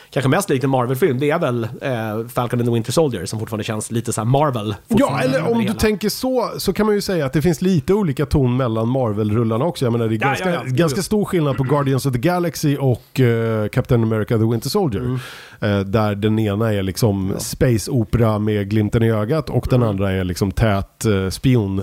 Speaker 2: Kanske mest likt en Marvel-film, det är väl eh, Falcon and the Winter Soldier som fortfarande känns lite så här Marvel.
Speaker 1: Ja,
Speaker 2: fortfarande
Speaker 1: eller
Speaker 2: över det
Speaker 1: om du
Speaker 2: hela.
Speaker 1: tänker så, så kan man ju säga att det finns lite olika ton mellan Marvel-rullarna också. Jag menar, det är
Speaker 2: Ja,
Speaker 1: ganska,
Speaker 2: ja, ja.
Speaker 1: ganska stor skillnad på Guardians of the Galaxy och eh, Captain America the Winter Soldier. Eh, där den ena är liksom space opera med glimten i ögat och den andra är liksom tät uh,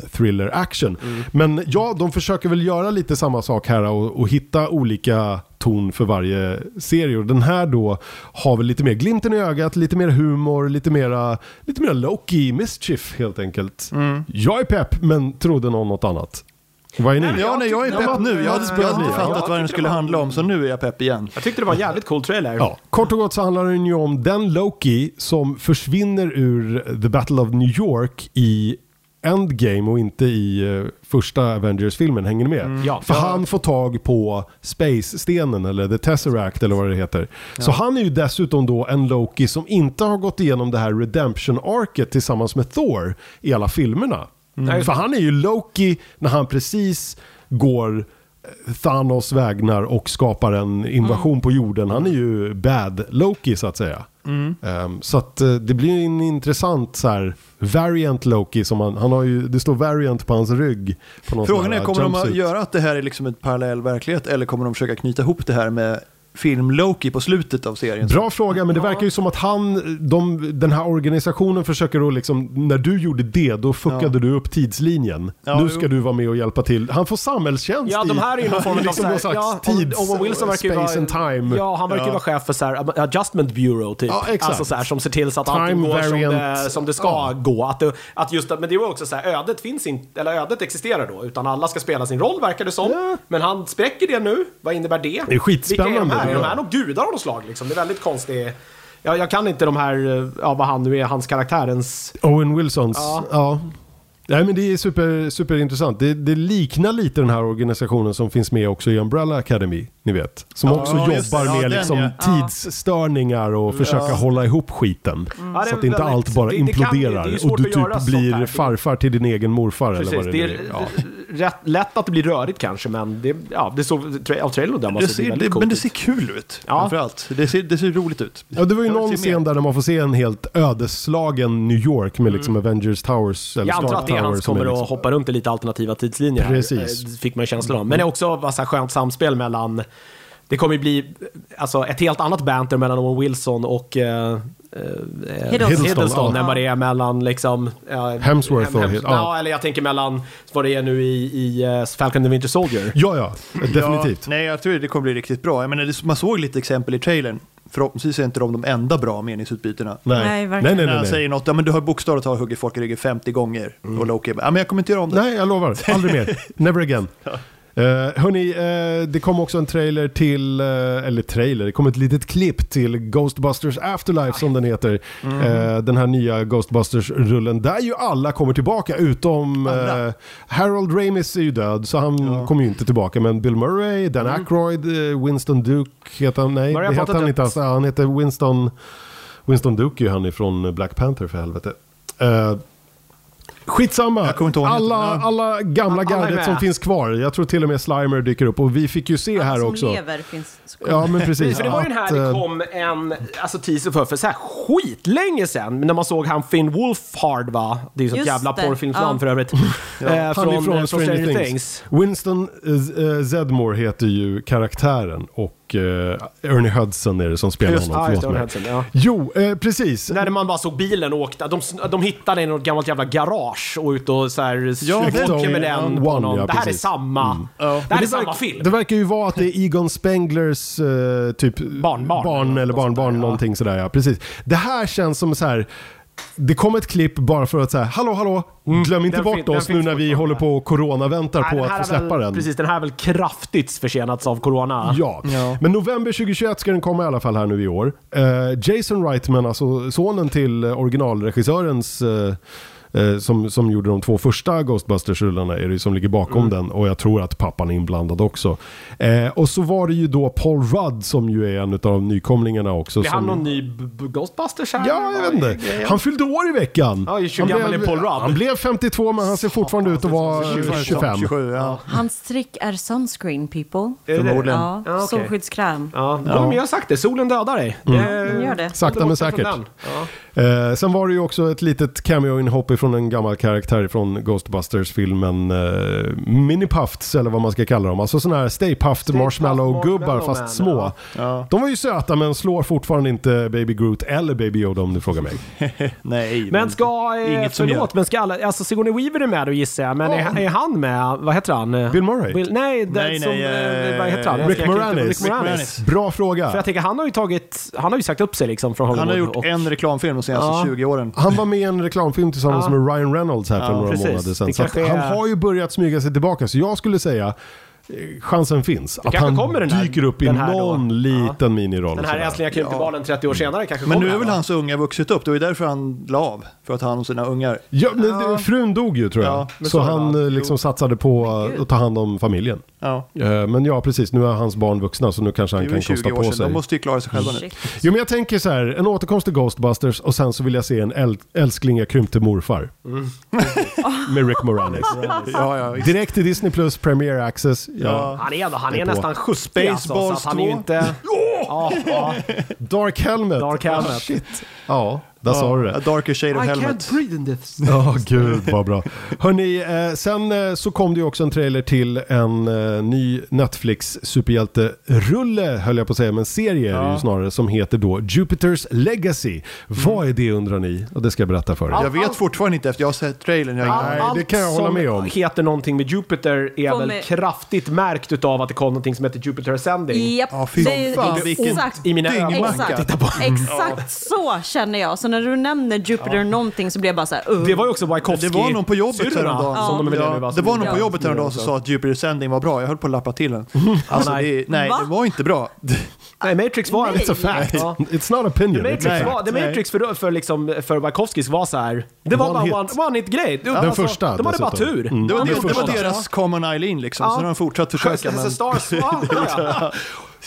Speaker 1: spion-thriller-action. Men ja, de försöker väl göra lite samma sak här och, och hitta olika ton för varje serie. Och den här då har väl lite mer glimten i ögat, lite mer humor, lite mera, lite mera Loki mischief helt enkelt. Jag är pepp, men trodde någon något annat. Vad är ni?
Speaker 3: Ja, nej, jag är pepp nu. Jag hade, jag hade inte fattat vad den skulle handla om, så nu är jag pepp igen.
Speaker 2: Jag tyckte det var en jävligt cool trailer.
Speaker 1: Ja, kort och gott så handlar den ju om den Loki som försvinner ur The Battle of New York i Endgame och inte i eh, första Avengers-filmen, hänger ni med?
Speaker 2: Ja.
Speaker 1: För
Speaker 2: Ja.
Speaker 1: han får tag på Space-stenen eller The Tesseract eller vad det heter. Så han är ju dessutom då en Loki som inte har gått igenom det här Redemption-arket tillsammans med Thor i alla filmerna.
Speaker 3: Mm.
Speaker 1: För han är ju Loki när han precis går eh, Thanos vägnar och skapar en invasion
Speaker 3: Mm.
Speaker 1: på jorden. Han är ju bad Loki så att säga.
Speaker 3: Mm.
Speaker 1: Ehm, så att eh, det blir en intressant så här variant Loki som han, han har ju, det står variant på hans rygg. På någon sån
Speaker 3: Frågan
Speaker 1: här
Speaker 3: är, kommer de att
Speaker 1: jumpsuit.
Speaker 3: göra att det här är liksom en parallell verklighet eller kommer de försöka knyta ihop det här med film Loki på slutet av serien?
Speaker 1: Bra fråga, men det verkar ju som att han, de, den här organisationen försöker att liksom, när du gjorde det, då fuckade
Speaker 3: Ja.
Speaker 1: du upp tidslinjen.
Speaker 3: Ja,
Speaker 1: nu ska
Speaker 3: jo.
Speaker 1: du vara med och hjälpa till. Han får samhällstjänst
Speaker 2: Ja, de här är ju någon form
Speaker 1: i
Speaker 2: av
Speaker 1: liksom
Speaker 2: så här-
Speaker 1: någon slags
Speaker 2: ja,
Speaker 1: tids,
Speaker 2: Owen Wilson verkar ju
Speaker 1: space and
Speaker 2: vara-
Speaker 1: time.
Speaker 2: Ja, han verkar ju vara chef för så här, Adjustment Bureau typ.
Speaker 1: Ja, exakt.
Speaker 2: Alltså så här, som ser till så att
Speaker 1: Time
Speaker 2: allting går som det,
Speaker 1: variant.
Speaker 2: som det ska gå. Att det, att just, att- men det var också så här, ödet finns inte, eller ödet existerar då, utan alla ska spela sin roll verkar det som.
Speaker 1: Ja.
Speaker 2: Men han spräcker det nu, vad innebär det?
Speaker 1: Det är skitspännande.
Speaker 2: Vilka är de här? Är de
Speaker 1: Ja.
Speaker 2: här några gudar av något slag liksom? Det är väldigt konstigt. Jag, jag kan inte de här, eh, ja vad han nu är, hans karaktärens...
Speaker 1: Owen Wilsons,
Speaker 2: Ja.
Speaker 1: ja. Nej men det är super, superintressant. Det, det liknar lite den här organisationen som finns med också i Umbrella Academy, ni vet. Som också
Speaker 3: just det.
Speaker 1: jobbar
Speaker 3: Ja,
Speaker 1: med
Speaker 3: den,
Speaker 1: liksom
Speaker 3: ja.
Speaker 1: tidsstörningar och försöka hålla ihop skiten.
Speaker 2: Ja, det är
Speaker 1: Så att inte
Speaker 2: väldigt-
Speaker 1: allt bara
Speaker 2: det- det kan ju- det är
Speaker 1: imploderar
Speaker 2: ju svårt
Speaker 1: och du
Speaker 2: att göra
Speaker 1: typ
Speaker 2: sånt här,
Speaker 1: blir
Speaker 2: tycker jag.
Speaker 1: farfar till din egen morfar eller
Speaker 2: Precis,
Speaker 1: vad
Speaker 2: det
Speaker 1: det
Speaker 2: är
Speaker 1: nu är. Ja.
Speaker 2: rätt, lätt att det blir rörigt kanske, men det, ja, det såg tra- av trailern att döma
Speaker 3: Det
Speaker 2: så det är
Speaker 3: ser,
Speaker 2: väldigt
Speaker 3: det, men
Speaker 2: coolt
Speaker 3: det
Speaker 2: ut.
Speaker 3: ser kul ut,
Speaker 2: Ja.
Speaker 3: framförallt. Det ser, det ser roligt ut.
Speaker 1: Ja, det var ju
Speaker 3: Jag vill
Speaker 1: någon
Speaker 3: se mer.
Speaker 1: scen där man får se en helt ödeslagen New York med liksom Avengers Towers. Eller
Speaker 2: Jag antar
Speaker 1: Stark
Speaker 2: att det är han
Speaker 1: Tower
Speaker 2: som
Speaker 1: som är
Speaker 2: kommer
Speaker 1: liksom-
Speaker 2: att hoppa runt i lite alternativa tidslinjer. här,
Speaker 1: Precis.
Speaker 2: eh, Fick man känslan av. Men det är också vad så här skönt samspel mellan... Det kommer ju bli alltså, ett helt annat banter mellan Owen Wilson och eh,
Speaker 1: Hiddleston,
Speaker 4: Hiddleston.
Speaker 2: Hiddleston
Speaker 1: ja.
Speaker 2: än vad det är mellan liksom... eh,
Speaker 1: Hemsworth och-
Speaker 2: Hems-
Speaker 1: ja.
Speaker 2: ja, eller jag tänker mellan vad det är nu i, i eh, Falcon and the Winter Soldier.
Speaker 1: Ja, ja. Definitivt.
Speaker 3: Ja, nej, jag tror det kommer bli riktigt bra. Jag menar, det, man såg lite exempel i trailern. Förhoppningsvis är inte de de enda bra meningsutbytena.
Speaker 4: Nej,
Speaker 1: nej,
Speaker 4: verkligen.
Speaker 1: nej. nej,
Speaker 3: När han
Speaker 1: nej, nej.
Speaker 3: säger något, ja men du har bokstavligt talat huggit folk i ryggen 50 gånger. Och Loki bara, ja men jag kommer inte göra om det.
Speaker 1: Nej, jag lovar. Aldrig mer. Never again. Uh, hörni, eh, det kom också en trailer till, eh, eller trailer, det kom ett litet klipp till Ghostbusters Afterlife som den heter.
Speaker 3: Mm.
Speaker 1: Eh, den här nya Ghostbusters-rullen där ju alla kommer tillbaka utom
Speaker 3: Alla.
Speaker 1: eh, Harold Ramis är ju död så han kommer ju inte tillbaka. Men Bill Murray, Dan
Speaker 3: Mm.
Speaker 1: Aykroyd, eh, Winston Duke heter han, nej
Speaker 2: Murray har
Speaker 1: det
Speaker 2: fått
Speaker 1: heter han
Speaker 2: ett-
Speaker 1: inte alls. Ja, Han heter Winston, Winston Duke är ju han ifrån Black Panther för helvete. Eh, Skitsamma,
Speaker 3: Jag kommer inte ihåg vad han
Speaker 1: alla,
Speaker 3: heter. Ja.
Speaker 1: alla gamla
Speaker 2: Alla är
Speaker 1: gardet
Speaker 2: med.
Speaker 1: som finns kvar. Jag tror till och med Slimer dyker upp och vi fick ju se här
Speaker 4: som
Speaker 1: också.
Speaker 4: lever finns.
Speaker 1: Ja men precis.
Speaker 2: För det var ju den här det
Speaker 1: eh,
Speaker 2: kom en alltså, teaser för, för så här skitlänge sedan. När man såg han Finn Wolfhard va? Det är ju sånt
Speaker 4: Just
Speaker 2: jävla
Speaker 4: det,
Speaker 2: porrfilmsnamn
Speaker 4: ja.
Speaker 2: för övrigt. Eh,
Speaker 1: han är
Speaker 2: eh,
Speaker 1: från Stranger Things. Winston eh, Z- eh, Zedmore heter ju karaktären och eh, Ernie Hudson är det som spelar
Speaker 2: Just- ja,
Speaker 1: honom.
Speaker 2: just
Speaker 1: Förlåt
Speaker 2: Ernie
Speaker 1: mig.
Speaker 2: Hudson, ja.
Speaker 1: Jo, eh, precis.
Speaker 2: När man bara såg bilen och åkte. De, de hittade en i något gammalt jävla garage och ut och så här
Speaker 3: Ja,
Speaker 2: tjuvåker
Speaker 1: den-
Speaker 2: med den
Speaker 1: One,
Speaker 2: på någon.
Speaker 1: ja,
Speaker 2: det här är
Speaker 1: precis. Mm.
Speaker 2: samma. Det här är
Speaker 1: Men
Speaker 2: samma
Speaker 1: verk-
Speaker 2: film.
Speaker 1: Det verkar ju vara att det är Egon Spenglers eh, typ
Speaker 2: Barnbarn.
Speaker 1: barn eller
Speaker 2: Något sånt
Speaker 1: barnbarn
Speaker 2: där, ja.
Speaker 1: någonting sådär ja. Precis. Det här känns som så här. Det kom ett klipp bara för att säga hallå hallå, glöm inte
Speaker 2: Mm. Den
Speaker 1: bort
Speaker 2: fin- den
Speaker 1: oss nu
Speaker 2: finns
Speaker 1: när vi
Speaker 2: fortfarande.
Speaker 1: håller på och coronaväntar
Speaker 2: Nej,
Speaker 1: på
Speaker 2: den
Speaker 1: att
Speaker 2: här
Speaker 1: få
Speaker 2: är väl-
Speaker 1: släppa den.
Speaker 2: Precis, den här är väl kraftigt försenats av corona.
Speaker 1: Ja.
Speaker 3: Ja.
Speaker 1: men november 2021 ska den komma i alla fall här nu i år. Eh, Jason Reitman, alltså sonen till eh, originalregissörens eh, eh, som, som gjorde de två första Ghostbusters-rullarna är det ju som ligger bakom
Speaker 2: Mm.
Speaker 1: den och jag tror att pappan är inblandad också. Eh, och så var det ju då Paul Rudd som ju är en av nykomlingarna också.
Speaker 2: Blir han
Speaker 1: som,
Speaker 2: någon ny b- b- Ghostbusters här?
Speaker 1: Ja, jag vet inte. Han fyllde år i veckan.
Speaker 2: Ja, i 20
Speaker 1: han,
Speaker 2: gammal är Paul Rudd. alltså,
Speaker 1: han blev 52 men han ser fortfarande ut att vara
Speaker 3: Det var
Speaker 1: 25.
Speaker 3: ju 27, ja.
Speaker 4: Hans trick är sunscreen people.
Speaker 2: Är det det?
Speaker 3: Förmodligen.
Speaker 4: Ja,
Speaker 2: Ja, okej.
Speaker 4: solskyddskräm.
Speaker 2: Ja, ja. men jag har sagt det. Solen dödar dig. Mm.
Speaker 4: Den gör det.
Speaker 1: Sakta men säkert. Eh, sen var det ju också ett litet cameo-inhopp ifrån en gammal karaktär från Ghostbusters-filmen eh, Minipuffs eller vad man ska kalla dem. Alltså sådana här Stay Puffed
Speaker 2: Puffed
Speaker 1: Marshmallow-gubbar
Speaker 2: Marshmallow Man,
Speaker 1: fast små.
Speaker 2: ja.
Speaker 3: Ja.
Speaker 1: De var ju söta men slår fortfarande inte Baby Groot eller Baby Yoda om du frågar mig.
Speaker 3: Nej,
Speaker 2: Men ska, eh,
Speaker 3: Inget som
Speaker 2: förlåt, men ska alla, alltså Sigourney Weaver är med då gissar jag, men är, är han med, vad heter han?
Speaker 1: Bill Murray?
Speaker 2: nej, det,
Speaker 3: Nej,
Speaker 2: som,
Speaker 3: nej,
Speaker 2: eh, vad heter han?
Speaker 3: eh,
Speaker 1: Rick
Speaker 2: Jag kan inte-
Speaker 1: Moranis.
Speaker 2: Rick Moranis.
Speaker 3: Moranis.
Speaker 1: Bra fråga.
Speaker 2: För jag tänker, han har ju tagit, han har ju sagt upp sig liksom från Hollywood.
Speaker 3: Han har gjort
Speaker 2: och,
Speaker 3: en reklamfilm de senaste
Speaker 2: Ja.
Speaker 3: 20 åren.
Speaker 1: Han var med i en reklamfilm tillsammans
Speaker 2: Ja.
Speaker 1: med Ryan Reynolds här för
Speaker 2: Ja,
Speaker 1: några
Speaker 2: precis.
Speaker 1: månader sedan.
Speaker 2: Det
Speaker 1: Så att
Speaker 2: kanske är-
Speaker 1: Han har ju börjat smyga sig tillbaka, så jag skulle säga eh, chansen finns att
Speaker 2: kanske
Speaker 1: han
Speaker 2: kommer den här-
Speaker 1: dyker upp i
Speaker 2: den här då.
Speaker 1: någon liten miniroll.
Speaker 2: Den här
Speaker 1: sådär.
Speaker 2: äntligen akutivalen 30 år senare kanske
Speaker 3: Men
Speaker 2: kommer
Speaker 3: nu är
Speaker 2: här,
Speaker 3: väl
Speaker 2: va?
Speaker 3: hans unga vuxit upp, det var ju därför han la av. För att han och sina ungar.
Speaker 1: Ja, men det- Frun dog ju tror jag,
Speaker 3: Ja, men
Speaker 1: så
Speaker 3: så är det,
Speaker 1: han
Speaker 3: va?
Speaker 1: eh, liksom
Speaker 3: Jo.
Speaker 1: satsade på
Speaker 4: gud.
Speaker 1: eh, att ta hand om familjen.
Speaker 3: Ja.
Speaker 1: Eh, Men ja, precis. Nu är hans barn vuxna så nu kanske
Speaker 3: Det
Speaker 1: han
Speaker 3: är ju
Speaker 1: kan
Speaker 3: 20
Speaker 1: kosta
Speaker 3: år
Speaker 1: på
Speaker 3: sedan,
Speaker 1: sig.
Speaker 3: de måste ju klara sig själva nu.
Speaker 4: Shit.
Speaker 1: Jo, men jag tänker så här. En återkomst till Ghostbusters och sen så vill jag se en äl- älskling jag krympte morfar. Med Rick Moranis.
Speaker 3: Ja, ja, visst.
Speaker 1: Direkt till Disney Plus Premier Access. Ja.
Speaker 3: Ja.
Speaker 2: Han är, ändå- han är
Speaker 1: på.
Speaker 2: nästan 70 alltså, så att
Speaker 3: Spaceballs
Speaker 2: han är ju
Speaker 3: 2.
Speaker 2: inte... ja, ja.
Speaker 1: Dark Helmet.
Speaker 2: Dark Helmet.
Speaker 1: Ah, shit. Ja, där sa du
Speaker 3: A
Speaker 1: det.
Speaker 3: darker shade of
Speaker 2: I
Speaker 3: helmet.
Speaker 2: can't breathe in this.
Speaker 1: Ja, gud vad bra. Hörrni, eh, sen eh, så kom det ju också en trailer till en eh, ny Netflix-superhjälterulle, höll jag på att säga, men serie är det ju snarare, som heter då Jupiter's Legacy.
Speaker 2: Mm.
Speaker 1: Vad är det undrar ni? Och det ska jag berätta för er.
Speaker 3: Jag
Speaker 2: Oh.
Speaker 3: vet fortfarande inte efter jag har sett trailern. Jag har
Speaker 1: Nej,
Speaker 3: ingen-
Speaker 1: det kan jag hålla med om.
Speaker 2: Allt som heter någonting med Jupiter är
Speaker 4: Får
Speaker 2: väl
Speaker 4: med-
Speaker 2: kraftigt märkt utav att det kom någonting som heter Jupiter Ascending.
Speaker 4: Japp,
Speaker 3: Ja, fy
Speaker 4: det är
Speaker 3: fan, vilken
Speaker 4: exakt,
Speaker 2: i mina ögon.
Speaker 3: dyngmacka.
Speaker 4: exakt, exakt så känner jag. Så när du nämner Jupiter någonting så blir jag bara så här, uh.
Speaker 2: Det var ju också Wajkowski.
Speaker 3: Det var någon på jobbet
Speaker 2: syrrorna,
Speaker 3: häromdagen.
Speaker 2: som de är med nu, va,
Speaker 3: det
Speaker 2: som-
Speaker 3: var någon på
Speaker 2: Ja.
Speaker 3: jobbet häromdagen som sa att Jupiter Ascending var bra. Jag höll på att lappa till den. Alltså,
Speaker 2: nej.
Speaker 3: det, nej,
Speaker 4: Va?
Speaker 3: det var inte bra.
Speaker 2: Nej, Matrix var...
Speaker 4: Nej. It's a
Speaker 1: Fact.
Speaker 2: Ja.
Speaker 1: It's not opinion.
Speaker 2: The Matrix,
Speaker 1: it's a
Speaker 2: var,
Speaker 1: fact.
Speaker 2: The Matrix för, för, liksom, för Wajkowskis var så här. Det var
Speaker 1: One
Speaker 2: bara
Speaker 1: hit.
Speaker 2: one, one hit grej. Den
Speaker 1: första
Speaker 2: De hade bara
Speaker 1: dessutom.
Speaker 2: tur.
Speaker 1: Mm.
Speaker 3: Det var,
Speaker 2: De
Speaker 3: det,
Speaker 2: gjorde
Speaker 3: var
Speaker 2: något.
Speaker 3: deras Common Eileen liksom.
Speaker 2: Ja.
Speaker 3: Så har de fortsatt försöka.
Speaker 2: Curse
Speaker 3: Men...
Speaker 2: as a Stars. Ja, ja, ja.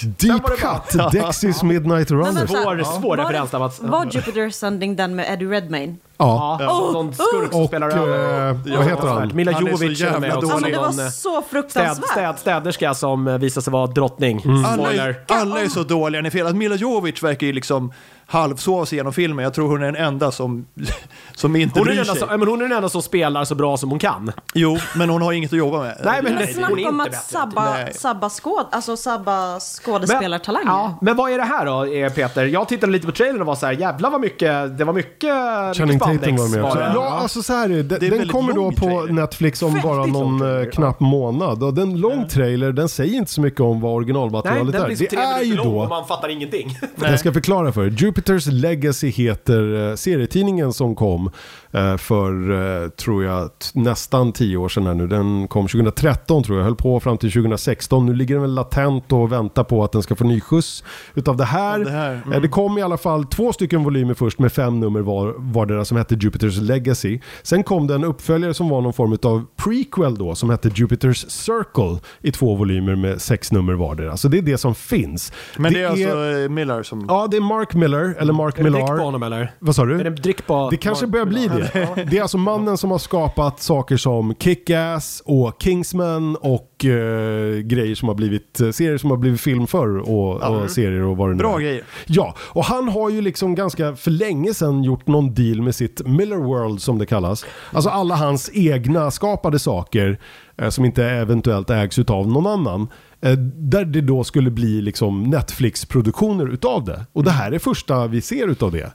Speaker 1: Deep
Speaker 2: var det bara-
Speaker 1: Cut, Dexys Midnight
Speaker 4: Men
Speaker 1: Runner.
Speaker 4: vänta,
Speaker 2: Svår-
Speaker 4: var
Speaker 2: svår
Speaker 4: det-
Speaker 2: referens där, Mats.
Speaker 4: Var Jupiter Sending den med Eddie Redmayne?
Speaker 1: Ja.
Speaker 2: Ja, någon skurk som
Speaker 1: Och
Speaker 2: spelar över.
Speaker 1: eh, vad heter han?
Speaker 2: Mila
Speaker 3: Han är så
Speaker 2: Jovovich är
Speaker 3: jävla
Speaker 2: med
Speaker 4: Ja,
Speaker 2: också.
Speaker 4: men Alltså, det var
Speaker 2: Någon, eh,
Speaker 4: så
Speaker 2: Städ,
Speaker 4: fruktansvärt.
Speaker 2: städ, städerska som eh, visar sig vara drottning.
Speaker 3: Mm. Alla
Speaker 2: Spoiler.
Speaker 3: är, alla är så dåliga, ni är fel. Att Mila Jovic verkar ju liksom halvsova sig genom filmen. Jag tror hon är den enda som, som inte
Speaker 2: Hon är,
Speaker 3: bryr
Speaker 2: den enda
Speaker 3: sig.
Speaker 2: som, ja, men hon är den enda som spelar så bra som hon kan.
Speaker 3: Jo, men hon har inget att jobba med.
Speaker 2: Nej,
Speaker 4: Men
Speaker 2: men- hon är
Speaker 4: snacka om
Speaker 2: inte
Speaker 4: att
Speaker 2: bättre.
Speaker 4: sabba,
Speaker 3: Nej.
Speaker 4: sabba, skåd, alltså sabba skådespelartalang.
Speaker 2: Ja, men vad är det här då, eh, Peter? Jag tittade lite på trailern och var så här, jävlar vad mycket, det var mycket...
Speaker 1: Channing
Speaker 2: mycket
Speaker 1: Tatum
Speaker 2: spandex
Speaker 1: var med också.
Speaker 2: det.
Speaker 1: Ja, alltså så här är det. Den, den
Speaker 3: väldigt
Speaker 1: kommer då
Speaker 3: lång
Speaker 1: på
Speaker 3: trailer.
Speaker 1: Netflix om
Speaker 2: Väldigt
Speaker 1: bara
Speaker 2: lång
Speaker 1: någon eh,
Speaker 2: trailer, ja.
Speaker 1: knapp månad. Och den lång trailer, den säger inte så mycket om vad
Speaker 2: Nej,
Speaker 1: originalmaterialet
Speaker 2: den
Speaker 1: är.
Speaker 2: blir så
Speaker 1: Det
Speaker 2: tre
Speaker 1: är ju
Speaker 2: minuter lång och
Speaker 1: då,
Speaker 2: man fattar ingenting.
Speaker 1: jag ska förklara för er. Jupiter's Legacy heter eh, serietidningen som kom eh, för, eh, tror jag, t- nästan tio år sedan här nu. Den kom 2013 tror jag, höll på fram till 2016. Nu ligger den väl latent och väntar på att den ska få ny skjuts utav det här.
Speaker 3: Av det här, mm.
Speaker 1: Eh, Det kom i alla fall två stycken volymer först med fem nummer var, vardera som hette Jupiter's Legacy. Sen kom det en uppföljare som var någon form av prequel då som hette Jupiter's Circle i två volymer med sex nummer vardera. Så det är det som finns.
Speaker 3: Men det är alltså eh, Miller som...
Speaker 1: Ja, det är Mark Miller, eller Mark Millar.
Speaker 2: Drick på honom eller?
Speaker 1: Vad sa du?
Speaker 2: Är det en drick på...
Speaker 1: Det kanske börjar bli det. Det är alltså mannen som har skapat saker som Kick-Ass och Kingsman och eh, grejer som har blivit, eh, serier som har blivit film förr och, och serier och vad det nu
Speaker 3: Bra
Speaker 1: är.
Speaker 3: grejer.
Speaker 1: Ja, och han har ju liksom ganska för länge sedan gjort någon deal med sitt Miller World som det kallas. Alltså alla hans egna skapade saker eh, som inte eventuellt ägs utav någon annan. Eh, där det då skulle bli liksom Netflix-produktioner utav det. Och det här är första vi ser utav det.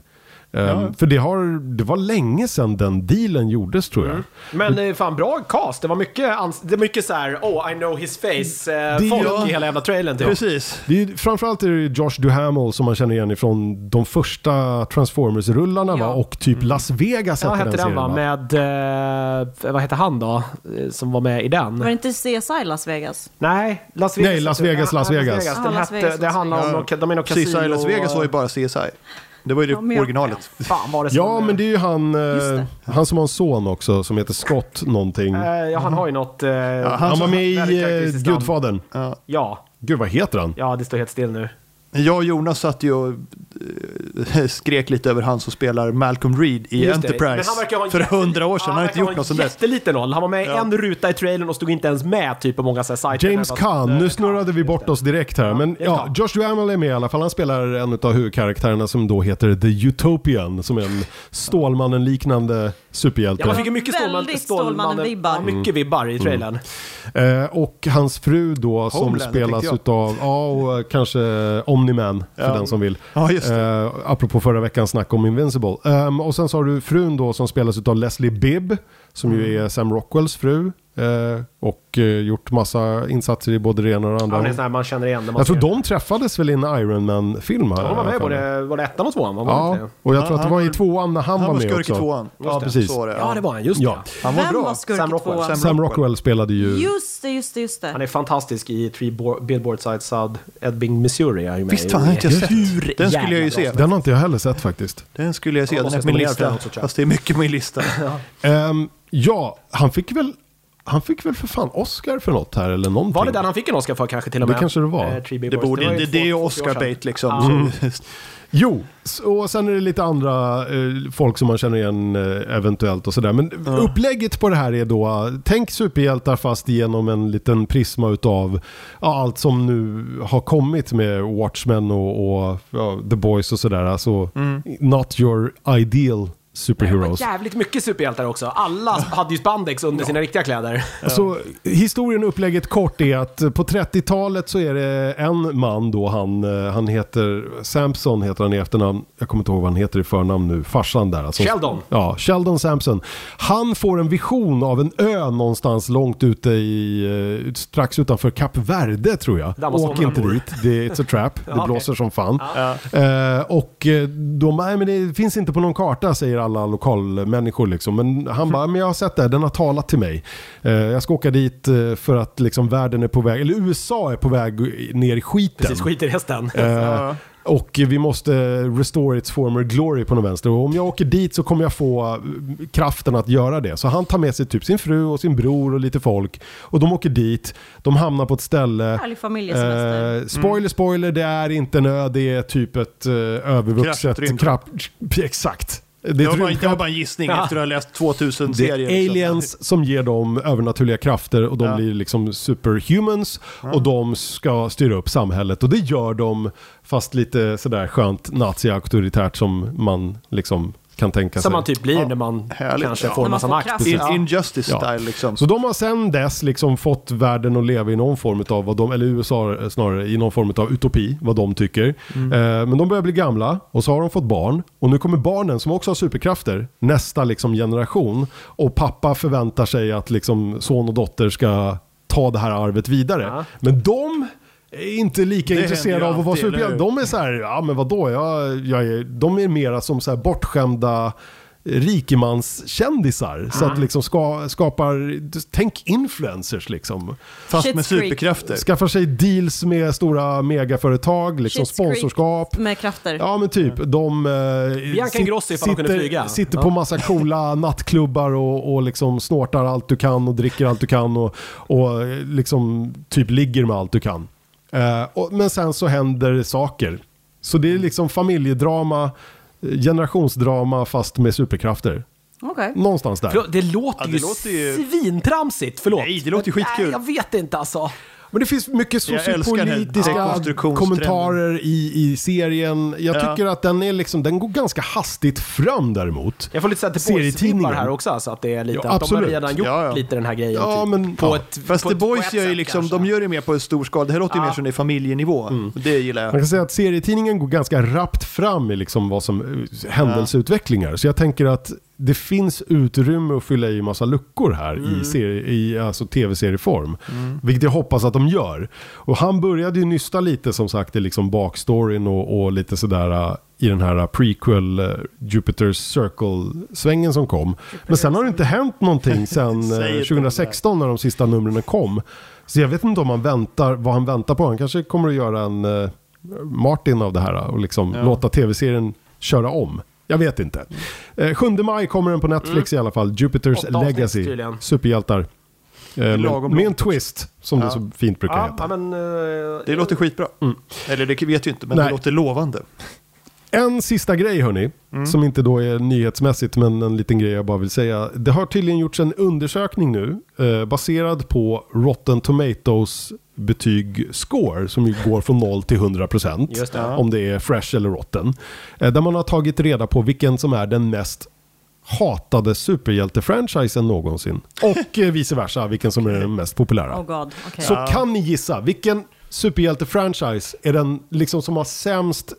Speaker 1: Ehm, För det, har, det var länge sedan den dealen gjordes tror jag.
Speaker 2: Men det är fan bra cast. Det var mycket, ans- det var mycket så här, oh I know his
Speaker 1: Det-
Speaker 2: face-folk
Speaker 1: ja.
Speaker 2: i hela jävla trailern typ.
Speaker 3: Precis.
Speaker 1: Det är, ju- framförallt är det ju Josh Duhamel som man känner igen ifrån de första Transformers-rullarna va?
Speaker 4: Ja.
Speaker 1: och typ Las Vegas
Speaker 2: Ja,
Speaker 1: hette
Speaker 2: hette
Speaker 1: den
Speaker 2: den
Speaker 1: serien
Speaker 2: va?
Speaker 1: va?
Speaker 2: Med, eh, vad hette han då? Eh, Som var med i den?
Speaker 4: Var det inte CSI Las Vegas?
Speaker 2: Nej, Las Vegas.
Speaker 1: Nej, Las Vegas,
Speaker 2: Ja,
Speaker 1: Las Vegas.
Speaker 4: Ja,
Speaker 2: Den
Speaker 4: Las
Speaker 2: hette,
Speaker 4: Vegas,
Speaker 2: det
Speaker 4: Las
Speaker 2: handlar om,
Speaker 3: Vegas.
Speaker 2: någon- de är någon
Speaker 3: CSI
Speaker 2: kasino...
Speaker 3: Las Vegas var ju bara CSI. Det var ju
Speaker 4: men
Speaker 3: det
Speaker 4: jag-
Speaker 3: originalet.
Speaker 2: Fan var det som-
Speaker 1: Ja, men det är ju Alltså, han, eh, han som har en son också som heter Scott någonting.
Speaker 2: Eh, Ja, han har ju något... eh,
Speaker 1: han, var med i
Speaker 2: väldigt
Speaker 1: eh,
Speaker 2: karaktäristiskt namn.
Speaker 1: Gudfadern.
Speaker 2: Ja,
Speaker 1: Gud, vad heter han?
Speaker 2: ja, det står helt still nu.
Speaker 3: Jag och Jonas satt ju och eh, skrek lite över han som spelar Malcolm Reed i
Speaker 2: Just det. Men
Speaker 3: Enterprise
Speaker 2: han verkar ha en
Speaker 3: för
Speaker 2: jätte-
Speaker 3: hundra år
Speaker 2: Ja,
Speaker 3: sedan. han har inte
Speaker 2: verkar
Speaker 3: gjort något
Speaker 2: ha
Speaker 3: sedan
Speaker 2: en
Speaker 3: dess.
Speaker 2: jätteliten roll. Han var med i
Speaker 3: Ja.
Speaker 2: en ruta i trailern och stod inte ens med typ på många så eh, här sajter.
Speaker 1: James
Speaker 2: Där-
Speaker 1: Caan, nu snurrade vi bort oss direkt här. Men
Speaker 2: James
Speaker 1: ja,
Speaker 2: Caan.
Speaker 1: Josh Duhamel är med i alla fall. Han spelar en av huvudkaraktärerna som då heter The Utopian. Som är en Stålmannen-liknande superhjälte.
Speaker 2: Ja, man fick ju mycket
Speaker 4: Väldigt
Speaker 2: Stålmannen-
Speaker 4: Stålmannen-vibbar.
Speaker 2: Ja, mycket vibbar i trailern.
Speaker 1: Eh, och hans fru då som
Speaker 3: Homeland,
Speaker 1: spelas
Speaker 3: tänkte
Speaker 1: utav, ja och eh, kanske Omni-Man för den som vill.
Speaker 3: Ja, just
Speaker 1: Eh, apropå förra veckans snack om Invincible.
Speaker 3: Mm.
Speaker 1: Ehm, och sen så har du frun då som spelas utav Leslie Bibb, som ju är Sam Rockwells fru. Eh, och eh, gjort massa insatser i både det ena och det andra.
Speaker 2: Han är en sån här man känner igen när man
Speaker 1: jag tror
Speaker 2: ser-
Speaker 1: de träffades väl i en Iron Man-film här.
Speaker 2: De var med i
Speaker 1: här för mig.
Speaker 2: både, var det ettan och tvåan? Var man
Speaker 1: Ja,
Speaker 2: inte det?
Speaker 1: och jag
Speaker 3: Ja,
Speaker 1: tror att det
Speaker 3: han
Speaker 1: var i
Speaker 3: var-
Speaker 1: tvåan när han,
Speaker 3: Han var
Speaker 1: var med
Speaker 3: skurk i
Speaker 1: också.
Speaker 3: tvåan.
Speaker 1: Ja, precis.
Speaker 3: Så var det.
Speaker 2: ja, det var han. Just
Speaker 1: Ja.
Speaker 2: det.
Speaker 3: Han var
Speaker 4: Vem
Speaker 3: bra.
Speaker 4: var skurk
Speaker 2: Sam
Speaker 4: i
Speaker 2: Rockwell.
Speaker 4: tvåan?
Speaker 1: Sam Rockwell spelade ju...
Speaker 4: Just det, just det, just det.
Speaker 2: Han är fantastisk i Three Bo- Billboards Outside Ebbing, Missouri. Är ju med
Speaker 3: Visst
Speaker 2: i-
Speaker 3: fan, den har inte jag
Speaker 2: Hur
Speaker 3: sett. Den
Speaker 2: jävla
Speaker 3: skulle jag ju
Speaker 2: bra
Speaker 3: se.
Speaker 1: Den har inte jag heller sett faktiskt.
Speaker 3: Den skulle jag se.
Speaker 2: Ja,
Speaker 3: Den är
Speaker 2: måste
Speaker 3: på min
Speaker 2: nominera för den
Speaker 3: lista.
Speaker 2: också, tror jag.
Speaker 3: Fast det är mycket på min lista.
Speaker 1: Ehm, ja, han fick väl... Han fick väl för fan Oscar för något här eller någonting.
Speaker 2: Var det den han fick en Oscar för kanske till och
Speaker 1: Det
Speaker 2: med? Eh,
Speaker 1: kanske det var.
Speaker 2: Three Billboards.
Speaker 3: Det, borde,
Speaker 2: var
Speaker 3: det,
Speaker 2: ju
Speaker 3: det är ju
Speaker 2: två- två år sedan.
Speaker 3: Oscar-bait liksom.
Speaker 2: Ja.
Speaker 3: Så-
Speaker 1: Jo, s- och sen är det lite andra eh, folk som man känner igen eh, eventuellt och sådär. Men upplägget på det här är då, eh, tänk superhjältar fast genom en liten prisma utav ja, allt som nu har kommit med Watchmen och, och ja, The Boys och sådär. Alltså,
Speaker 2: Mm.
Speaker 1: not your ideal
Speaker 2: Det var
Speaker 1: superheroes.
Speaker 2: jävligt mycket superhjältar också. Alla hade ju spandex under sina riktiga kläder.
Speaker 1: Så Alltså, historien och upplägget kort är att eh, på 30-talet så är det en man då, han, eh, han heter Sampson heter han i efternamn. Jag kommer inte ihåg vad han heter i förnamn nu, farsan där. Alltså,
Speaker 2: Sheldon.
Speaker 1: Ja, Sheldon Sampson. Han får en vision av en ö någonstans långt ute i, eh, strax utanför Kap Verde tror jag.
Speaker 2: Där måste
Speaker 1: Åk
Speaker 2: man
Speaker 1: inte
Speaker 2: bo.
Speaker 1: dit, det, it's a trap. Det
Speaker 2: okej.
Speaker 1: blåser som fan. Eh, och eh, de, nej men det finns inte på någon karta säger alla lokalmänniskor liksom. Men han bara, men jag har sett det, här, den har talat till mig. Eh, jag ska åka dit eh, för att liksom världen är på väg, eller USA är på väg ner i skiten.
Speaker 2: Precis, skit i resten.
Speaker 1: Eh, och vi måste restore its former glory på något vänster. Och om jag åker dit så kommer jag få eh, kraften att göra det. Så han tar med sig typ sin fru och sin bror och lite folk. Och de åker dit, de hamnar på ett ställe.
Speaker 4: Härlig familjesemester.
Speaker 1: Eh, spoiler, spoiler, det är inte en ö, det är typ ett eh, övervuxet...
Speaker 3: Kraftrymd.
Speaker 1: Kraft, exakt. Det är
Speaker 3: Det
Speaker 1: ett
Speaker 3: var, bara, det var
Speaker 1: rymdskepp.
Speaker 3: bara en gissning
Speaker 2: Ja.
Speaker 3: efter att ha läst 2000
Speaker 1: Det är
Speaker 3: serier. liksom.
Speaker 1: aliens som ger dem övernaturliga krafter och de
Speaker 3: Ja.
Speaker 1: blir liksom superhumans och de ska styra upp samhället och det gör de fast lite sådär skönt nazi-auktoritärt som man liksom kan tänka sig.
Speaker 2: Som man typ blir när man
Speaker 3: härligt.
Speaker 2: kanske
Speaker 3: Ja.
Speaker 2: får
Speaker 4: När
Speaker 2: en
Speaker 4: man
Speaker 2: massa
Speaker 4: får
Speaker 2: makt.
Speaker 4: kraft.
Speaker 3: In,
Speaker 2: Ja.
Speaker 3: Injustice
Speaker 1: Ja.
Speaker 3: style liksom.
Speaker 1: Så de har sedan dess liksom fått världen att leva i någon form av, vad de, eller USA snarare, i någon form av utopi, vad de tycker.
Speaker 3: Mm.
Speaker 1: Eh, men de börjar bli gamla och så har de fått barn. Och nu kommer barnen som också har superkrafter, nästa liksom generation. Och pappa förväntar sig att liksom son och dotter ska ta det här arvet vidare.
Speaker 2: Ja.
Speaker 1: Men de är inte lika
Speaker 3: Det
Speaker 1: intresserade
Speaker 3: händer ju
Speaker 1: av att vara
Speaker 3: alltid,
Speaker 1: superhjältar.
Speaker 3: eller hur?
Speaker 1: De är så här, ja men vadå, jag, jag är, de är mera som så här bortskämda rikemanskändisar. Så att liksom ska, skapar, tänk influencers liksom.
Speaker 3: Fast med
Speaker 4: Shit's Creek.
Speaker 3: superkrafter.
Speaker 1: Skaffar sig deals med stora megaföretag, liksom
Speaker 4: Shit's Creek
Speaker 1: sponsorskap.
Speaker 4: Med krafter.
Speaker 1: Ja men typ, de eh,
Speaker 2: Bianca Ingrosso ifall de kunde flyga.
Speaker 1: sitter, sitter på massa coola nattklubbar och, och liksom snortar allt du kan och dricker allt du kan och, och eh, liksom typ ligger med allt du kan. Eh, och, men sen så händer saker. Så det är liksom familjedrama, eh, generationsdrama fast med superkrafter.
Speaker 4: Okej.
Speaker 1: Någonstans där.
Speaker 2: Förlåt, Det låter
Speaker 3: Ja,
Speaker 2: ju
Speaker 3: det låter ju-
Speaker 2: svintramsigt, förlåt.
Speaker 3: Nej, det låter ju
Speaker 2: Men,
Speaker 3: skitkul.
Speaker 2: nej, Jag vet inte alltså.
Speaker 1: Men det finns mycket
Speaker 3: Jag älskar den här
Speaker 1: sociopolitiska
Speaker 3: dekonstruktionstrenden.
Speaker 1: kommentarer i, i serien. Jag
Speaker 3: Ja.
Speaker 1: tycker att den, är liksom, den går ganska hastigt fram däremot.
Speaker 2: Jag får lite såhär The Boys-vibbar
Speaker 1: Serietidningen.
Speaker 2: här också, alltså att det är lite
Speaker 1: Ja,
Speaker 2: att de har
Speaker 1: absolut.
Speaker 2: redan gjort
Speaker 3: Ja, ja.
Speaker 2: lite den här grejen.
Speaker 1: Ja,
Speaker 2: typ,
Speaker 1: men-
Speaker 2: på
Speaker 1: ja.
Speaker 2: ett,
Speaker 3: Fast
Speaker 2: på
Speaker 3: The
Speaker 2: ett- på
Speaker 3: Boys
Speaker 2: ett
Speaker 3: gör ju
Speaker 2: sätt
Speaker 3: liksom,
Speaker 2: kanske.
Speaker 3: de gör det mer på en stor skala. Det här låter ju
Speaker 2: Ja. Mm.
Speaker 3: mer som det är familjenivå. Och Det gillar
Speaker 1: Man
Speaker 3: jag.
Speaker 1: kan säga att serietidningen går ganska rappt fram i liksom vad som eh, händelseutvecklingar. Så jag tänker att det finns utrymme att fylla i massa luckor här
Speaker 3: Mm.
Speaker 1: i, serie, i alltså tv-serieform. Vilket jag hoppas att de gör. Och han började ju nysta lite som sagt i liksom backstoryn och, och lite sådär eh, i den här eh, prequel eh, Jupiter's Circle-svängen som kom. Men sen har det inte hänt någonting sen eh,
Speaker 3: Säg inte
Speaker 1: 2016 när de sista numren kom. Så jag vet inte om han väntar, vad han väntar på. Han kanske kommer att göra en eh, Martin av det här och liksom låta tv-serien köra om. Jag vet inte. Eh, 7 maj kommer den på Netflix i alla fall.
Speaker 2: Mm. Åtta
Speaker 1: Jupiter's
Speaker 2: avsnitt
Speaker 1: Legacy.
Speaker 2: tydligen.
Speaker 1: Superhjältar. Eh, med,
Speaker 3: Lagom
Speaker 1: med en
Speaker 3: långt också.
Speaker 1: twist som det så fint brukar
Speaker 2: Ja,
Speaker 1: heta.
Speaker 2: ja, men, eh,
Speaker 3: Det låter skitbra. Eller det vet ju inte, men
Speaker 1: Nej.
Speaker 3: det låter lovande.
Speaker 1: En sista grej hörni,
Speaker 2: Mm.
Speaker 1: som inte då är nyhetsmässigt men en liten grej jag bara vill säga. Det har tydligen gjorts en undersökning nu eh, baserad på Rotten Tomatoes betyg score som ju går från 0 till 100 procent.
Speaker 2: Just det.
Speaker 1: Om det är fresh eller rotten. Eh, där man har tagit reda på vilken som är den mest hatade superhjältefranchisen någonsin. Och eh, vice versa, vilken som är den mest populära.
Speaker 4: Oh god. Okej.
Speaker 1: Så kan ni gissa, vilken superhjältefranchise är den liksom som har sämst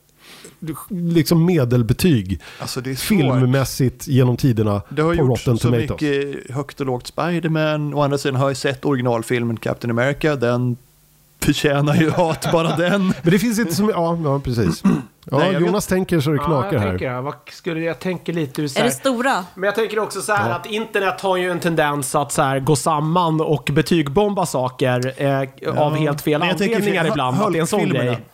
Speaker 1: liksom medelbetyg
Speaker 3: Alltså det är svårt.
Speaker 1: filmmässigt genom tiderna
Speaker 3: Det har
Speaker 1: på
Speaker 3: gjorts
Speaker 1: Rotten
Speaker 3: så
Speaker 1: Tomatoes.
Speaker 3: mycket eh, högt och lågt Spiderman. Å andra sidan har jag sett originalfilmen Captain America. Den förtjänar ju hat, bara den.
Speaker 1: Men det finns inte så mycket, ja, ja precis. Ja,
Speaker 3: Nej, jag
Speaker 1: Jonas tänker så det knakar
Speaker 2: jag
Speaker 1: här.
Speaker 2: Tänker, jag. vad skulle, jag tänker lite ur så
Speaker 4: Är
Speaker 2: här,
Speaker 4: det stora?
Speaker 2: Men jag tänker också så här att internet har ju en tendens att så här gå samman och betygbomba saker eh, av helt fel
Speaker 3: Men jag tänker
Speaker 2: anledningar
Speaker 3: fil-
Speaker 2: ibland. Att det är en sån
Speaker 3: Hulk-filmerna.
Speaker 2: grej.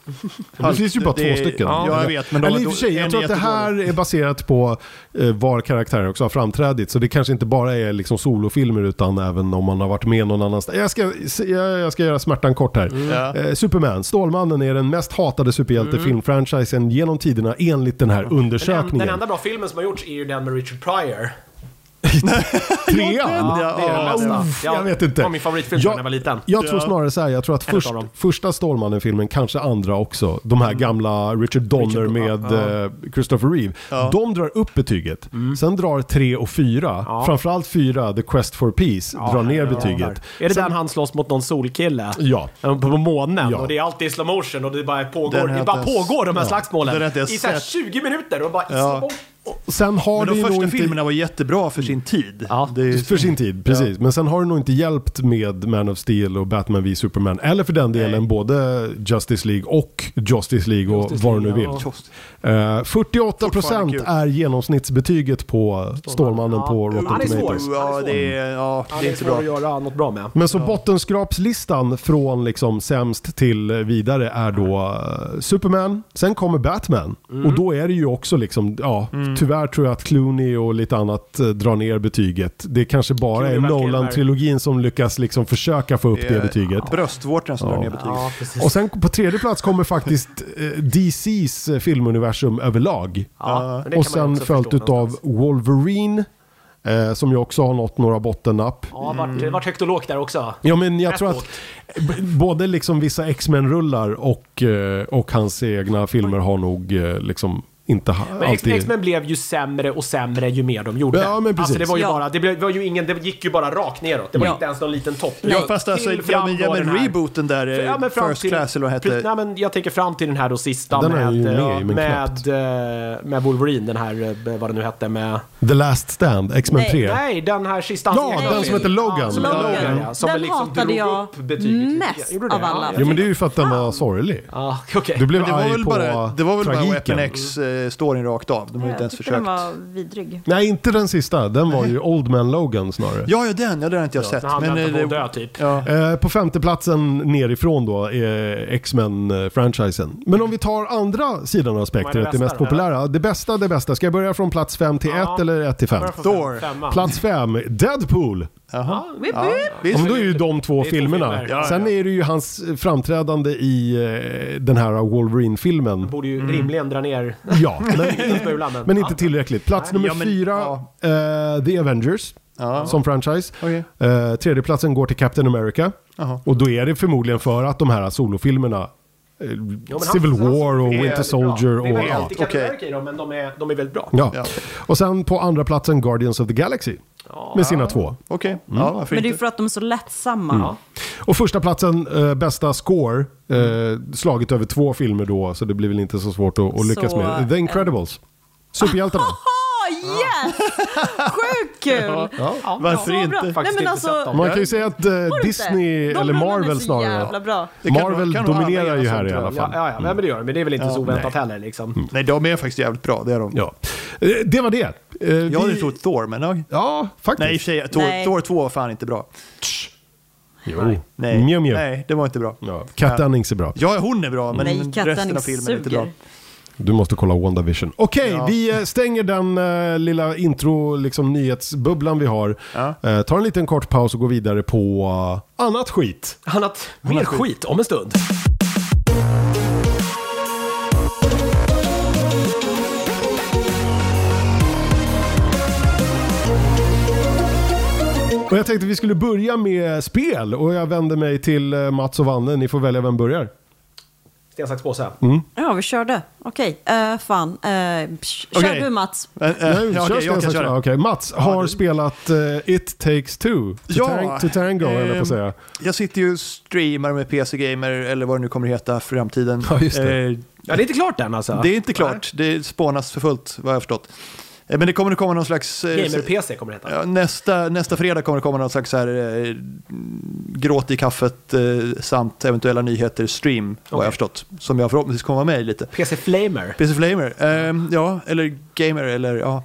Speaker 1: Det finns ju bara
Speaker 3: Det-
Speaker 1: två stycken.
Speaker 3: Ja, jag vet. Men de
Speaker 1: Eller i
Speaker 3: var
Speaker 1: och för sig,
Speaker 3: då-
Speaker 1: jag tror att det
Speaker 3: en är
Speaker 1: här är baserat på eh, var karaktären också har framträdit. Så det kanske inte bara är liksom solofilmer utan även om man har varit med någon annanstans. Jag ska, se- jag, jag ska göra smärtan kort här.
Speaker 3: Mm. Ja.
Speaker 1: Eh, Superman, Stålmannen är den mest hatade superhjältefilmfranchisen genom tiderna enligt den här
Speaker 2: Den, en-
Speaker 1: undersökningen.
Speaker 2: den enda bra filmen som har gjorts är ju den med Richard Pryor.
Speaker 1: Trean!
Speaker 3: Ja,
Speaker 2: det är den bästa.
Speaker 1: Uff,
Speaker 2: Ja,
Speaker 1: jag vet inte.
Speaker 2: Det var min favoritfilm
Speaker 1: Ja,
Speaker 2: när jag var liten.
Speaker 1: Jag tror snarare så här, jag tror att
Speaker 2: En utav
Speaker 1: först,
Speaker 2: dem. Mm.
Speaker 1: första Stålmannen-filmen, kanske andra också, de här gamla Richard Donner
Speaker 2: Richard-
Speaker 1: med eh, Christopher Reeve, de drar upp betyget.
Speaker 2: Mm.
Speaker 1: Sen drar tre och fyra, framförallt fyra, The Quest for Peace, drar ner betyget.
Speaker 2: Är det den han slåss mot någon solkille? Eh,
Speaker 1: Ja.
Speaker 2: På på månen.
Speaker 1: Ja.
Speaker 2: Och det är alltid i slow motion och det bara
Speaker 3: Den
Speaker 2: pågår,
Speaker 3: har
Speaker 2: det
Speaker 3: jag
Speaker 2: bara
Speaker 3: inte ens-
Speaker 2: pågår de här
Speaker 3: Ja. Den har
Speaker 2: slagsmålen.
Speaker 3: jag inte
Speaker 2: I
Speaker 3: ens
Speaker 2: så här
Speaker 3: sett.
Speaker 2: 20 minuter och bara i
Speaker 3: Ja.
Speaker 2: slow motion.
Speaker 1: Sen har
Speaker 3: Men de
Speaker 1: det nog
Speaker 3: första
Speaker 1: inte...
Speaker 3: filmerna var jättebra för sin tid.
Speaker 2: Ja.
Speaker 3: Det är ju-
Speaker 1: För sin tid, precis. Men sen har det nog inte hjälpt med Man of Steel och Batman v Superman. Eller för den delen både Justice League och Justice League och
Speaker 2: Justice
Speaker 1: vad du nu vill.
Speaker 2: League, ja.
Speaker 3: Just.
Speaker 1: Eh, 48
Speaker 3: Fortfarande
Speaker 1: procent
Speaker 3: kul.
Speaker 1: är genomsnittsbetyget på Stålmannen
Speaker 2: Ja.
Speaker 1: på Rotten
Speaker 2: Han är svår.
Speaker 1: Tomatoes.
Speaker 3: Ja, det är, ja,
Speaker 2: Ja,
Speaker 3: det är inte
Speaker 2: svårt
Speaker 3: bra.
Speaker 2: att göra något bra med.
Speaker 1: Men så bottenskrapslistan från liksom sämst till vidare är då eh, Superman, sen kommer Batman.
Speaker 2: Mm.
Speaker 1: Och då är det ju också liksom, ja, tyvärr tror jag att Clooney och lite annat eh, drar ner betyget. Det kanske bara
Speaker 2: Clooney
Speaker 1: är
Speaker 2: verkar-
Speaker 1: Nolan-trilogin som lyckas liksom försöka få upp det
Speaker 3: är
Speaker 1: betyget.
Speaker 3: Bröstvårtan som drar ner betyget.
Speaker 2: Ja, precis.
Speaker 1: Och sen på tredje plats kommer faktiskt eh, DCs eh, filmuniversum överlag.
Speaker 2: Ja, men det
Speaker 1: Och
Speaker 2: kan man
Speaker 1: sen
Speaker 2: ju också
Speaker 1: följt
Speaker 2: förstå
Speaker 1: utav
Speaker 2: någonstans.
Speaker 1: Wolverine, eh, som ju också har nått några bottennapp.
Speaker 2: Ja, vart,
Speaker 3: Mm.
Speaker 2: det vart högt och lågt där också.
Speaker 1: Ja men jag
Speaker 2: Rätt
Speaker 1: tror att b- både liksom vissa X-Men-rullar och, eh, och hans egna filmer har nog eh, liksom inte ha,
Speaker 2: Men X-
Speaker 1: alltid...
Speaker 2: X-Men blev ju sämre och sämre ju mer de gjorde.
Speaker 1: Ja, men precis.
Speaker 2: Alltså, det var ju
Speaker 4: Ja.
Speaker 2: bara, det, blev, det var ju ingen, det gick ju bara rakt neråt. Det var
Speaker 4: Ja.
Speaker 2: inte ens någon liten topp.
Speaker 3: Ja, fast alltså,
Speaker 2: Till
Speaker 3: ja,
Speaker 2: fram
Speaker 3: men, ja,
Speaker 2: då den
Speaker 3: men
Speaker 2: här-
Speaker 3: rebooten där, eh,
Speaker 2: Ja, men
Speaker 1: eh,
Speaker 2: fram
Speaker 3: First
Speaker 2: till-
Speaker 3: Class eller vad hette
Speaker 2: Precis, Nej, men jag tänker fram till den här då sista
Speaker 1: Den är
Speaker 2: med,
Speaker 1: ju med i,
Speaker 2: eh,
Speaker 1: men
Speaker 2: med, eh, med Wolverine, den här, eh, vad det nu hette, med...
Speaker 1: The Last Stand, X-Men
Speaker 4: Nej.
Speaker 1: 3.
Speaker 2: Nej, den här sista...
Speaker 1: Ja,
Speaker 2: hans
Speaker 1: den
Speaker 2: egen
Speaker 4: som
Speaker 2: film.
Speaker 1: heter Logan.
Speaker 2: Ja, som heter
Speaker 1: Logan.
Speaker 2: Logan, ja. Som
Speaker 4: Den
Speaker 2: väl liksom
Speaker 4: hatade
Speaker 2: drog
Speaker 4: jag
Speaker 2: upp betyget lite.
Speaker 4: mest
Speaker 2: Gjorde du det?
Speaker 4: av alla.
Speaker 2: Ja,
Speaker 1: Jo men det är ju för att den var sorglig.
Speaker 2: Ja, okej.
Speaker 1: Du blev
Speaker 3: Men det var
Speaker 1: arg
Speaker 3: väl
Speaker 1: på
Speaker 3: bara, det var väl bara
Speaker 1: tragiken.
Speaker 3: Weapon X-storyn rakt av. De har ju inte ens
Speaker 4: tyckte den
Speaker 3: försökt.
Speaker 4: var vidrig.
Speaker 1: Nej inte den sista, den var ju Old Man Logan snarare.
Speaker 3: Ja, ja, den. Ja, den har inte jag sett.
Speaker 2: När han väntar
Speaker 3: eh,
Speaker 2: på
Speaker 3: det-
Speaker 2: att dö, typ.
Speaker 3: Ja.
Speaker 1: Eh, På femteplatsen nerifrån då är X-Men-franchisen. Men om vi tar andra sidan av
Speaker 2: Vad är
Speaker 1: spektrat,
Speaker 2: det
Speaker 1: det mest
Speaker 2: bästa då?
Speaker 1: populära. Det bästa, det bästa. Ska jag börja från plats fem till
Speaker 2: Ja.
Speaker 1: ett eller ett till fem?
Speaker 3: Thor.
Speaker 2: Femma.
Speaker 1: Plats fem, Deadpool.
Speaker 3: Jaha.
Speaker 4: Whip,
Speaker 3: Ja,
Speaker 4: whip.
Speaker 1: Ja,
Speaker 3: visst.
Speaker 1: men då är ju de två
Speaker 2: Det är två
Speaker 1: filmerna.
Speaker 2: filmer. Ja,
Speaker 1: Sen
Speaker 3: ja.
Speaker 1: är det ju hans framträdande i eh, den här Wolverine-filmen.
Speaker 2: Borde ju rimligen dra ner
Speaker 1: Ja, men,
Speaker 2: smulan.
Speaker 1: men inte tillräckligt. Plats nummer
Speaker 3: Ja, men-
Speaker 1: fyra,
Speaker 3: ja.
Speaker 1: eh, The Avengers.
Speaker 3: Ja.
Speaker 1: Som franchise.
Speaker 3: Okej.
Speaker 1: Eh, tredjeplatsen går till Captain America.
Speaker 3: Jaha.
Speaker 1: Och då är det förmodligen för att de här solofilmerna, eh,
Speaker 2: men han-
Speaker 1: Civil
Speaker 2: han-
Speaker 1: War och
Speaker 3: är
Speaker 1: Winter
Speaker 3: bra.
Speaker 1: Soldier
Speaker 2: Det är
Speaker 1: och...
Speaker 2: väl
Speaker 1: Ja.
Speaker 2: alltid Captain
Speaker 3: okej.
Speaker 2: America i dem, men de är, de är väldigt bra.
Speaker 1: Ja.
Speaker 3: Ja.
Speaker 1: Och sen på andra platsen Guardians of the Galaxy. Med sina två.
Speaker 3: Okej. Ja, varför
Speaker 4: Men det är ju
Speaker 3: inte?
Speaker 4: för att de är så lättsamma.
Speaker 2: Mm.
Speaker 1: Och första platsen eh, bästa score, eh, slaget över två filmer då, så det blir väl inte så svårt att, att lyckas
Speaker 4: Så,
Speaker 1: med. The
Speaker 4: eh,
Speaker 1: Incredibles. Superhjältarna.
Speaker 4: Haha, yes! Sjukt kul!
Speaker 3: Varför
Speaker 4: så
Speaker 3: inte?
Speaker 4: bra. Nej,
Speaker 2: Faktiskt
Speaker 4: men
Speaker 2: inte sett
Speaker 4: alltså,
Speaker 2: dem.
Speaker 1: Man kan ju säga att eh,
Speaker 4: var det inte?
Speaker 1: Disney,
Speaker 4: De
Speaker 1: eller
Speaker 4: rullarna är
Speaker 1: Marvel
Speaker 4: så jävla
Speaker 1: snarare.
Speaker 4: bra.
Speaker 3: Det kan-
Speaker 1: Marvel
Speaker 3: kan nog alla
Speaker 1: dominerar ju
Speaker 3: göra
Speaker 1: här
Speaker 3: sånt,
Speaker 1: i alla
Speaker 3: tror jag.
Speaker 1: fall.
Speaker 2: Ja, ja, ja, men det är väl inte så oväntat heller liksom.
Speaker 3: Nej, Mm. de är faktiskt jävligt bra. Det är de.
Speaker 1: Ja. Eh, Det var det. Eh,
Speaker 3: Jag hade
Speaker 1: vi-
Speaker 3: trott Thor, men... ja.
Speaker 1: Ja, faktiskt.
Speaker 3: Nej, i och för sig. Thor,
Speaker 4: Nej.
Speaker 3: Thor 2 var fan inte bra.
Speaker 1: Jo.
Speaker 3: Nej.
Speaker 1: Mjau, mjau.
Speaker 3: Nej, det var inte bra.
Speaker 1: Ja. Kat Dennings är bra.
Speaker 3: Ja, hon är bra, men
Speaker 4: Nej,
Speaker 3: resten
Speaker 4: katten
Speaker 3: av filmen är inte
Speaker 4: suger.
Speaker 3: bra.
Speaker 1: Du måste kolla WandaVision. Okej,
Speaker 3: Ja.
Speaker 1: vi eh, stänger den eh, lilla intro, liksom nyhetsbubblan vi har.
Speaker 3: Ja.
Speaker 1: Eh, tar en liten kort paus och går vidare på eh, annat skit.
Speaker 2: Annat, mer skit om en stund.
Speaker 1: Och jag tänkte vi skulle börja med spel
Speaker 3: Eh,
Speaker 1: och jag vänder mig till eh, Mats och Vanne. Ni får välja vem börjar.
Speaker 3: Mm.
Speaker 2: Sten, sax, påse.
Speaker 4: Ja. Jaha, vi körde. Okej, eh, fan. Eh, psh, kör
Speaker 3: Okej.
Speaker 4: du Mats.
Speaker 3: Eh, eh,
Speaker 1: Nej,
Speaker 3: ja,
Speaker 1: kör
Speaker 3: okej, jag
Speaker 1: Sten
Speaker 3: kan
Speaker 1: Sandström.
Speaker 3: köra.
Speaker 1: Okej, Mats har spelat eh, It takes two. To,
Speaker 3: Ja, Ehm,
Speaker 1: tang- to tango, höll jag på att säga.
Speaker 3: Jag sitter ju och streamar med PC Gamer eller vad det nu kommer att heta för framtiden.
Speaker 1: Ja, just det.
Speaker 3: Eh,
Speaker 2: Ja, det är inte klart än alltså.
Speaker 3: Det är inte klart, det spånas för fullt vad jag har förstått. Eh, Men det kommer att komma någon slags... eh,
Speaker 2: Gamer-PC kommer det heta.
Speaker 3: Ja, nästa, nästa fredag kommer det komma någon slags så här, eh, gråt i kaffet eh, samt eventuella nyheter stream, vad jag har förstått. Som jag förhoppningsvis kommer vara med i lite.
Speaker 2: PC Flamer.
Speaker 3: PC Flamer, ehm, ja, eller Gamer, eller ja.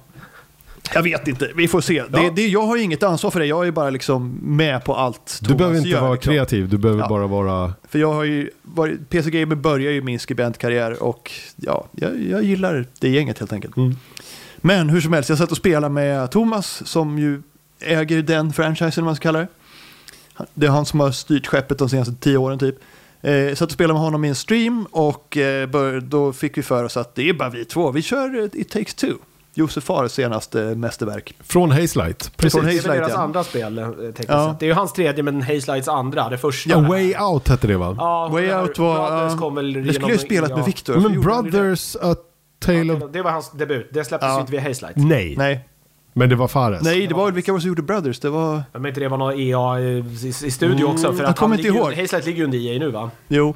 Speaker 3: Jag vet inte, vi får se. Det, det, jag har ju inget ansvar för det, jag är bara liksom med på allt
Speaker 1: Du
Speaker 3: Thomas
Speaker 1: behöver inte
Speaker 3: gör,
Speaker 1: vara
Speaker 3: liksom.
Speaker 1: kreativ, du behöver
Speaker 3: Ja.
Speaker 1: bara vara...
Speaker 3: För jag har ju varit, PC Gamer börjar ju min skribentkarriär och ja, jag, jag gillar det gänget helt enkelt. Men hur som helst, jag satt och spelade med Thomas som ju äger den franchisen, om man ska kalla det. Han- Det är han som har styrt skeppet de senaste tio åren typ. Eh, satt och spelade med honom i en stream och eh, bör, då fick vi för oss att det är bara vi två, vi kör eh, It takes two. Josef Fares senaste mästerverk.
Speaker 1: Från Hazelight.
Speaker 2: Precis, det är väl
Speaker 3: Hazelight,
Speaker 2: deras
Speaker 3: ja.
Speaker 2: andra spel eh, tekniskt
Speaker 3: Ja.
Speaker 2: sett. Det är ju hans tredje men Hazelights andra, det första.
Speaker 1: Ja, Way Out hette det va?
Speaker 2: Ja,
Speaker 3: Way
Speaker 2: det här
Speaker 3: Out var...
Speaker 2: Brothers
Speaker 3: eh,
Speaker 2: kom väl
Speaker 3: det
Speaker 2: genom-
Speaker 3: skulle jag ju spelat
Speaker 2: ja.
Speaker 3: med Victor.
Speaker 1: Men
Speaker 3: Gjorde ni det?
Speaker 1: Brothers A Tale of...
Speaker 2: Det var hans debut, det släpptes
Speaker 3: Ja.
Speaker 2: ju inte via Hazelight.
Speaker 1: Nej.
Speaker 3: Nej,
Speaker 1: Men det var Fares.
Speaker 3: Nej, det
Speaker 2: Alltså,
Speaker 3: var vilka var det som gjorde Brothers? Det var...
Speaker 2: Jag menar inte det var någon EA i, i studio också. För
Speaker 3: jag
Speaker 2: att han
Speaker 3: kommer inte
Speaker 2: ligger ju-
Speaker 3: ihåg.
Speaker 2: Hazelight ligger ju under EA nu va?
Speaker 3: Jo.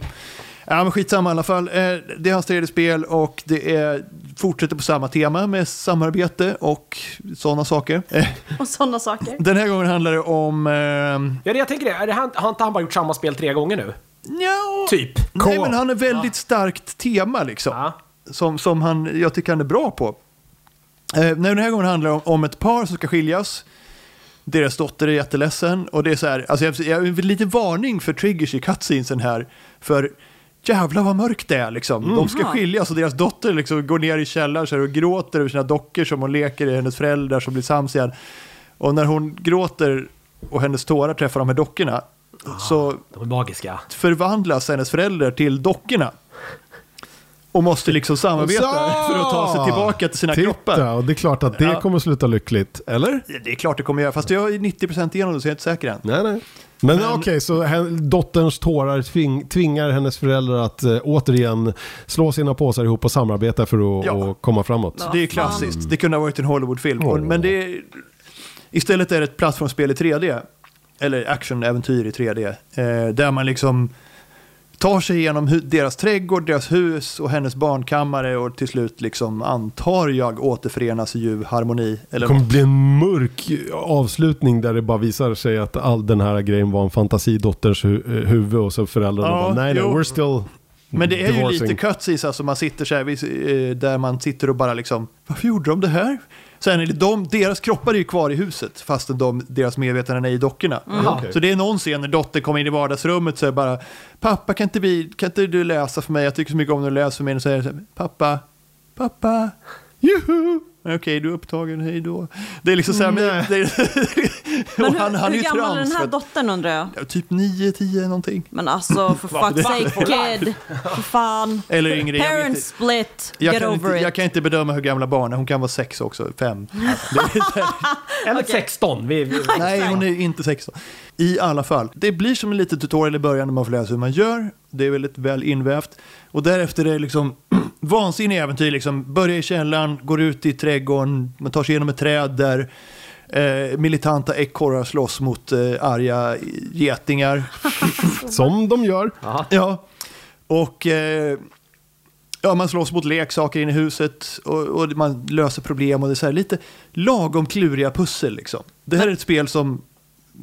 Speaker 3: Ja, men skitsamma i alla fall. Eh, Det är hans tredje spel och det är, fortsätter på samma tema med samarbete och sådana saker. Eh,
Speaker 4: Och sådana saker.
Speaker 3: Den här gången handlar det om... Eh,
Speaker 2: Ja, det jag tänker det. Är det han, har inte han bara gjort samma spel tre gånger nu?
Speaker 3: nja,
Speaker 2: Typ.
Speaker 3: Nej, men han är väldigt starkt tema liksom.
Speaker 2: Ja.
Speaker 3: Som, som han, jag tycker han är bra på. Eh, nej, den här gången handlar det om, om ett par som ska skiljas. Deras dotter är jätteledsen och det är så här, alltså jag, jag vill lite varning för triggers i cutscenesen här. För jävlar vad mörkt det är liksom. De ska
Speaker 4: Mhm.
Speaker 3: skiljas och deras dotter liksom går ner i källaren så här, och gråter över sina dockor som hon leker i, hennes föräldrar som blir sams igen. Och när hon gråter och hennes tårar träffar de här dockorna så
Speaker 2: De är magiska.
Speaker 3: förvandlas hennes föräldrar till dockorna. Och måste liksom samarbeta
Speaker 1: Så!
Speaker 3: för att ta sig tillbaka till sina kroppar.
Speaker 1: Titta, och det är klart att det
Speaker 3: Ja.
Speaker 1: kommer sluta lyckligt. Eller?
Speaker 3: Det är klart det kommer göra, fast jag är 90% igenom det så jag är inte säker än.
Speaker 1: Nej, nej. Men, okej, så hen, dotterns tårar tving, tvingar hennes föräldrar att eh, återigen slå sina påsar ihop och samarbeta för att
Speaker 3: Ja.
Speaker 1: och komma framåt.
Speaker 3: Så det är klassiskt. Det kunde ha varit en Hollywoodfilm. Och-
Speaker 1: Åh.
Speaker 3: Men det är, istället är det ett plattformsspel i 3D. Eller actionäventyr i 3D. Eh, där man liksom tar sig igenom hu- deras trädgård, deras hus och hennes barnkammare och till slut liksom antar jag återförenas i ljuv harmoni. Eller
Speaker 1: Det kommer bli en mörk avslutning där det bara visar sig att all den här grejen var en fantasi, dotterns hu- eh, huvud och så föräldrarna
Speaker 3: Ja,
Speaker 1: bara, nej nej,
Speaker 3: jo.
Speaker 1: we're still
Speaker 3: Men det är ju
Speaker 1: divorcing."
Speaker 3: lite cutscenes, alltså man sitter så här, vid- eh, där man sitter och bara liksom, varför gjorde de det här? Sen är det de, deras kroppar är ju kvar i huset, fastän de, deras medvetanden är i dockorna.
Speaker 4: Mm.
Speaker 2: Okej.
Speaker 3: Så det är någon scen när dottern kommer in i vardagsrummet så är bara, pappa kan inte, vi, kan inte du läsa för mig, jag tycker så mycket om när du läser för mig. Och så är det så här, pappa, pappa,
Speaker 1: Juhu!
Speaker 3: okej du är upptagen, hej då. Det är liksom så här, men, det, och
Speaker 4: Mm, Men hur,
Speaker 3: han, han är
Speaker 4: hur
Speaker 3: ju
Speaker 4: gammal är
Speaker 3: trans.
Speaker 4: den här
Speaker 3: för att-
Speaker 4: dottern undrar jag?
Speaker 3: ja, typ 9, 10 någonting.
Speaker 4: Men alltså för fuck's sake kid. För fan.
Speaker 3: Eller yngre. jag vet
Speaker 4: Parent
Speaker 3: inte.
Speaker 4: split.
Speaker 3: Jag
Speaker 4: Get
Speaker 3: kan,
Speaker 4: over
Speaker 3: inte,
Speaker 4: it.
Speaker 3: jag kan inte bedöma hur gamla barn är, hon kan vara sex också, fem. Det är så här-
Speaker 2: Eller 16. Vi, vi,
Speaker 3: Nej, hon är inte sexton. I alla fall, det blir som en liten tutorial i början när man får läsa hur man gör. Det är väldigt väl invävt. Och därefter är det liksom vansinniga äventyr. Liksom. Börjar i källaren, går ut i trädgården, man tar sig igenom ett träd där eh, militanta ekorrar slåss mot eh, arga getingar.
Speaker 1: Som de gör.
Speaker 2: Jaha.
Speaker 3: Ja, och eh, ja, man slåss mot leksaker inne i huset och, och man löser problem och det är så här lite lagom kluriga pussel liksom. Det här är ett spel som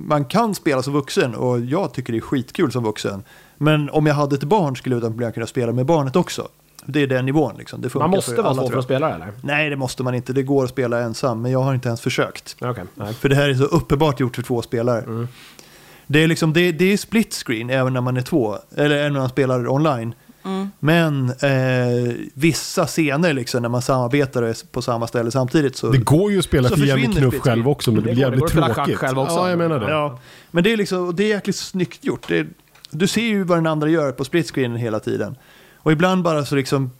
Speaker 3: man kan spela som vuxen och jag tycker det är skitkul som vuxen. Men om jag hade ett barn skulle jag utan problem kunna spela med barnet också. Det är den nivån liksom. Det funkar
Speaker 2: Man måste
Speaker 3: för
Speaker 2: vara
Speaker 3: alla,
Speaker 2: två för
Speaker 3: tror
Speaker 2: att
Speaker 3: jag.
Speaker 2: spela eller?
Speaker 3: Nej, det måste man inte. Det går att spela ensam, men jag har inte ens försökt.
Speaker 2: Okej. nej.
Speaker 3: För det här är så uppenbart gjort för två spelare.
Speaker 1: Mm.
Speaker 3: Det är liksom, det, det är split screen även när man är två, eller även när man spelar online. Men eh, vissa scener liksom, när man samarbetar och är på samma ställe samtidigt så...
Speaker 1: Det går ju att spela
Speaker 3: Så
Speaker 1: Fia med
Speaker 3: försvinner
Speaker 1: knuff
Speaker 3: splitscreen.
Speaker 1: själv också men det,
Speaker 2: Det
Speaker 1: blir
Speaker 2: går- det
Speaker 1: jävligt
Speaker 2: går att spela schack
Speaker 1: tråkigt.
Speaker 2: själv också.
Speaker 1: Ja, jag menar det.
Speaker 3: ja. Men det är, liksom, det är jäkligt snyggt gjort. Det, du ser ju vad den andra gör på split screenen hela tiden. Och ibland bara så liksom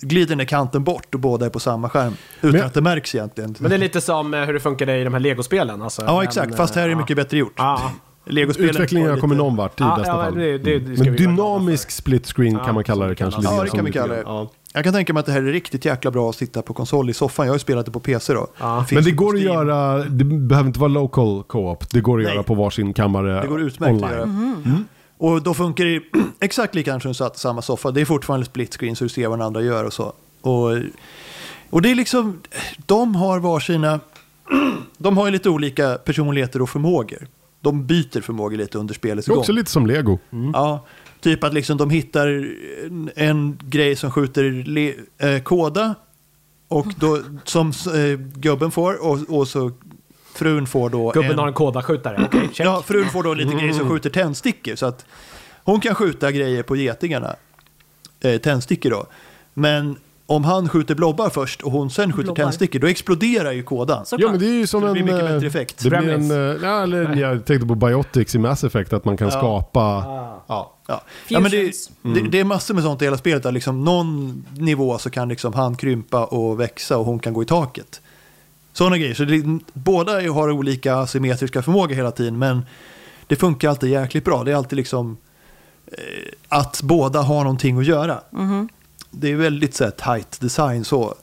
Speaker 3: glider den där kanten bort och båda är på samma skärm. Utan
Speaker 1: Men-
Speaker 3: att det märks egentligen.
Speaker 2: Men det är lite som eh, hur det funkade i de här legospelen. Alltså,
Speaker 3: ja,
Speaker 2: Men,
Speaker 3: exakt.
Speaker 2: eh,
Speaker 3: Fast här är det
Speaker 2: ja.
Speaker 3: mycket bättre gjort.
Speaker 2: Ja.
Speaker 3: Legospelen
Speaker 1: Utvecklingen
Speaker 3: var
Speaker 1: har kommit
Speaker 3: lite-
Speaker 1: någon vart i
Speaker 2: Ja,
Speaker 1: bästa
Speaker 2: ja,
Speaker 1: fall.
Speaker 2: det- det- det ska vi
Speaker 1: Men
Speaker 2: vara glada
Speaker 1: dynamisk split screen
Speaker 2: Ja,
Speaker 1: kan man kalla
Speaker 2: som
Speaker 1: det
Speaker 2: det
Speaker 1: kanske.
Speaker 2: kallas.
Speaker 1: lite
Speaker 3: Ja, det
Speaker 1: som
Speaker 3: kan vi
Speaker 1: lite
Speaker 3: kalla det.
Speaker 1: grann. Ja.
Speaker 3: Jag kan tänka mig att det här är riktigt jäkla bra att sitta på konsol i soffan. Jag har ju spelat det på PC då.
Speaker 2: Ja.
Speaker 3: Finns
Speaker 1: Men det
Speaker 3: ju på
Speaker 1: går att
Speaker 3: Steam.
Speaker 1: göra, det behöver inte vara local co-op. Det går att
Speaker 3: Nej.
Speaker 1: göra på varsin kammare
Speaker 3: Det går utmärkt
Speaker 1: online. Mm.
Speaker 3: att göra. Mm. Och då funkar det exakt likadant som du satt i samma soffa. Det är fortfarande split screen så du ser vad den andra gör och så. Och, och det är liksom, de har var sina, de har ju lite olika personligheter och förmågor. De byter förmågor lite under spelets
Speaker 1: Det är
Speaker 3: gång.
Speaker 1: också lite som lego.
Speaker 3: Ja, typ att liksom de hittar en, en grej som skjuter le, eh, kåda och då, som eh, gubben får och, och så frun får då
Speaker 2: Gubben
Speaker 3: en,
Speaker 2: har en kodaskjutare. Okej, check.
Speaker 3: Ja, frun får då lite grejer som skjuter tändstickor. Så att hon kan skjuta grejer på getingarna. Eh, tändstickor då. Men om han skjuter blobbar först och hon sen skjuter
Speaker 4: Blobbar.
Speaker 3: tändstickor, då exploderar ju kådan.
Speaker 4: Såklart.
Speaker 1: Ja men det är ju som
Speaker 3: Så det blir
Speaker 1: en...
Speaker 3: mycket
Speaker 1: eh,
Speaker 3: bättre effekt.
Speaker 1: Det blir en
Speaker 2: Gremlins.
Speaker 1: eh, ja, eller, jag tänkte på Biotics i Mass Effect, att man kan skapa...
Speaker 3: Ja. Ja. Ja, men det,
Speaker 4: Fusions.
Speaker 3: det,
Speaker 1: Mm.
Speaker 3: det är massor med sånt i hela spelet. Där liksom någon nivå så kan liksom han krympa och växa och hon kan gå i taket. Sådana grejer. Så det, båda har olika asymmetriska förmågor hela tiden men det funkar alltid jäkligt bra. Det är alltid liksom eh, att båda har någonting att göra. Det är väldigt så här, tight design så.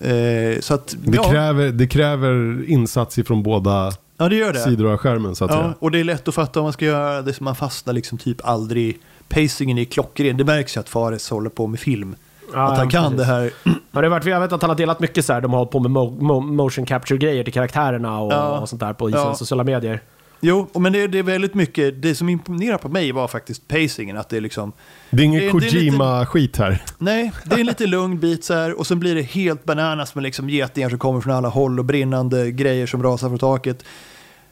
Speaker 3: Eh, så att,
Speaker 1: Det,
Speaker 3: ja,
Speaker 1: kräver, det kräver insats ifrån båda
Speaker 3: ja, det gör det.
Speaker 1: sidor av skärmen så att
Speaker 3: Ja,
Speaker 1: säga.
Speaker 3: och det är lätt att fatta vad man ska göra. Det är som man fastnar liksom typ aldrig. Pacingen är klockren. Det märks ju att Fares håller på med film.
Speaker 2: Ja,
Speaker 3: att han
Speaker 2: ja,
Speaker 3: kan
Speaker 2: precis.
Speaker 3: det här.
Speaker 2: Ja, det har varit, jag vet att han har delat mycket så här, de har hållit på med mo- mo- motion capture-grejer till karaktärerna och,
Speaker 3: Ja.
Speaker 2: och sånt där på
Speaker 3: Ja.
Speaker 2: sina sociala medier.
Speaker 3: Jo, men det, det är väldigt mycket. Det som imponerar på mig var faktiskt pacingen. Att det är liksom...
Speaker 1: Det är
Speaker 3: det-
Speaker 1: ingen
Speaker 3: det är lite-
Speaker 1: Kojima-skit här.
Speaker 3: Nej, det är en lite lugn bit så här. Och sen blir det helt bananas med liksom getingar som kommer från alla håll och brinnande grejer som rasar från taket.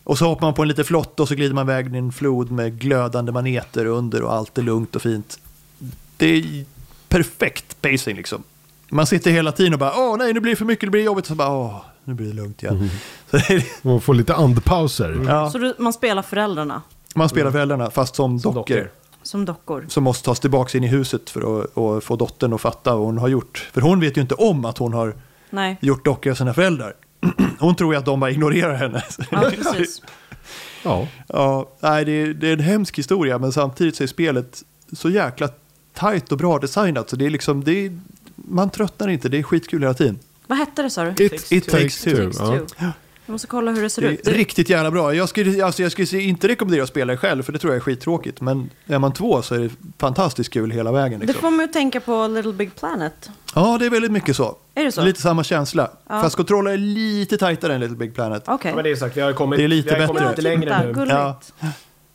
Speaker 3: Och så hoppar man på en liten flott och så glider man iväg i en flod med glödande maneter under och allt är lugnt och fint. Det är perfekt pacing liksom. Man sitter hela tiden och bara åh nej nu blir det för mycket, det blir jobbigt. Så bara åh, nu blir det lugnt igen. Så det är,
Speaker 1: Man får lite andpauser.
Speaker 3: ja,
Speaker 4: Så du, man spelar föräldrarna
Speaker 3: man spelar föräldrarna fast som, dockor.
Speaker 2: dockor.
Speaker 4: som dockor.
Speaker 3: Som måste tas tillbaka in i huset för att och få dottern att fatta vad hon har gjort. För hon vet ju inte om att hon har
Speaker 4: Nej.
Speaker 3: gjort dockor av sina föräldrar. Hon tror ju att de bara ignorerar henne.
Speaker 4: Ja, precis.
Speaker 1: Ja.
Speaker 3: Ja, nej, det, är, det är en hemsk historia, men samtidigt så är spelet så jäkla tajt och bra designat. Så det är liksom, det är, man tröttnar inte, det är skitkul hela tiden.
Speaker 4: Vad hette det sa du?
Speaker 1: It,
Speaker 2: Takes
Speaker 1: it
Speaker 2: two.
Speaker 1: takes two.
Speaker 4: Takes
Speaker 1: Ja.
Speaker 4: two. Jag måste kolla hur det ser
Speaker 3: Det är
Speaker 4: ut. Det,
Speaker 3: riktigt jävla bra. Jag skulle, alltså, jag skulle inte rekommendera att spela det själv, för det tror jag är skittråkigt. Men är man två så är det fantastiskt kul hela vägen.
Speaker 4: det
Speaker 3: Liksom.
Speaker 4: får mig att tänka på Little Big Planet.
Speaker 3: Ja, det är väldigt mycket så.
Speaker 4: Är det så?
Speaker 3: Lite samma känsla.
Speaker 4: Ja.
Speaker 3: Fast kontrollen är lite tajtare än Little Big Planet.
Speaker 4: Okej.
Speaker 2: Ja, men det är sagt, vi har ju kommit,
Speaker 3: Det är lite
Speaker 2: vi har ju
Speaker 3: bättre.
Speaker 2: kommit lite
Speaker 4: Ja, titta,
Speaker 2: längre nu.
Speaker 4: gulligt.
Speaker 3: Ja.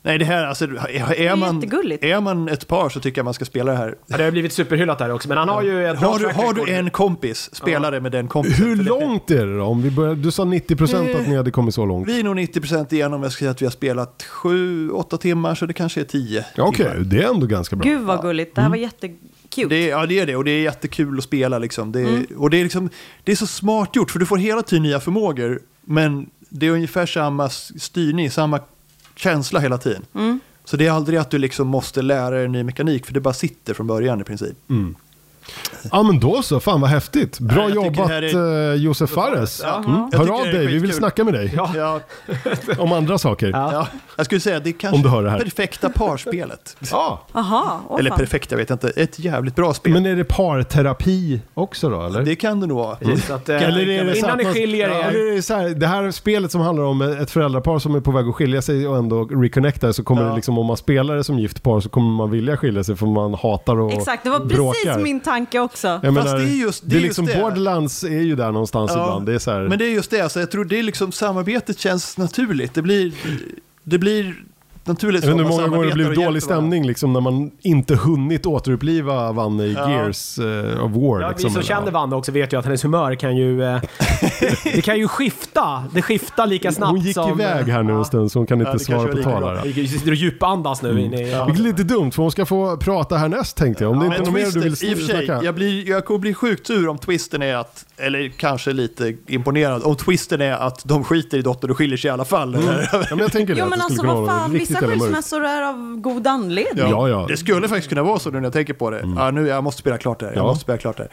Speaker 3: Nej, det här, alltså, är, är, man,
Speaker 4: jättegulligt.
Speaker 3: är man ett par så tycker jag man ska spela det här.
Speaker 2: Ja, det har blivit superhyllat där också, men han har ju ett bra
Speaker 3: Har du,
Speaker 2: track
Speaker 3: har du
Speaker 2: record.
Speaker 3: en kompis, spela det med den kompisen.
Speaker 1: Hur
Speaker 3: För det-
Speaker 1: långt är det då? Om vi börjar, du sa 90% att ni hade kommit så långt.
Speaker 3: Vi är nog 90% igenom. Jag skulle säga att vi har spelat 7-8 timmar, så det kanske är 10.
Speaker 1: Ja, Okej, det är ändå ganska bra.
Speaker 4: Gud vad gulligt. Det här var
Speaker 1: Mm.
Speaker 4: jättecute.
Speaker 3: Det är, ja, det är det. Och det är jättekul att spela. Liksom. Det, är, och det, är liksom, det är så smart gjort, för du får hela tiden nya förmågor. Men det är ungefär samma s- styrning, samma känsla hela tiden. Så det är aldrig att du liksom måste lära dig en ny mekanik, för det bara sitter från början i princip.
Speaker 1: Ja men då så, fan vad häftigt. Bra
Speaker 3: Ja, jag tycker
Speaker 1: jobbat
Speaker 3: det här
Speaker 1: eh, Josef Fares.
Speaker 3: Ja.
Speaker 1: Mm.
Speaker 3: Jag tycker
Speaker 1: Hör av
Speaker 3: det är
Speaker 1: dig, vi vill
Speaker 3: skitkul.
Speaker 1: snacka med dig
Speaker 2: Ja.
Speaker 3: Ja,
Speaker 1: om andra saker. Ja,
Speaker 3: ja. Jag skulle säga att det är
Speaker 1: Om du
Speaker 3: kanske
Speaker 1: hör det här.
Speaker 3: perfekta parspelet.
Speaker 4: Aha, åh,
Speaker 3: Eller
Speaker 4: fan.
Speaker 3: perfekt, jag vet inte. Ett jävligt bra spel.
Speaker 1: men är det parterapi också då eller? Mm.
Speaker 3: det kan det nog vara.
Speaker 2: Så att, eh,
Speaker 1: Eller är det så
Speaker 2: innan
Speaker 1: att
Speaker 2: ni
Speaker 1: man-
Speaker 2: skiljer
Speaker 1: Ja,
Speaker 2: er.
Speaker 1: eller är det, så här, det här spelet som handlar om ett föräldrapar som är på väg att skilja sig och ändå reconnectar så kommer
Speaker 3: Ja.
Speaker 1: det liksom om man spelar det som gift par så kommer man vilja skilja sig för man hatar och
Speaker 4: Exakt, det var precis
Speaker 1: bråkar.
Speaker 4: min tanke också.
Speaker 1: Jag
Speaker 3: Fast
Speaker 1: menar,
Speaker 3: det är just- det är
Speaker 1: är
Speaker 3: just
Speaker 1: liksom
Speaker 3: det.
Speaker 1: Borderlands är ju där någonstans
Speaker 3: Ja,
Speaker 1: ibland. Det är så här,
Speaker 3: Men det är just det, alltså, jag tror det är liksom samarbetet känns naturligt. Det blir, det blir naturligt.
Speaker 1: jag vet inte
Speaker 3: så man
Speaker 1: hur många gånger det
Speaker 3: samarbetar
Speaker 1: blev
Speaker 3: och
Speaker 1: dålig
Speaker 3: hjälper varandra.
Speaker 1: stämning liksom, när man inte hunnit återuppliva Vanne i
Speaker 3: Ja.
Speaker 1: Gears eh, of War.
Speaker 2: Ja,
Speaker 1: liksom,
Speaker 2: vi som
Speaker 1: eller,
Speaker 2: känner Vanna också vet ju att hennes humör kan ju... Eh, det kan ju skifta. Det skiftar lika snabbt
Speaker 1: Hon gick
Speaker 2: som... eh,
Speaker 1: iväg här nu en stund så hon kan inte
Speaker 3: det
Speaker 1: svara
Speaker 3: kanske
Speaker 1: på
Speaker 3: var lika
Speaker 1: tal.
Speaker 3: bra.
Speaker 1: här.
Speaker 2: Vi sitter och djupandas nu inne i...
Speaker 1: Vilket är lite dumt för hon ska få prata härnäst tänkte jag. Om det
Speaker 3: Men
Speaker 1: inte är något mer du
Speaker 3: twisten,
Speaker 1: vill
Speaker 3: i och för sig,
Speaker 1: snacka.
Speaker 3: jag, blir, jag kommer bli sjukt sur om twisten är att, eller kanske lite imponerad, om twisten är att de skiter i dottern och skiljer sig i alla fall.
Speaker 1: Ja, men jag tänker det.
Speaker 4: Jo
Speaker 1: att
Speaker 4: men
Speaker 1: det skulle
Speaker 4: alltså
Speaker 1: kunna
Speaker 4: vad
Speaker 1: vara
Speaker 4: fan,
Speaker 1: riktigt
Speaker 4: vissa
Speaker 1: jävla mörkt.
Speaker 4: skilsmässor är av god anledning.
Speaker 1: Ja, ja.
Speaker 3: Det skulle faktiskt kunna vara så nu när jag tänker på det. Ja, nu, jag måste spela klart det här. Jag
Speaker 1: Ja.
Speaker 3: måste spela klart det här.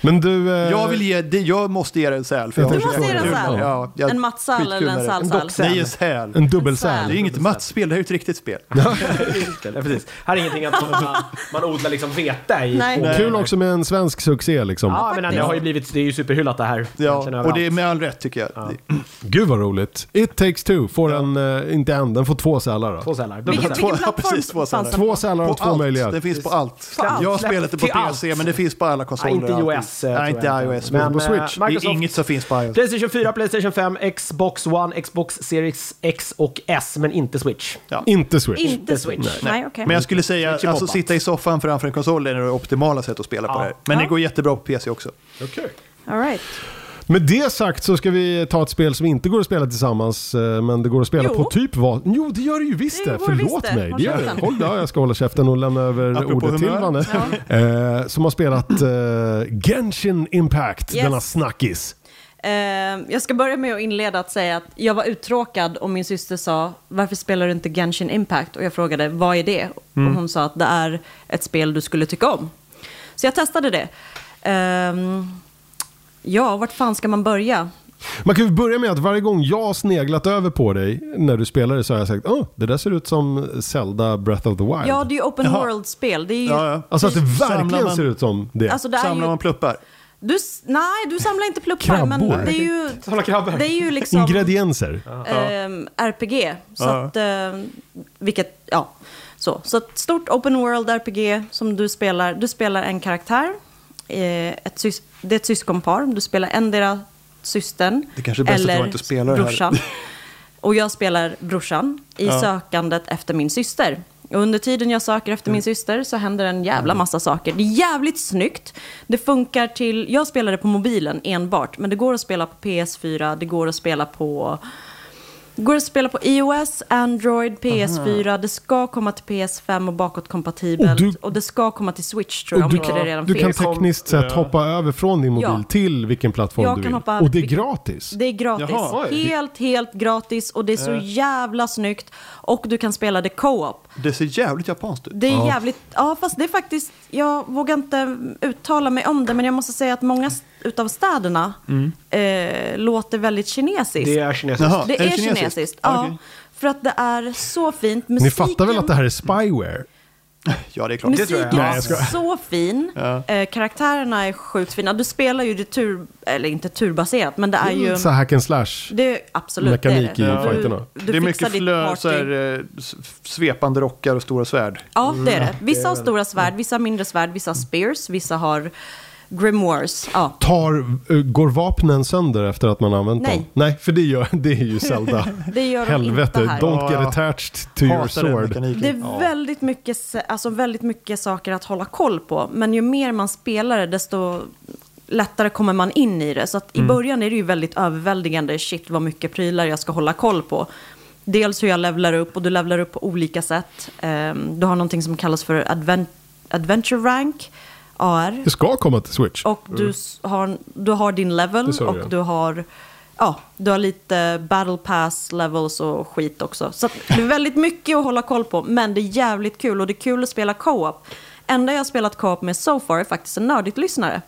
Speaker 1: Men du... eh,
Speaker 3: Jag, vill ge, det, jag måste ge dig en säl. För
Speaker 1: Du
Speaker 3: jag har
Speaker 1: måste
Speaker 3: så
Speaker 1: ge dig en
Speaker 3: kul med
Speaker 1: säl.
Speaker 3: det. Ja, jag-
Speaker 4: En matsal
Speaker 3: skitkul
Speaker 4: eller en
Speaker 3: med det.
Speaker 4: salsal? En docksäl.
Speaker 3: Nej, en säl.
Speaker 1: En dubbelsäl.
Speaker 3: Det är ju inget mattspel, det här är ju ett riktigt spel.
Speaker 2: Ja, precis. Här är ingenting att man, man odlar liksom vete i.
Speaker 4: Nej. Nej.
Speaker 1: Kul också med en svensk succé liksom.
Speaker 2: Ja, men det har ju blivit, det är ju superhyllat det här.
Speaker 3: Ja,
Speaker 2: Egentligen
Speaker 3: och det är
Speaker 2: överallt.
Speaker 3: med all rätt tycker jag. Det-
Speaker 1: Gud vad roligt. It takes two får en, eh, inte en, den får två sälar då.
Speaker 2: Två sällar.
Speaker 4: Vilken,
Speaker 2: Dubbelsälar.
Speaker 3: Två-
Speaker 4: vilken
Speaker 3: ja,
Speaker 4: plattform
Speaker 3: precis, två
Speaker 4: fanns det
Speaker 1: Två sälar
Speaker 3: På
Speaker 1: och två
Speaker 3: allt.
Speaker 1: möjliga.
Speaker 3: Det finns på allt.
Speaker 2: På allt.
Speaker 3: Jag har spelat det på
Speaker 2: Till allt.
Speaker 3: PC, men det finns på alla
Speaker 2: Nej,
Speaker 3: konsoler.
Speaker 2: inte
Speaker 3: och allt.
Speaker 2: iOS. eh, tror
Speaker 3: Nej,
Speaker 2: jag
Speaker 3: inte iOS.
Speaker 2: Men,
Speaker 3: Men
Speaker 1: på
Speaker 2: eh,
Speaker 1: Switch.
Speaker 3: det
Speaker 2: Microsoft,
Speaker 3: är inget som finns på iOS.
Speaker 2: Playstation 4, Playstation 5, Xbox One, Xbox Series X och S, men inte Switch.
Speaker 1: Inte Switch.
Speaker 4: Inte Switch. Nej, okej.
Speaker 3: Men jag skulle säga,
Speaker 2: Switch är
Speaker 3: alltså
Speaker 2: poppat.
Speaker 3: sitta i soffan framför en konsol är det optimala sättet att spela på
Speaker 2: Ja.
Speaker 3: det här. Men det
Speaker 4: Ja.
Speaker 3: går jättebra på PC också.
Speaker 4: All right.
Speaker 1: Med det sagt så ska vi ta ett spel som inte går att spela tillsammans, eh, men det går att spela
Speaker 4: Jo.
Speaker 1: på typ vad... Jo, det gör det ju visst
Speaker 4: Det
Speaker 1: det!
Speaker 4: går
Speaker 1: Förlåt
Speaker 4: visst det.
Speaker 1: mig.
Speaker 4: Håll
Speaker 1: Det gör det.
Speaker 4: käften.
Speaker 1: Håll, ja, jag ska hålla käften och lämna över
Speaker 3: Apropå
Speaker 1: ordet till
Speaker 3: humör.
Speaker 1: Vanne. Eh, som har spelat eh, Genshin Impact,
Speaker 4: Yes.
Speaker 1: denna snackis.
Speaker 4: Ehm, jag ska börja med att inleda att säga att jag var uttråkad och min syster sa varför spelar du inte Genshin Impact? Och jag frågade vad är det? Och hon sa att det är ett spel du skulle tycka om. Så jag testade det. Ehm, ja, vart fan ska man börja?
Speaker 1: Man kan ju börja med att varje gång jag har sneglat över på dig när du spelar det så har jag sagt åh, det där ser ut som Zelda Breath of the Wild.
Speaker 4: Ja, det är ju open
Speaker 3: Jaha.
Speaker 4: world-spel. Det är ju...
Speaker 3: Ja, ja.
Speaker 1: Alltså att det
Speaker 3: Samlar
Speaker 1: verkligen
Speaker 3: man-
Speaker 1: ser ut som det.
Speaker 4: Alltså, det är
Speaker 3: Samlar
Speaker 4: ju...
Speaker 3: man pluppar.
Speaker 4: Du, s- nej, du samlar inte pluppar,
Speaker 1: Krabbor.
Speaker 4: men det är ju,
Speaker 2: Samla krabbor.
Speaker 4: det är ju liksom
Speaker 1: Ingredienser.
Speaker 4: ehm, RPG. Så
Speaker 3: Ja.
Speaker 4: att, ehm, vilket, ja. Så. så ett stort open world RPG som du spelar. Du spelar en karaktär. eh, Ett sys- det är ett syskonpar. Du spelar endera systern
Speaker 3: Det kanske är bäst att jag
Speaker 4: eller
Speaker 3: inte spelar det här.
Speaker 4: brorsan. Och jag spelar brorsan i
Speaker 3: Ja.
Speaker 4: sökandet efter min syster. Och under tiden jag söker efter
Speaker 3: Mm.
Speaker 4: min syster så händer en jävla massa saker. Det är jävligt snyggt. Det funkar till... Jag spelade på mobilen enbart, men det går att spela på PS4, det går att spela på... Det går att spela på iOS, Android, PS4. Det ska komma till PS5 och bakåtkompatibelt.
Speaker 1: Och
Speaker 4: Och,
Speaker 1: du-
Speaker 4: det ska komma till Switch tror jag,
Speaker 1: Och
Speaker 4: om
Speaker 1: du,
Speaker 4: inte det redan
Speaker 1: du kan
Speaker 4: finns.
Speaker 1: tekniskt sett
Speaker 2: Ja.
Speaker 1: hoppa över från din mobil
Speaker 4: Ja.
Speaker 1: till vilken plattform
Speaker 4: Jag
Speaker 1: du
Speaker 4: kan
Speaker 1: vill.
Speaker 4: hoppa över
Speaker 1: och det är
Speaker 4: vilken-
Speaker 1: gratis. Eh.
Speaker 4: Det är gratis.
Speaker 3: Jaha, oj.
Speaker 4: helt, helt gratis och det är så jävla snyggt. Och du kan spela det co-op.
Speaker 3: Det ser jävligt japanskt ut.
Speaker 4: Det är jävligt, ja fast det är faktiskt, jag vågar inte uttala mig om det men jag måste säga att många st- utav städerna
Speaker 1: Mm.
Speaker 4: eh, låter väldigt kinesiskt.
Speaker 2: Det är kinesiskt.
Speaker 3: Jaha.
Speaker 4: Det
Speaker 3: är det
Speaker 4: är
Speaker 3: kinesiskt?
Speaker 4: kinesiskt, ja.
Speaker 3: Okej.
Speaker 4: För att det är så fint. Musiken,
Speaker 1: Ah, Ni fattar väl att det här är spyware?
Speaker 3: Ja, det är klart.
Speaker 2: Det
Speaker 4: musiken
Speaker 2: tror jag.
Speaker 4: är
Speaker 2: Nej, jag
Speaker 4: så fin. Eh, karaktärerna är sjukt fina. Du spelar ju det tur, eller inte turbaserat men det är ju...
Speaker 1: Mm, Så hack and slash.
Speaker 4: Det, absolut,
Speaker 1: Mekanik
Speaker 4: det är
Speaker 1: i
Speaker 4: det.
Speaker 1: fighterna.
Speaker 4: Du,
Speaker 3: det
Speaker 4: du
Speaker 3: är
Speaker 4: fixar
Speaker 3: mycket
Speaker 4: ditt
Speaker 3: flö,
Speaker 4: party.
Speaker 3: så här, eh, s- svepande rockar och stora svärd.
Speaker 4: Ja, det är det.
Speaker 3: Mm.
Speaker 4: Vissa har stora svärd, vissa har mindre svärd, vissa har spears, vissa har grimoires. Ja.
Speaker 1: Tar, eh, går vapnen sönder efter att man har använt
Speaker 4: Nej.
Speaker 1: dem? Nej, för det, gör, det är ju Zelda.
Speaker 4: Det gör de
Speaker 1: Helvete,
Speaker 4: inte här.
Speaker 1: don't
Speaker 3: Ja.
Speaker 1: get attached to your
Speaker 3: Hatar den
Speaker 1: sword.
Speaker 3: mekaniken.
Speaker 4: Det är väldigt mycket, se- alltså väldigt mycket saker att hålla koll på. Men ju mer man spelar det, desto lättare kommer man in i det. Så att i början är det ju väldigt överväldigande. Shit vad mycket prylar jag ska hålla koll på. Dels hur jag levlar upp och du levlar upp på olika sätt. Ehm, Du har någonting som kallas för adven- Adventure Rank, AR.
Speaker 1: Det ska komma till Switch.
Speaker 4: Och
Speaker 3: Mm.
Speaker 4: du, s- har, du har din level
Speaker 1: Det sa du,
Speaker 4: och
Speaker 1: ja.
Speaker 4: du har, ja, du har lite battle pass levels och skit också. Så att det är väldigt mycket att hålla koll på, men det är jävligt kul och det är kul att spela co-op. Enda jag har spelat co-op med so far är faktiskt en nördigt lyssnare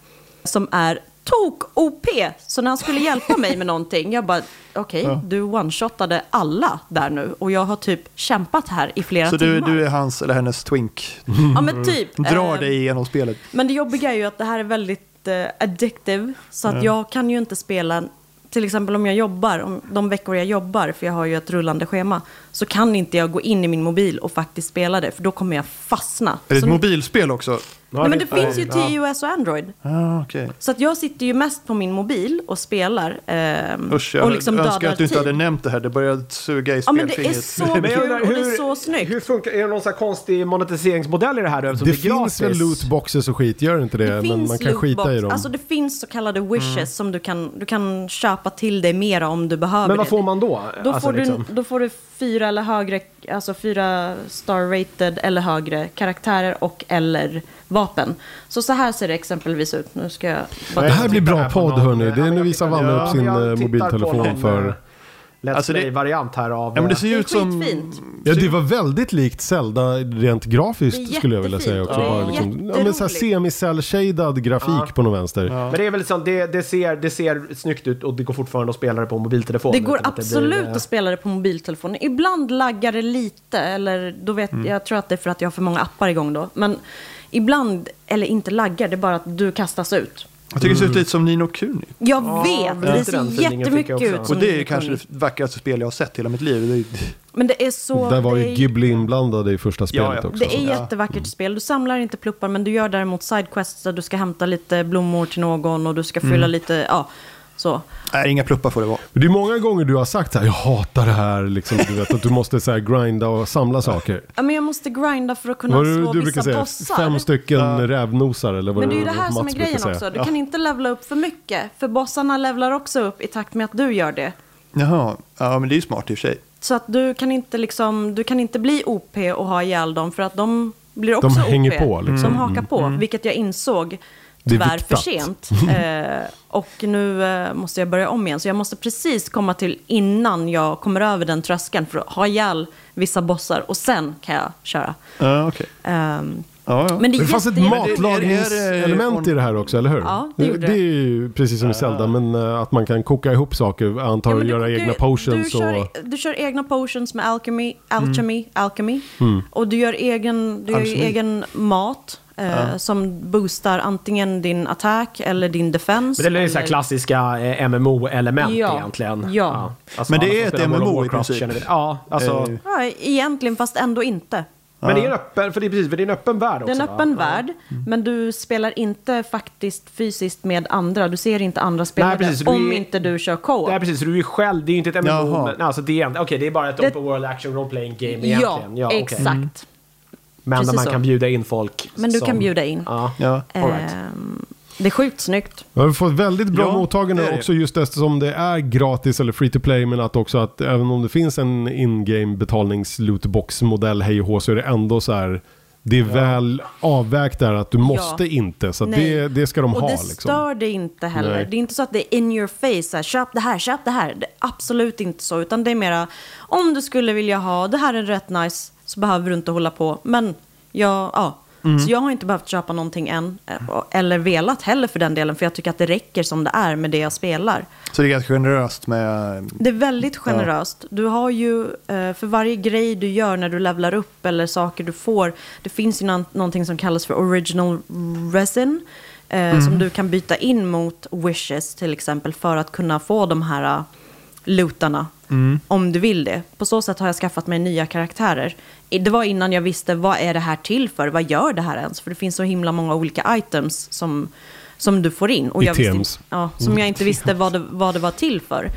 Speaker 4: som är tok-OP. Så när han skulle hjälpa mig med någonting, jag bara okej, du one-shotade alla där nu och jag har typ kämpat här i flera
Speaker 3: Så du,
Speaker 4: timmar.
Speaker 3: du är hans eller hennes twink.
Speaker 4: Ja men typ.
Speaker 3: Drar
Speaker 4: Ehm,
Speaker 3: dig igenom spelet.
Speaker 4: men det jobbiga är ju att det här är väldigt eh, addictive. Så att jag kan ju inte spela, till exempel om jag jobbar, om de veckor jag jobbar, för jag har ju ett rullande schema, så kan inte jag gå in i min mobil och faktiskt spela det, för då kommer jag fastna.
Speaker 3: Är det ett
Speaker 4: så,
Speaker 3: mobilspel också?
Speaker 4: nej, men det finns ju till iOS och Android.
Speaker 3: Ah, okej.
Speaker 4: Så att jag sitter ju mest på min mobil och spelar. ehm,
Speaker 3: Usch, jag
Speaker 4: och liksom
Speaker 3: önskar
Speaker 4: dödar
Speaker 3: att du inte
Speaker 4: tid.
Speaker 3: hade nämnt det här. Det började suga i
Speaker 4: Ja men det är
Speaker 3: spelfingret.
Speaker 4: så
Speaker 2: Men jag
Speaker 4: kul
Speaker 2: undrar,
Speaker 4: och det är så snyggt.
Speaker 2: Hur funkar, är det någon sån här konstig monetiseringsmodell i Alltså, det här då? eftersom
Speaker 1: det
Speaker 2: är
Speaker 1: finns
Speaker 2: gratis?
Speaker 1: väl lootboxes och skit, gör det inte det?
Speaker 4: Det
Speaker 1: Men
Speaker 4: finns
Speaker 1: man kan skita
Speaker 4: lootbox.
Speaker 1: i dem.
Speaker 4: Alltså det finns så kallade wishes som du kan, du kan köpa till dig mera om du behöver
Speaker 2: Men vad
Speaker 4: det.
Speaker 2: får man då?
Speaker 4: Då,
Speaker 2: Alltså,
Speaker 4: får
Speaker 2: liksom.
Speaker 4: du, då får du fyra eller högre, alltså fyra star-rated eller högre karaktärer och eller vapen. Så så här ser det exempelvis ut. Nu ska jag...
Speaker 1: det här blir bra
Speaker 2: Jag tittar här på
Speaker 1: podd
Speaker 2: någon-
Speaker 1: hörni.
Speaker 2: Ja,
Speaker 1: Det är
Speaker 2: men
Speaker 1: nu
Speaker 2: jag
Speaker 1: visar
Speaker 2: tittar-
Speaker 1: Vanne
Speaker 2: ja,
Speaker 1: upp sin
Speaker 2: jag
Speaker 1: eh,
Speaker 2: tittar på
Speaker 1: mobiltelefon
Speaker 2: någon,
Speaker 1: för...
Speaker 2: eh, Let's
Speaker 3: Alltså, det-
Speaker 2: Play-variant här av...
Speaker 3: Ja, men det
Speaker 2: eh,
Speaker 3: ser ju
Speaker 4: Det är
Speaker 3: ut som...
Speaker 4: skitfint.
Speaker 1: Ja, det var väldigt likt Zelda rent grafiskt
Speaker 4: Det är
Speaker 1: skulle jag vilja
Speaker 4: jättefint
Speaker 1: säga också.
Speaker 4: och det är
Speaker 1: Bara liksom, ja, men så här
Speaker 4: jätteroligt.
Speaker 1: semicell-shaded grafik på någon vänster.
Speaker 2: Men det är väl liksom, det, det, ser, det ser snyggt ut och det går fortfarande att spela det på mobiltelefon.
Speaker 4: Det går
Speaker 2: utan att blir,
Speaker 4: absolut
Speaker 2: eh,
Speaker 4: att spela det på mobiltelefonen. Ibland laggar det lite, eller då vet jag tror att det är för att jag har för många appar igång då. Men ibland, eller inte laggar, det är bara att du kastas ut.
Speaker 3: Jag tycker det ser ut lite som Nino Kuni.
Speaker 4: Jag
Speaker 2: men
Speaker 4: vet, det
Speaker 2: lite den
Speaker 4: ser
Speaker 2: feelingen fick jag
Speaker 4: jättemycket
Speaker 2: också.
Speaker 4: ut
Speaker 3: Och
Speaker 4: som
Speaker 3: det är ju
Speaker 4: Nino
Speaker 3: kanske
Speaker 4: Kuni.
Speaker 3: det vackraste spel jag har sett i hela mitt liv. Det är,
Speaker 4: Men det är så...
Speaker 1: Där var
Speaker 4: det
Speaker 1: ju
Speaker 4: är-
Speaker 1: Ghibli inblandad i första spelet
Speaker 3: ja.
Speaker 1: också.
Speaker 4: Det är jättevackert spel. Du samlar inte pluppar men du gör däremot sidequests där du ska hämta lite blommor till någon och du ska fylla
Speaker 1: Mm.
Speaker 4: lite, ja, så.
Speaker 3: nej, inga pluppar får det vara.
Speaker 1: Men Det är många gånger du har sagt så här, jag hatar det här, liksom, du vet att du måste så här grinda och samla saker.
Speaker 4: Ja, men jag måste grinda för att kunna
Speaker 1: Vad är det
Speaker 4: slå
Speaker 1: du
Speaker 4: vissa
Speaker 1: brukar säga?
Speaker 4: bossar.
Speaker 1: Fem stycken rävnosar eller vad
Speaker 4: Men det är ju det här
Speaker 1: Mats
Speaker 4: som är
Speaker 1: brukar
Speaker 4: grejen
Speaker 1: säga.
Speaker 4: också. Du kan inte levla upp för mycket. För bossarna levlar också upp i takt med att du gör det.
Speaker 3: Jaha, ja men det är ju smart i och för sig.
Speaker 4: Så att du kan inte, liksom, du kan inte bli OP och ha ihjäl dem för att de blir också
Speaker 1: De hänger
Speaker 4: OP.
Speaker 1: på, liksom.
Speaker 4: De hakar på, vilket jag insåg
Speaker 1: Det är
Speaker 4: tyvärr för
Speaker 1: viktat.
Speaker 4: sent. Eh, och nu eh, måste jag börja om igen. Så jag måste precis komma till innan jag kommer över den tröskeln för att ha ihjäl vissa bossar och sen kan jag köra.
Speaker 3: Ja, okej.
Speaker 4: Ehm,
Speaker 3: Ja, ja.
Speaker 4: men det är
Speaker 1: Det fanns ett
Speaker 4: jätte-
Speaker 1: matlagningselement i det här också, eller hur?
Speaker 4: Ja, det gjorde
Speaker 1: det är ju precis som i Zelda, men eh, att man kan koka ihop saker, antar
Speaker 4: Ja,
Speaker 1: och
Speaker 4: men du
Speaker 1: göra
Speaker 4: kokar-
Speaker 1: egna potions
Speaker 4: du kör, e-
Speaker 1: och...
Speaker 4: Du kör egna potions med alchemy,
Speaker 2: Mm.
Speaker 4: alchemy, alchemy. Och du gör egen, du gör ju
Speaker 3: Alchemy.
Speaker 4: egen mat. eh, Som boostar antingen din attack eller din defense.
Speaker 2: Men det är så här
Speaker 4: eller-
Speaker 2: klassiska eh, MMO-element
Speaker 4: Ja.
Speaker 2: egentligen.
Speaker 4: Ja.
Speaker 2: Alltså,
Speaker 3: Men det
Speaker 2: alla som
Speaker 3: är ett
Speaker 2: spelar World of
Speaker 3: MMO i
Speaker 2: Warcraft
Speaker 3: princip.
Speaker 2: känner väl- Ja, alltså.
Speaker 3: Eh.
Speaker 4: Ja, egentligen, fast ändå inte.
Speaker 2: Men det är en öppen, för det är precis, för det är en öppen värld också. Mm.
Speaker 4: Det är en öppen
Speaker 2: va?
Speaker 4: värld, men du spelar inte faktiskt fysiskt med andra. Du ser inte andra spelare
Speaker 2: precis, du
Speaker 4: om
Speaker 2: är-
Speaker 4: inte du kör co-op.
Speaker 2: Nej precis, du är ju själv, det är ju inte ett MMO.
Speaker 3: Jaha.
Speaker 2: Men, alltså, det är, egent- okej, det är bara ett
Speaker 4: Det-
Speaker 2: open world action role playing game egentligen.
Speaker 4: ja,
Speaker 2: okej. Mm.
Speaker 4: exakt.
Speaker 2: Men där
Speaker 4: precis
Speaker 2: man
Speaker 4: så.
Speaker 2: kan bjuda in folk.
Speaker 4: Men du
Speaker 2: som-
Speaker 4: kan bjuda in.
Speaker 2: Ja.
Speaker 3: Ja.
Speaker 2: Mm. all right.
Speaker 4: Ehm, det är sjukt snyggt.
Speaker 1: Jag har fått väldigt bra
Speaker 3: Ja,
Speaker 1: mottagande
Speaker 3: det är det.
Speaker 1: också just eftersom det är gratis eller free to play men att också att även om det finns en in-game betalnings lootbox modell hej och hå så är det ändå så här det är väl avvägt där att du måste inte så att
Speaker 4: Nej.
Speaker 1: det, det ska de
Speaker 4: och
Speaker 1: ha
Speaker 4: det
Speaker 1: liksom.
Speaker 4: stör det inte heller.
Speaker 1: Nej.
Speaker 4: Det är inte så att det är in your face, så här, köp det här, köp det här. Det är absolut inte så, utan det är mera om du skulle vilja ha, det här är rätt nice, så behöver du inte hålla på. Men jag, ja.
Speaker 1: Mm.
Speaker 4: Så jag har inte behövt köpa någonting än, eh, och- eller velat heller för den delen, för jag tycker att det räcker som det är med det jag spelar.
Speaker 3: Så det är ganska generöst med...
Speaker 4: Det är väldigt generöst. Du har ju, eh, för varje grej du gör när du levlar upp eller saker du får, det finns ju nå- någonting som kallas för original resin. eh, Som du kan byta in mot wishes till exempel för att kunna få de här eh, lootarna. Om du vill det. På så sätt har jag skaffat mig nya karaktärer. I- Det var innan jag visste vad är det här till för? Vad gör det här ens? För det finns så himla många olika items som, som du får in. Och
Speaker 1: I
Speaker 4: jag visste,
Speaker 1: TMs.
Speaker 4: inte- ja, som jag inte visste vad det, vad det var till för.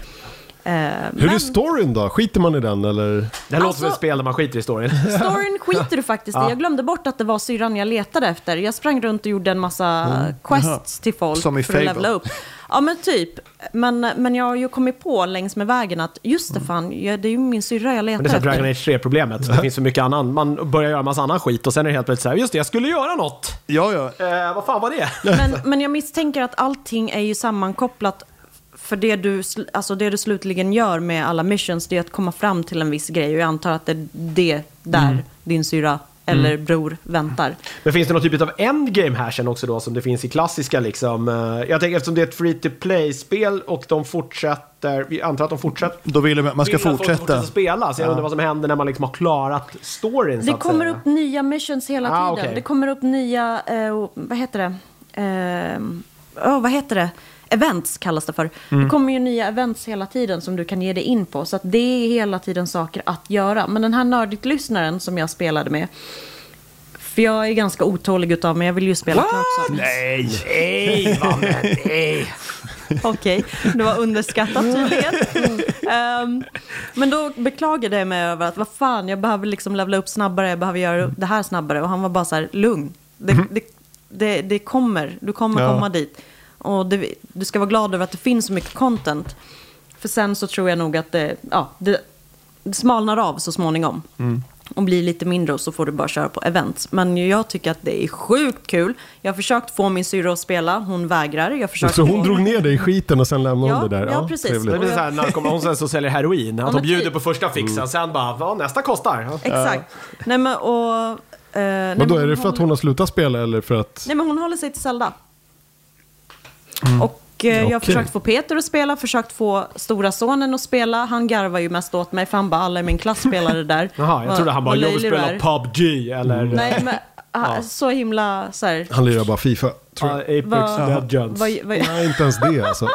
Speaker 4: Eh,
Speaker 1: Hur är
Speaker 4: men
Speaker 1: storyn då? Skiter man i den eller?
Speaker 2: Det här låter
Speaker 4: Alltså-
Speaker 2: som ett spel där man skiter i storyn.
Speaker 4: storyn skiter du faktiskt i. Jag glömde bort att det var syrran jag letade efter. Jag sprang runt och gjorde en massa
Speaker 2: Mm.
Speaker 4: quests till folk
Speaker 3: Som i
Speaker 4: för att
Speaker 3: Fable.
Speaker 4: levla upp. Ja men typ. Men, men jag har ju kommit på längs med vägen att just det fan, jag, det är ju min syrra jag
Speaker 2: Mm. Men det är
Speaker 4: letar
Speaker 2: så här Dragon
Speaker 4: efter.
Speaker 2: Age 3-problemet. Det finns så mycket annan. Man börjar göra massa annan skit och sen är det helt plötsligt så här, just det, jag skulle göra något.
Speaker 3: Ja, ja.
Speaker 2: Eh, vad fan var det?
Speaker 4: Men, men jag misstänker att allting är ju sammankopplat för det du, sl- alltså det du slutligen gör med alla missions det är att komma fram till en viss grej och jag antar att det är det där
Speaker 2: Mm.
Speaker 4: din syra eller bror väntar.
Speaker 2: Men finns det någon typ av endgame här sen också då som det finns i klassiska liksom? Eh, Jag tänker eftersom det är ett free to play-spel och de fortsätter, vi antar att de fortsätter.
Speaker 3: Då vill de att man ska
Speaker 2: vill att folk
Speaker 3: fortsätta.
Speaker 2: fortsätta spela, så jag undrar vad som händer när man liksom har klarat storyn så
Speaker 4: Det
Speaker 2: att
Speaker 4: kommer
Speaker 2: säga.
Speaker 4: upp nya missions hela
Speaker 2: Ah,
Speaker 4: tiden.
Speaker 2: okej.
Speaker 4: Det kommer upp nya, eh, vad heter det? Eh, oh, vad heter det? Events kallas det för.
Speaker 2: Mm.
Speaker 4: Det kommer ju nya events hela tiden som du kan ge dig in på. Så att det är hela tiden saker att göra. Men den här nördigt-lyssnaren som jag spelade med. För jag är ganska otålig utav mig, jag vill ju spela klart saker.
Speaker 2: Nej! Nej! vad- Nej!
Speaker 4: Okej, det var underskattat tydligen. Ehm, men då beklagade jag mig över att vad fan, jag behöver liksom levla upp snabbare, jag behöver göra det här snabbare. Och han var bara så här, lugn. Det,
Speaker 1: Mm.
Speaker 4: det, det, det kommer, du kommer
Speaker 3: Ja.
Speaker 4: komma dit. Och det, du ska vara glad över att det finns så mycket content.
Speaker 1: Mm.
Speaker 4: För sen så tror jag nog att det, ja, det, det smalnar av så småningom. och blir lite mindre och så får du bara köra på events. Men jag tycker att det är sjukt kul. Jag har försökt få min syrra att spela, hon vägrar. Jag försökte
Speaker 1: Så
Speaker 4: få-
Speaker 1: hon drog ner dig i skiten och sen lämnade
Speaker 4: Ja,
Speaker 1: hon dig där?
Speaker 4: ja, precis.
Speaker 2: Det
Speaker 1: trevligt.
Speaker 2: är väl såhär narkomaner som säljer heroin. Att
Speaker 4: men
Speaker 2: de bjuder
Speaker 4: typ.
Speaker 2: på första fixen, sen bara vad nästa kostar. Ja.
Speaker 4: Exakt. Nej men och... eh, nej,
Speaker 1: Men då
Speaker 4: men
Speaker 1: är det för att hon har slutat spela eller för att...
Speaker 4: Nej men hon håller sig till Zelda.
Speaker 2: Mm.
Speaker 4: Och eh, jag har
Speaker 1: Okej.
Speaker 4: försökt få Peter att spela, försökt få stora sonen att spela. Han garvar ju mest åt mig för han bara alla i min klass spelar det där.
Speaker 2: Jaha, jag
Speaker 4: Vad-
Speaker 2: trodde han bara
Speaker 4: vad
Speaker 2: jag vill
Speaker 4: löjlig du
Speaker 2: spela
Speaker 4: är.
Speaker 2: PubG eller
Speaker 4: Nej men ah,
Speaker 2: Ja.
Speaker 4: så himla så här.
Speaker 1: Han lirar bara Fifa, tror
Speaker 2: Ja,
Speaker 1: jag.
Speaker 2: eh, Apex
Speaker 4: Vad-
Speaker 2: Legends.
Speaker 4: Vad, vad,
Speaker 1: Nej, inte ens det alltså.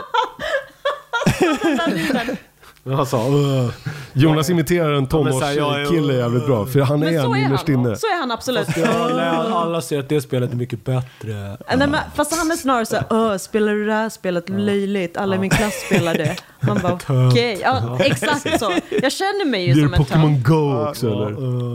Speaker 2: Alltså, uh.
Speaker 1: Jonas imiterar en
Speaker 2: så här, jag är-
Speaker 1: tonårskille jävligt bra, för han
Speaker 4: men
Speaker 1: är
Speaker 4: så
Speaker 1: en
Speaker 4: är han.
Speaker 1: innerst inne.
Speaker 4: Så är han absolut.
Speaker 2: alla, alla säger att det spelet är mycket bättre.
Speaker 4: Nej, men, fast han är snarare så här, "Åh, spelar du det här spelet löjligt? Alla i min klass spelar det. Man bara, okej, ja, exakt så. Jag känner mig ju
Speaker 1: Blir
Speaker 4: som
Speaker 1: det
Speaker 4: en tönt.
Speaker 1: Pokémon Go också eller?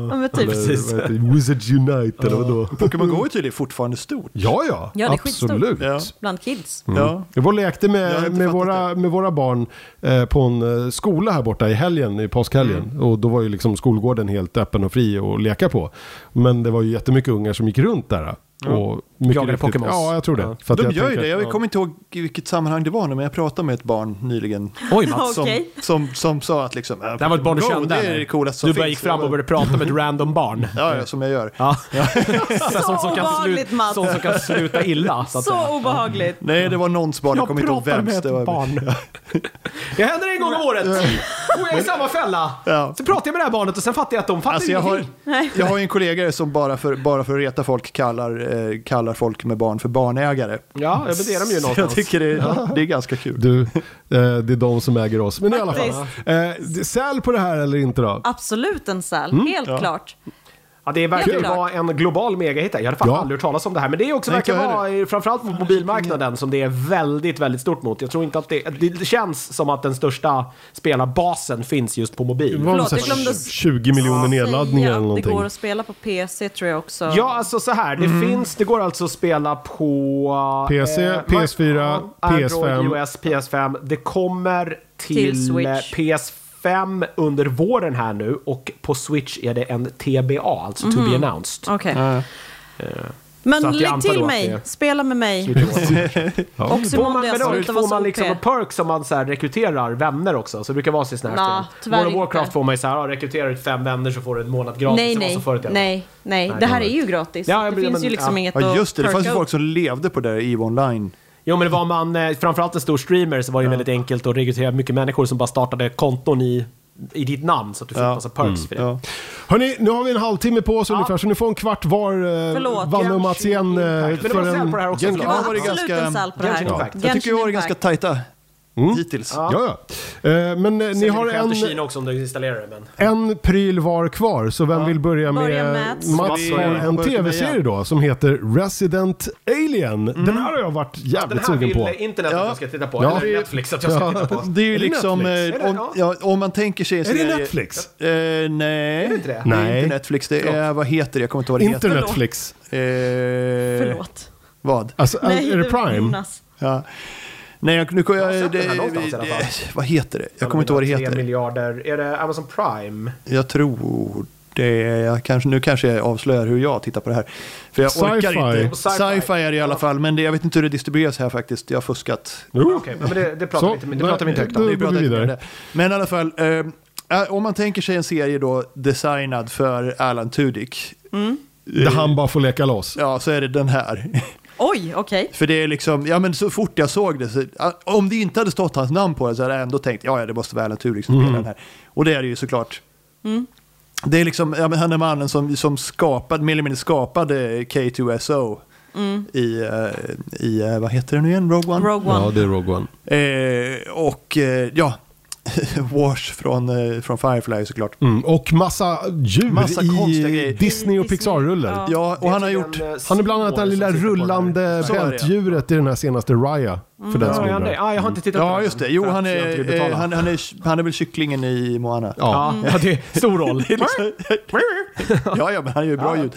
Speaker 4: Ja, men typ.
Speaker 2: Precis.
Speaker 1: Eller vad heter det? Wizards Unite eller vadå?
Speaker 3: Pokémon Go är tydligen fortfarande stort.
Speaker 1: Ja, ja.
Speaker 4: Ja, det är skitstort.
Speaker 1: absolut.
Speaker 3: Ja.
Speaker 4: Bland kids.
Speaker 2: Mm.
Speaker 3: Ja.
Speaker 1: Jag var och lekte
Speaker 3: Jag har
Speaker 1: med,
Speaker 3: inte
Speaker 1: med,
Speaker 3: fattat
Speaker 1: våra, med våra barn eh, på en eh, skola här borta i helgen, i påskhelgen. Och då var ju liksom skolgården helt öppen och fri att leka på. Men det var ju jättemycket ungar som gick runt där. Och mycket
Speaker 2: Jagade
Speaker 1: riktigt-
Speaker 2: Pokémons.
Speaker 1: Ja, jag tror det.
Speaker 2: Ja.
Speaker 1: För att
Speaker 3: De
Speaker 1: jag
Speaker 3: gör ju
Speaker 1: tänker-
Speaker 3: det.
Speaker 1: ja.
Speaker 3: Jag kommer inte ihåg i vilket sammanhang det var nu, men jag pratade med ett barn nyligen.
Speaker 2: Oj Mats.
Speaker 3: Som,
Speaker 4: Okej.
Speaker 3: som, som sa att liksom...
Speaker 2: Det här var ett barn du kände.
Speaker 3: Det är det
Speaker 2: eller?
Speaker 3: coolaste som
Speaker 2: du bara
Speaker 3: finns.
Speaker 2: gick fram och började prata med ett random barn.
Speaker 3: Ja, ja, som jag gör.
Speaker 2: Ja. Alltså,
Speaker 4: Så obehagligt
Speaker 2: sluta,
Speaker 4: Mats.
Speaker 2: sånt som Mm. kan sluta illa. Så att säga.
Speaker 4: Så obehagligt.
Speaker 3: Nej, det var någons barn. Jag kommer inte ihåg vems. Det var...
Speaker 2: Det händer en gång om året. Och jag är i samma fälla.
Speaker 3: Ja.
Speaker 2: Så pratar jag med det här barnet och sen fattar jag att de fattar
Speaker 3: Alltså jag, har,
Speaker 2: ingenting.
Speaker 3: jag har ju en kollega som bara för, bara för att reta folk kallar, eh, kallar folk med barn för barnägare.
Speaker 2: Ja, men det är de ju
Speaker 3: Så jag
Speaker 2: någonstans.
Speaker 3: tycker det, det är ganska kul.
Speaker 1: Du, eh, det är de som äger oss. Men i alla fall.
Speaker 4: Faktiskt.
Speaker 1: Eh, det- säl på det här eller inte då?
Speaker 4: Absolut en säl,
Speaker 2: Mm.
Speaker 4: helt klart.
Speaker 2: Ja, det verkar ju
Speaker 4: Helt klart.
Speaker 2: vara en global megahit. här. Jag hade fan
Speaker 1: Ja.
Speaker 2: aldrig hört talas om det här. Men det är också
Speaker 3: Nej,
Speaker 2: verkar
Speaker 3: inte jag
Speaker 2: vara, i- framförallt på mobilmarknaden, som det är väldigt, väldigt stort mot. Jag tror inte att det... Det känns som att den största spelarbasen finns just på mobil.
Speaker 1: var
Speaker 4: Förlåt,
Speaker 1: så här
Speaker 4: jag glömde
Speaker 1: 20 miljoner nedladdningar
Speaker 4: Säga
Speaker 1: eller
Speaker 4: att
Speaker 1: någonting.
Speaker 4: Det går att spela på PC tror jag också.
Speaker 2: Ja, alltså så här. Det finns, det går alltså att spela på... eh,
Speaker 1: PC, PS4,
Speaker 2: ja, Android,
Speaker 1: PS5.
Speaker 2: iOS, PS5. Det kommer till,
Speaker 4: Till Switch.
Speaker 2: eh, PS5 under våren här nu och på Switch är det en TBA, alltså to
Speaker 4: Mm.
Speaker 2: be announced.
Speaker 4: Okej. Men
Speaker 2: Så att jag
Speaker 4: lägg
Speaker 2: antar
Speaker 4: till
Speaker 2: då att
Speaker 4: mig,
Speaker 2: det är-
Speaker 4: spela med mig. alltså Och
Speaker 2: Får man,
Speaker 4: Simon
Speaker 2: men då,
Speaker 4: Diaz
Speaker 2: får
Speaker 4: vara
Speaker 2: man
Speaker 4: OP.
Speaker 2: liksom en perk som man så här rekryterar vänner också? Så det brukar vara så i såna här
Speaker 4: Nja,
Speaker 2: spel.
Speaker 4: tyvärr
Speaker 2: World of Warcraft
Speaker 4: inte.
Speaker 2: får man ju så här, ja, rekryterar ut fem vänner så får du en månad gratis.
Speaker 4: Nej,
Speaker 2: Det var
Speaker 4: nej,
Speaker 2: så förut i alla fall.
Speaker 4: nej, nej. Det här är ju gratis.
Speaker 2: Ja, jag
Speaker 4: det
Speaker 2: blir-
Speaker 4: finns
Speaker 2: men-
Speaker 4: ju liksom
Speaker 2: ja.
Speaker 4: inget
Speaker 3: Ja, just det. Det
Speaker 4: att
Speaker 3: fanns ju
Speaker 4: perka
Speaker 3: folk
Speaker 4: upp.
Speaker 3: som levde på det där EVE Online.
Speaker 2: Jo men det var man, eh, framförallt en stor streamer så var det ju väldigt enkelt att rekrytera mycket människor som bara startade konton i, i ditt namn så att du fick
Speaker 3: Ja. Mm,
Speaker 2: massa perks för det.
Speaker 3: Ja.
Speaker 1: Hörni, nu har vi en halvtimme på oss ungefär så ni får en kvart var. eh,
Speaker 4: Förlåt,
Speaker 1: Vanne och Mats igen. eh,
Speaker 2: Men det var säl på det här också.
Speaker 1: Gen-
Speaker 2: förlåt.
Speaker 3: Ja, det
Speaker 4: Ja,
Speaker 3: var
Speaker 4: absolut
Speaker 3: ganska-
Speaker 4: en säl på det här.
Speaker 2: Genshin Impact.
Speaker 3: Jag tycker vi har varit
Speaker 4: Impact.
Speaker 3: ganska tajta
Speaker 1: Mm.
Speaker 3: hittills.
Speaker 1: Ja, ja. Eh, Men eh, ni
Speaker 2: Sen
Speaker 1: har
Speaker 2: är det skönt i
Speaker 1: en,
Speaker 2: Kina också om du installerar det. Men...
Speaker 1: en pryl var kvar, så vem vill börja med?
Speaker 4: Börja med Mats.
Speaker 1: Mats har
Speaker 3: Börja
Speaker 1: en
Speaker 3: med
Speaker 1: tv-serie
Speaker 3: Mats.
Speaker 1: då som heter Resident Alien.
Speaker 2: Mm.
Speaker 1: Den här har jag varit
Speaker 2: Den
Speaker 1: jävligt
Speaker 2: här
Speaker 1: sugen
Speaker 2: vill
Speaker 1: på.
Speaker 2: internet att
Speaker 3: Ja.
Speaker 2: jag ska titta på.
Speaker 1: Ja.
Speaker 2: Eller Netflix att jag ska
Speaker 1: Ja.
Speaker 2: titta på.
Speaker 3: Det är ju
Speaker 1: Är det
Speaker 3: liksom,
Speaker 1: Netflix?
Speaker 3: eh,
Speaker 2: Är det-
Speaker 3: om, ja, om man tänker sig en
Speaker 1: Är
Speaker 3: serie...
Speaker 1: det Netflix?
Speaker 3: Eh, nej.
Speaker 2: inte det?
Speaker 3: det är
Speaker 1: Nej.
Speaker 3: inte Netflix. Det är, vad heter det? Jag kommer inte ihåg vad det heter.
Speaker 1: Internetflix.
Speaker 3: Eh,
Speaker 4: Förlåt.
Speaker 3: Vad?
Speaker 1: Alltså,
Speaker 4: Nej,
Speaker 1: är det
Speaker 4: var
Speaker 1: Prime?
Speaker 4: Jonas.
Speaker 3: Ja. Nej, jag, nu kommer
Speaker 2: Jag har
Speaker 3: jag...
Speaker 2: sett den här
Speaker 3: det-
Speaker 2: någonstans i alla fall.
Speaker 3: det- Vad heter det? Jag kommer inte ihåg vad det
Speaker 2: Tre
Speaker 3: heter.
Speaker 2: miljarder. Är det Amazon Prime?
Speaker 3: Jag tror det. Jag kanske, nu kanske jag avslöjar hur jag tittar på det här. För jag orkar
Speaker 1: Sci-fi.
Speaker 3: inte. Sci-fi är det i alla fall, men det, jag vet inte hur det distribueras här faktiskt. Jag har fuskat.
Speaker 1: Jo.
Speaker 2: Okej, men det, det pratar
Speaker 1: Så,
Speaker 2: vi inte, det pratar vi inte högt om.
Speaker 1: Då
Speaker 3: Det är bra
Speaker 1: går vi
Speaker 3: att jag
Speaker 1: vidare.
Speaker 3: inte nämnde. Men i alla fall, eh, eh, om man tänker sig en serie då designad för Alan Tudyk,
Speaker 1: Där han bara får leka loss.
Speaker 3: ja, så är det den här.
Speaker 4: Oj, okej.
Speaker 3: För det är liksom, ja men så fort jag såg det, så, ah, om det inte hade stått hans namn på det så hade jag ändå tänkt, ja ja det måste vara Alan Tudyk som
Speaker 2: Mm.
Speaker 3: spelar den här. Och det är det ju såklart. Det är liksom, ja men han är mannen som, som skapade, mer eller mindre skapade K2SO i, eh, i, eh, vad heter det nu igen, Rogue One?
Speaker 4: Rogue One.
Speaker 1: det är Rogue One.
Speaker 3: Eh, och eh, ja, Wash från, eh, från Firefly såklart.
Speaker 1: Mm, och massa djur
Speaker 3: Massa konstiga
Speaker 1: i
Speaker 3: grejer.
Speaker 1: Disney och
Speaker 4: Disney,
Speaker 1: Pixar-rullar.
Speaker 4: ja.
Speaker 3: Ja, och han har gjort...
Speaker 1: Han är bland annat det lilla rullande
Speaker 3: Så är det. Mm.
Speaker 1: bältdjuret i den här senaste Raya. För den som
Speaker 2: Ja,
Speaker 1: undrar.
Speaker 2: jag har inte tittat på
Speaker 3: Ja,
Speaker 2: den.
Speaker 3: just det. Jo,
Speaker 2: För att
Speaker 3: han
Speaker 2: jag inte vill
Speaker 3: är, eh,
Speaker 2: betala.
Speaker 3: han, han, är, han är väl kycklingen i Moana.
Speaker 2: Ja, Mm. ja, det är stor roll.
Speaker 3: Ja, ja, men han gör ju bra ljud.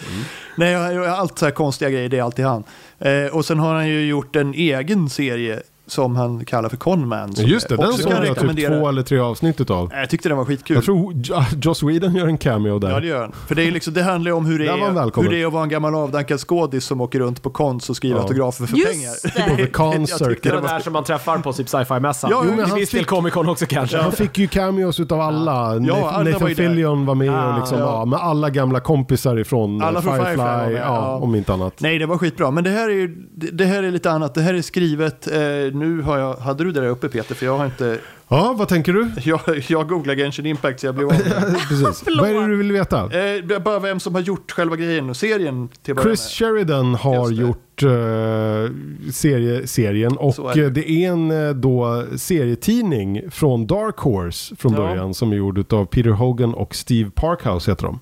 Speaker 3: Nej, jag- jag- allt så här konstiga grejer, det är alltid han. Eh, och sen har han ju gjort en egen serie som han kallar för Conman. Som
Speaker 1: Just det,
Speaker 3: jag
Speaker 1: den
Speaker 3: också
Speaker 1: såg
Speaker 3: kan
Speaker 1: jag typ
Speaker 3: rekommendera. Äh,
Speaker 1: två eller tre avsnitt utav.
Speaker 3: Jag tyckte den var skitkul.
Speaker 1: Jag tror Jo- Joss Whedon gör en cameo där.
Speaker 3: Ja, det gör han. För det, är liksom, det handlar ju om hur det,
Speaker 1: Där var han
Speaker 3: är,
Speaker 1: välkommen.
Speaker 3: hur det är att vara en gammal avdankad skådis som åker runt på konst och skriver
Speaker 1: Ja.
Speaker 3: autografer för
Speaker 4: Just
Speaker 3: pengar.
Speaker 1: På
Speaker 4: det.
Speaker 1: The Con
Speaker 3: Jag tyckte
Speaker 1: Circuit.
Speaker 2: Det är de där som man träffar på typ sci-fi-mässan.
Speaker 3: Ja, jo, men
Speaker 2: till
Speaker 1: han
Speaker 2: viss del
Speaker 1: fick-
Speaker 2: Comic Con också kanske.
Speaker 1: Han fick ju cameos utav alla. Nathan,
Speaker 3: alla var ju
Speaker 1: Nathan
Speaker 3: där.
Speaker 1: Fillion var med och
Speaker 2: Ah,
Speaker 1: liksom,
Speaker 3: ja.
Speaker 1: ja. med alla gamla kompisar ifrån
Speaker 3: Alla
Speaker 1: eh,
Speaker 3: från
Speaker 1: Firefly.
Speaker 3: Firefly var med,
Speaker 1: ja,
Speaker 3: ja.
Speaker 1: Om inte annat.
Speaker 3: Nej, det var skitbra. Men det här är, ju- det, det här är lite annat. Det här är skrivet... Eh, nu har jag... Hade du det där uppe Peter? För jag har inte...
Speaker 1: Ja, vad tänker du?
Speaker 3: Jag, jag googlade Genshin Impact så jag blev av med det.
Speaker 1: Precis.
Speaker 4: Förlåt.
Speaker 1: vad är det du vill veta?
Speaker 3: eh, det är Bara vem som har gjort själva grejen och serien till att börja
Speaker 1: Chris Sheridan har
Speaker 3: Just
Speaker 1: gjort
Speaker 3: det.
Speaker 1: eh, serie, serien
Speaker 3: Så
Speaker 1: och
Speaker 3: är
Speaker 1: det.
Speaker 3: det.
Speaker 1: det är en eh, då, serietidning från Dark Horse från
Speaker 3: Ja.
Speaker 1: början som är gjord av Peter Hogan och Steve Parkhouse heter de.
Speaker 3: med.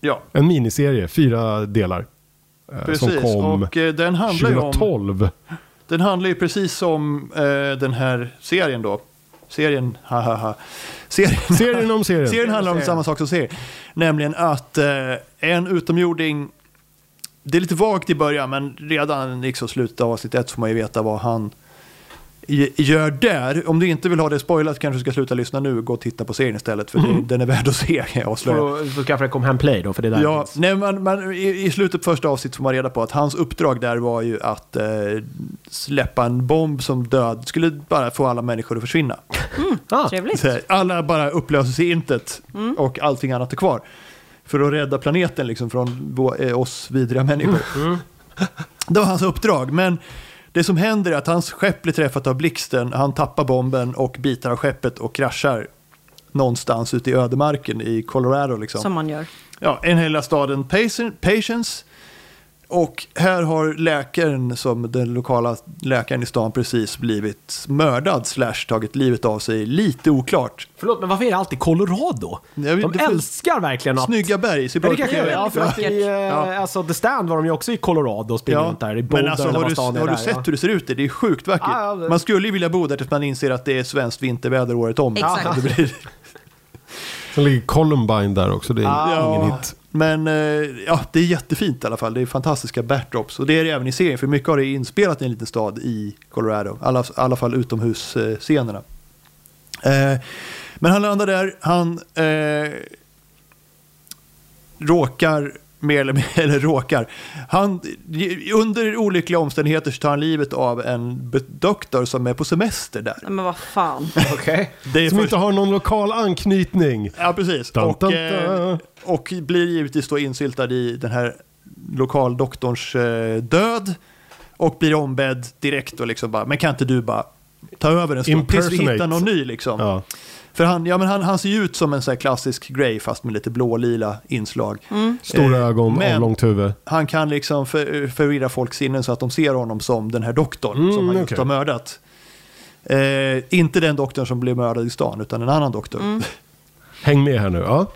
Speaker 3: Ja,
Speaker 1: En miniserie, fyra delar. eh, som
Speaker 3: precis.
Speaker 1: kom
Speaker 3: Och eh, den handlar ju om...
Speaker 1: 2012.
Speaker 3: Den handlar ju precis om eh, den här serien då. Serien, hahaha. Serien,
Speaker 1: Serien om serien.
Speaker 3: serien handlar om samma sak som serien. Nämligen att eh, en utomjording, det är lite vagt i början men redan liksom slutet av avsnitt ett får man ju veta vad han i- gör där. Om du inte vill ha det spoilat kanske du ska sluta lyssna nu och gå och titta på serien istället för
Speaker 1: Mm.
Speaker 3: det, den är värd att se kan jag avslöja.
Speaker 2: Så, så kanske det kom hem play då, för det där
Speaker 3: Ja,
Speaker 2: finns.
Speaker 3: nej, man, man, i, I slutet på första avsnittet får man reda på att hans uppdrag där var ju att eh, släppa en bomb som död skulle bara få alla människor att försvinna.
Speaker 2: Ah,
Speaker 4: Trevligt.
Speaker 3: Så här, alla bara upplöses i intet och allting annat är kvar. För att rädda planeten liksom från vå- eh, oss vidriga människor. Det var hans uppdrag, men det som händer är att hans skepp blir träffat av blixten, han tappar bomben och bitar av skeppet och kraschar någonstans ute i ödemarken i Colorado. Liksom
Speaker 4: Som man gör.
Speaker 3: ja, en hela staden Paci- Patience. Och här har läkaren, som den lokala läkaren i stan precis blivit mördad slash tagit livet av sig, lite oklart.
Speaker 2: förlåt, men varför är det alltid Colorado?
Speaker 3: Jag vet
Speaker 2: De
Speaker 3: inte, för-
Speaker 2: älskar verkligen att...
Speaker 3: Snygga berg, ser
Speaker 2: Ja,
Speaker 3: bra
Speaker 2: det
Speaker 3: ut på
Speaker 2: kanske är
Speaker 3: tv.
Speaker 2: det. Ja, för att i, eh,
Speaker 3: Ja.
Speaker 2: alltså, The Stand var de ju också i Colorado och spelade
Speaker 3: Ja,
Speaker 2: runt där. I Boulder
Speaker 3: men alltså
Speaker 2: eller
Speaker 3: har
Speaker 2: vad
Speaker 3: du,
Speaker 2: stan är
Speaker 3: har
Speaker 2: där,
Speaker 3: du sett
Speaker 2: ja.
Speaker 3: hur det ser ut? där? Det är sjukt vackert.
Speaker 2: Ja, ja, det-
Speaker 3: Man skulle ju vilja bo där tills man inser att det är svenskt vinterväder året om.
Speaker 4: Exakt.
Speaker 3: Det blir,
Speaker 1: Sen ligger Columbine där också, det är
Speaker 3: Ah. Ja,
Speaker 1: ingen hit.
Speaker 3: Men eh, ja, det är jättefint i alla fall. Det är fantastiska backdrops. Och det är det även i serien, för mycket av det är inspelat i en liten stad i Colorado. I alla, alla fall utomhusscenerna. Eh, men han landar där, han eh, råkar, mer eller, eller råkar, han, under olyckliga omständigheter så tar han livet av en be- doktor som är på semester där.
Speaker 4: Nej, men vad fan.
Speaker 2: Okej.
Speaker 3: Det är
Speaker 1: Som
Speaker 3: först-
Speaker 1: inte har någon lokal anknytning.
Speaker 3: Ja, precis.
Speaker 1: Dun,
Speaker 3: och,
Speaker 1: dun,
Speaker 3: eh,
Speaker 1: dun.
Speaker 3: och blir givetvis då insyltad i den här lokaldoktorns eh, död. Och blir ombedd direkt och liksom bara, men kan inte du bara ta över en stund tills vi
Speaker 1: Impersonate.
Speaker 3: hittar någon ny liksom.
Speaker 1: Ja.
Speaker 3: För han, ja, men han, han ser ju ut som en så här klassisk Grey fast med lite blå-lila inslag.
Speaker 1: Stora
Speaker 3: Eh,
Speaker 1: ögon,
Speaker 3: men-
Speaker 1: avlångt huvud.
Speaker 3: Han kan liksom för, förvirra folks sinnen så att de ser honom som den här doktorn som han just
Speaker 1: Mm, okej.
Speaker 3: har mördat. Eh, inte den doktorn som blev mördad i stan utan en annan doktor.
Speaker 1: Häng med här nu. Ja.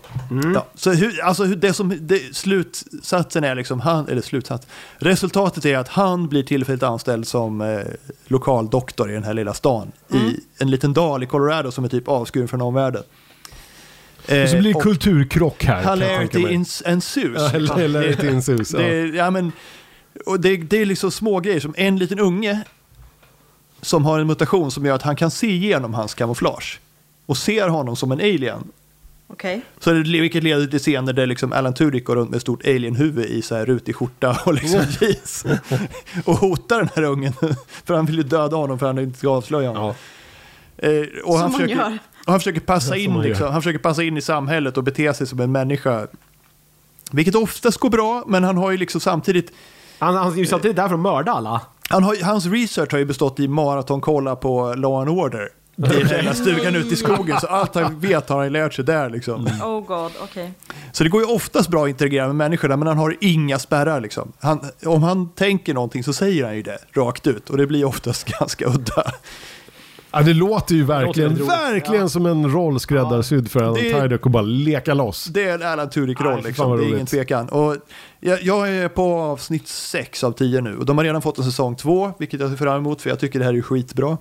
Speaker 3: Ja, så hur, alltså hur, det som, det, slutsatsen är liksom, han, eller slutsats, resultatet är att han blir tillfälligt anställd som eh, lokal doktor i den här lilla stan. I en liten dal i Colorado som är typ avskuren från omvärlden. Eh,
Speaker 1: Och så blir det kulturkrock här. kan jag tänka
Speaker 3: Hilarity
Speaker 1: mig.
Speaker 3: ens- ensues.
Speaker 1: Ja,
Speaker 3: liksom.
Speaker 1: hilarity
Speaker 3: Det-
Speaker 1: ensues, ja.
Speaker 3: Det, är- ja, men, och det, det är liksom små grejer som en liten unge som har en mutation som gör att han kan se igenom hans kamouflage. Och ser honom som en alien.
Speaker 4: Okej.
Speaker 3: Så det, vilket leder till scener där liksom Alan Tudyk går runt med ett stort alienhuvud i så här rutig skjorta och liksom
Speaker 1: Mm.
Speaker 3: jeans. Och hotar den här ungen. För han vill ju döda honom för han inte ska avslöja honom. Eh, och
Speaker 4: Som
Speaker 3: han
Speaker 4: man
Speaker 3: försöker,
Speaker 4: gör.
Speaker 3: och han, försöker passa
Speaker 1: Som
Speaker 3: in,
Speaker 1: man gör.
Speaker 3: liksom, han försöker passa in i samhället och bete sig som en människa. Vilket oftast går bra, men han har ju liksom samtidigt...
Speaker 2: Han, han är ju samtidigt där för att mörda alla.
Speaker 3: Han har, hans research har ju bestått i maratonkolla på Law and Order. I den där stugan ute i skogen, så allt han vet har han lärt sig där liksom.
Speaker 1: Mm.
Speaker 4: Oh god, okej.
Speaker 3: Så det går ju oftast bra att interagera med människorna, men han har inga spärrar. Liksom. Han, om han tänker någonting så säger han ju det rakt ut och det blir oftast ganska udda.
Speaker 1: Ja, det låter ju verkligen,
Speaker 2: Det låter väldigt roligt.
Speaker 1: verkligen
Speaker 2: Ja.
Speaker 1: som en roll skräddarsydd för Alan
Speaker 3: Det-
Speaker 1: Tydeck och bara leka loss.
Speaker 3: Det är en Alan
Speaker 1: Nej,
Speaker 3: Tudyk-roll,
Speaker 1: fan
Speaker 3: liksom.
Speaker 1: vad
Speaker 3: det är
Speaker 1: roligt.
Speaker 3: ingen tvekan. Och jag, jag är på avsnitt 6 av 10 nu och de har redan fått en säsong 2, vilket jag ser fram emot för jag tycker det här är skitbra.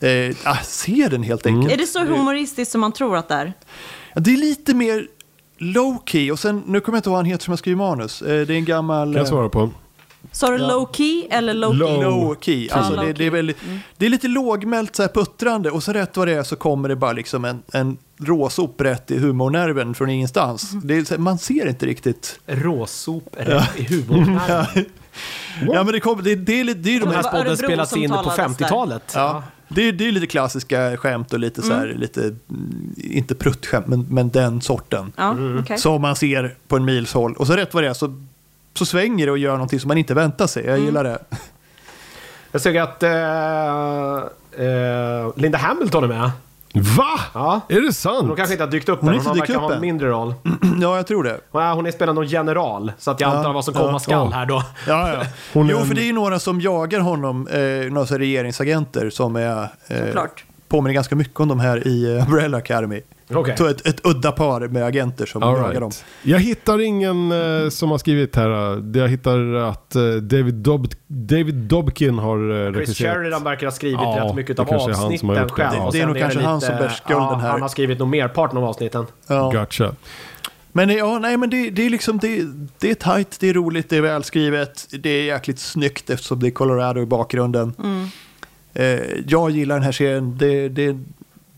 Speaker 3: Eh, ah, se den helt
Speaker 1: Mm.
Speaker 3: enkelt.
Speaker 4: Är det så humoristiskt som man tror att det är?
Speaker 3: Ja, Det är lite mer low-key och sen, nu kommer jag inte ihåg vad han heter som har skrivit manus. Eh, det är en gammal...
Speaker 1: Kan jag
Speaker 3: eh,
Speaker 1: svara på.
Speaker 4: Sa du low key eller low,
Speaker 1: Low.
Speaker 4: key?
Speaker 3: low key. Alltså,
Speaker 4: Ja,
Speaker 3: det,
Speaker 4: low
Speaker 3: det, är väldigt, det är lite lågmält, så här puttrande och så rätt vad det är så kommer det bara liksom en, en råsop rätt i humornerven från ingenstans. Det är, så här, man ser inte riktigt.
Speaker 2: Råsop rätt i humorn.
Speaker 3: Ja, men det, kommer det, det, är lite- det är de
Speaker 2: Den
Speaker 3: här
Speaker 2: här
Speaker 4: Det var
Speaker 2: podden
Speaker 4: Örebro
Speaker 2: spelades
Speaker 4: som
Speaker 2: in på
Speaker 4: talades där.
Speaker 2: 50-talet.
Speaker 3: Ja. Det är, det är lite klassiska skämt och lite så här, lite, mm, inte pruttskämt, men, men den sorten.
Speaker 4: Ja, Ah, okej.
Speaker 3: Som man ser på en mils håll. Och så rätt vad det är så, så svänger det och gör någonting som man inte väntar sig. Jag gillar det.
Speaker 2: Jag såg att eh, eh, Linda Hamilton är med.
Speaker 1: Va?
Speaker 2: Ja.
Speaker 1: Är det sant?
Speaker 2: Hon kanske inte har dykt upp
Speaker 3: Mm. Hon har
Speaker 2: än,
Speaker 3: inte
Speaker 2: hon
Speaker 3: dykt
Speaker 2: verkar
Speaker 3: upp
Speaker 2: ha en
Speaker 3: än.
Speaker 2: mindre roll.
Speaker 3: ja, jag tror det.
Speaker 2: Ja, hon är spelande någon general, så att jag antar vad som
Speaker 3: ja,
Speaker 2: komma skall
Speaker 1: ja.
Speaker 2: här då.
Speaker 3: Ja, ja.
Speaker 1: Hon är
Speaker 3: jo,
Speaker 1: en-
Speaker 3: för det är ju några som jagar honom, eh, några så här regeringsagenter som är, eh,
Speaker 4: Såklart.
Speaker 3: påminner ganska mycket om de här i eh, Umbrella Academy.
Speaker 2: Okej.
Speaker 3: Så ett, ett udda par med agenter som
Speaker 1: All
Speaker 3: jagar
Speaker 1: right.
Speaker 3: dem.
Speaker 1: Jag hittar ingen eh, som har skrivit här. eh, Jag hittar att eh, David, Dob- David Dobkin har eh,
Speaker 2: Chris
Speaker 1: regisserat.
Speaker 2: Sheridan verkar ha skrivit
Speaker 1: Ja,
Speaker 2: rätt mycket
Speaker 1: det
Speaker 2: av
Speaker 1: kanske är han som har
Speaker 2: avsnitten
Speaker 1: gjort det.
Speaker 2: själv.
Speaker 1: Det-
Speaker 2: och
Speaker 3: det är
Speaker 2: sen
Speaker 3: nog kanske han som bär skulden
Speaker 2: ja,
Speaker 3: här.
Speaker 2: Han har skrivit nog merparten av avsnitten.
Speaker 3: Ja.
Speaker 1: Gotcha.
Speaker 3: Men eh, ja, nej, men det, det är liksom, det, det är tajt, det är roligt, det är välskrivet, det är jäkligt snyggt eftersom det är Colorado i bakgrunden.
Speaker 4: Mm.
Speaker 3: Eh, jag gillar den här serien, det, det,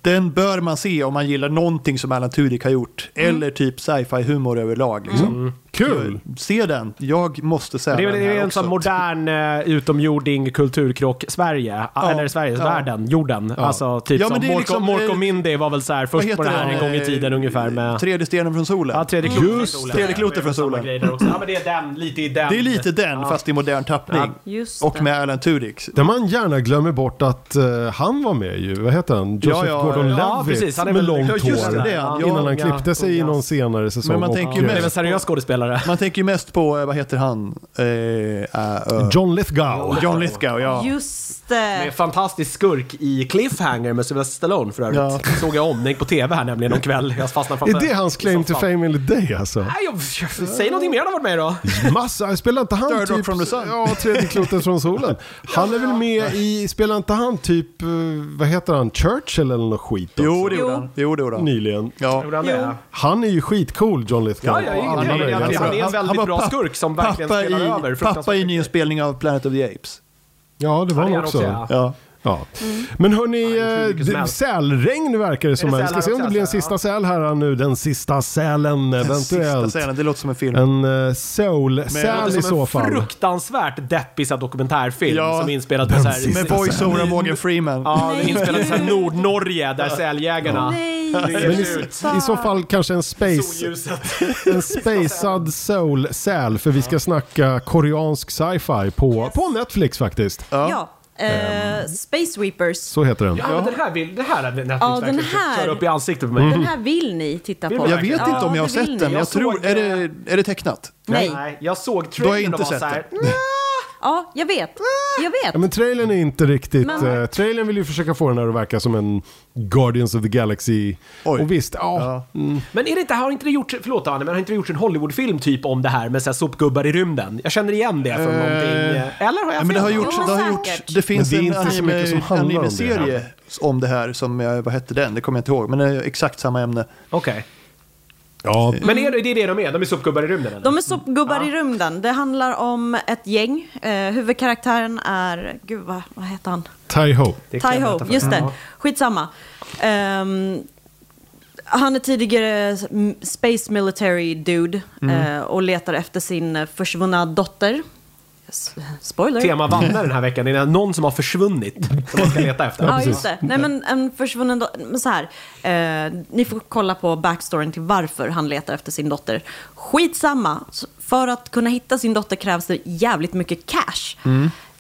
Speaker 3: den bör man se om man gillar någonting som Alan Tudyk har gjort.
Speaker 4: Mm.
Speaker 3: Eller typ sci-fi humor överlag. Liksom.
Speaker 1: Kul!
Speaker 3: Se den, jag måste säga
Speaker 2: Mm. Det är, väl-
Speaker 3: den
Speaker 2: det är
Speaker 3: här
Speaker 2: en
Speaker 3: också.
Speaker 2: sån modern eh, utomjording kulturkrock Sverige.
Speaker 3: Ja.
Speaker 2: Eller Sverige,
Speaker 3: Ja.
Speaker 2: världen, jorden. Alltså typ
Speaker 3: Ja, men
Speaker 2: som
Speaker 3: det är
Speaker 2: Mork
Speaker 3: liksom,
Speaker 2: Mork
Speaker 3: eh,
Speaker 2: och Mindy var väl så här
Speaker 3: Vad
Speaker 2: först på det
Speaker 3: heter
Speaker 2: här en
Speaker 3: den?
Speaker 2: gång i tiden
Speaker 3: Eh,
Speaker 2: ungefär med...
Speaker 3: Tredje stenen från solen.
Speaker 2: Ja, tredje klotet
Speaker 1: Just
Speaker 2: från
Speaker 1: det.
Speaker 2: solen.
Speaker 3: Tredje klotet från
Speaker 2: Samma
Speaker 3: solen.
Speaker 2: grej där också. Ja, men det är den, lite i den.
Speaker 3: Det är lite den,
Speaker 2: Ja.
Speaker 3: fast i modern tappning.
Speaker 4: Just
Speaker 3: Och
Speaker 4: det.
Speaker 3: med Alan Tudyk.
Speaker 1: Där man gärna glömmer bort att eh, han var med ju. Vad heter han? Joseph
Speaker 3: ja,
Speaker 1: Gordon-Levitt
Speaker 2: ja, precis. Han är
Speaker 1: med
Speaker 2: väl-
Speaker 1: långt
Speaker 2: ja,
Speaker 1: hår.
Speaker 2: just
Speaker 3: det,
Speaker 2: ja.
Speaker 1: innan han
Speaker 2: Ja,
Speaker 1: klippte sig i
Speaker 2: ja.
Speaker 1: någon senare säsong.
Speaker 3: Men man
Speaker 1: och,
Speaker 3: tänker ju
Speaker 1: eh,
Speaker 2: Han är
Speaker 3: mest-
Speaker 2: väl seriös skådespelare.
Speaker 3: Man tänker ju mest på, eh, vad heter han? Eh, eh, eh,
Speaker 1: John Lithgow.
Speaker 3: John Lithgow, ja.
Speaker 4: Just
Speaker 2: Med
Speaker 4: det.
Speaker 2: fantastisk skurk i Cliffhanger med Sylvester Stallone för övrigt.
Speaker 3: Ja.
Speaker 2: Såg jag om, den gick på TV här nämligen någon kväll. Jag fastnade
Speaker 1: Är
Speaker 2: framför
Speaker 1: det hans claim to
Speaker 2: soffan.
Speaker 1: fame enligt dig alltså?
Speaker 2: Nej, jag, jag, säg någonting mer han har varit med i då.
Speaker 1: Massa, spelar inte han
Speaker 3: Third Rock
Speaker 1: typ...
Speaker 3: from the Sun.
Speaker 1: Ja, tredje klotet från solen. Han är väl med i, spelar inte han typ, eh, vad heter han, Churchill eller något skit då?
Speaker 3: Jo, det gjorde
Speaker 4: Jo.
Speaker 3: han. Jo, det gjorde han.
Speaker 1: Nyligen.
Speaker 3: Ja.
Speaker 2: Gjorde han det?
Speaker 1: Han är ju skitcool John Lithgow.
Speaker 2: Ja, ja,
Speaker 1: Alla
Speaker 2: det är-
Speaker 1: möjliga.
Speaker 2: det är-
Speaker 1: Alltså,
Speaker 2: han är en väldigt
Speaker 3: var
Speaker 2: bra
Speaker 3: papp-
Speaker 2: skurk som verkligen
Speaker 3: pappa
Speaker 2: spelar
Speaker 3: i,
Speaker 2: över.
Speaker 3: Pappa
Speaker 2: Fruktansvärt
Speaker 3: i nyinspelning av Planet of the Apes.
Speaker 1: Ja, det var
Speaker 2: Han
Speaker 1: han
Speaker 2: är han
Speaker 1: också.
Speaker 2: också,
Speaker 1: ja.
Speaker 2: ja.
Speaker 3: Ja.
Speaker 1: Men hörni,
Speaker 2: är hur mycket
Speaker 1: eh,
Speaker 2: som helst.
Speaker 1: sälregn verkar det som.
Speaker 2: det
Speaker 1: Vi
Speaker 2: säl
Speaker 1: ska
Speaker 2: här
Speaker 1: se om
Speaker 2: också,
Speaker 1: det blir en
Speaker 2: alltså?
Speaker 1: sista säl här nu. Den sista sälen
Speaker 3: Den sista
Speaker 1: eventuellt.
Speaker 3: scenen, det låter som en film.
Speaker 1: En eh, soul-säl i
Speaker 2: Låter som
Speaker 1: så
Speaker 2: en
Speaker 1: fall.
Speaker 2: fruktansvärt deppig så här dokumentärfilm
Speaker 3: Ja.
Speaker 2: som är inspelad på så här...
Speaker 1: sista
Speaker 3: Med voice-over av Morgan Freeman.
Speaker 2: Ja,
Speaker 4: Nej,
Speaker 2: inspelad i så här
Speaker 4: gud.
Speaker 2: Nordnorge där säljägarna...
Speaker 4: Nej,
Speaker 1: Men i,
Speaker 4: sluta.
Speaker 1: I så fall kanske en space,
Speaker 2: Solljuset.
Speaker 1: en spacad soul-säl. För vi ska snacka koreansk sci-fi på, på Netflix faktiskt.
Speaker 4: Ja. Eh,
Speaker 3: Mm.
Speaker 4: Space Weepers.
Speaker 1: Så heter den.
Speaker 2: Ja, men den här vill... Det här är Netflix
Speaker 4: Ja, den
Speaker 2: verkligen
Speaker 4: här-
Speaker 2: kör upp i ansiktet på mig.
Speaker 4: Den här vill ni titta på.
Speaker 3: Jag vet
Speaker 4: Ja,
Speaker 3: inte om
Speaker 4: det
Speaker 3: jag har
Speaker 4: vill
Speaker 3: sett den,
Speaker 4: ni.
Speaker 3: men jag,
Speaker 2: Jag såg
Speaker 3: tror... Är
Speaker 2: det.
Speaker 3: det, är det tecknat?
Speaker 4: Nej.
Speaker 2: Nej, jag såg
Speaker 3: Då har jag
Speaker 2: trailern och
Speaker 3: inte
Speaker 2: var
Speaker 3: sett
Speaker 2: såhär...
Speaker 3: det.
Speaker 4: Ja, jag vet. Jag vet.
Speaker 1: Ja, men trailern är inte riktigt...
Speaker 4: Men-
Speaker 1: eh, trailern vill ju försöka få den här att verka som en Guardians of the Galaxy.
Speaker 3: Oj.
Speaker 1: Och visst, ja.
Speaker 3: Ja.
Speaker 2: Men är det inte, har inte det gjort, förlåt Anne, men har inte det gjort en Hollywoodfilm typ om det här med så här sopgubbar i rymden? Jag känner igen det från
Speaker 3: Eh,
Speaker 2: någonting. eh, Eller har jag
Speaker 3: Ja,
Speaker 2: fel?
Speaker 3: men det har
Speaker 2: nu?
Speaker 3: gjorts, det har
Speaker 4: säkert.
Speaker 3: gjorts, det finns
Speaker 1: Men det är
Speaker 3: en
Speaker 1: inte så mycket som
Speaker 3: anime,
Speaker 1: handlar om det.
Speaker 3: anime-serie om det här som, jag- vad hette den? Det kommer jag inte ihåg, men det är exakt samma ämne.
Speaker 2: Okej.
Speaker 1: ja.
Speaker 2: Men är det, det är det de är? De är sopgubbar i rymden eller?
Speaker 4: De är soppgubbar i rymden. Det handlar om ett gäng. Eh, huvudkaraktären är, gud vad, vad heter han?
Speaker 1: Tai Ho.
Speaker 2: Det kan jag
Speaker 4: Tai Ho,
Speaker 2: berätta för
Speaker 4: just
Speaker 2: dig.
Speaker 4: det. Skitsamma. Ehm, han är tidigare m- space military dude
Speaker 3: Mm.
Speaker 4: eh, och letar efter sin eh, försvunna dotter. S- Spoiler.
Speaker 2: Tema vandrar den här veckan. Det är någon som har försvunnit som man ska leta efter.
Speaker 4: Ja, just det. Nej, men en försvunnen do- men så här. Eh, ni får kolla på backstoryn till varför han letar efter sin dotter. Skitsamma. Så För att kunna hitta sin dotter krävs det jävligt mycket cash.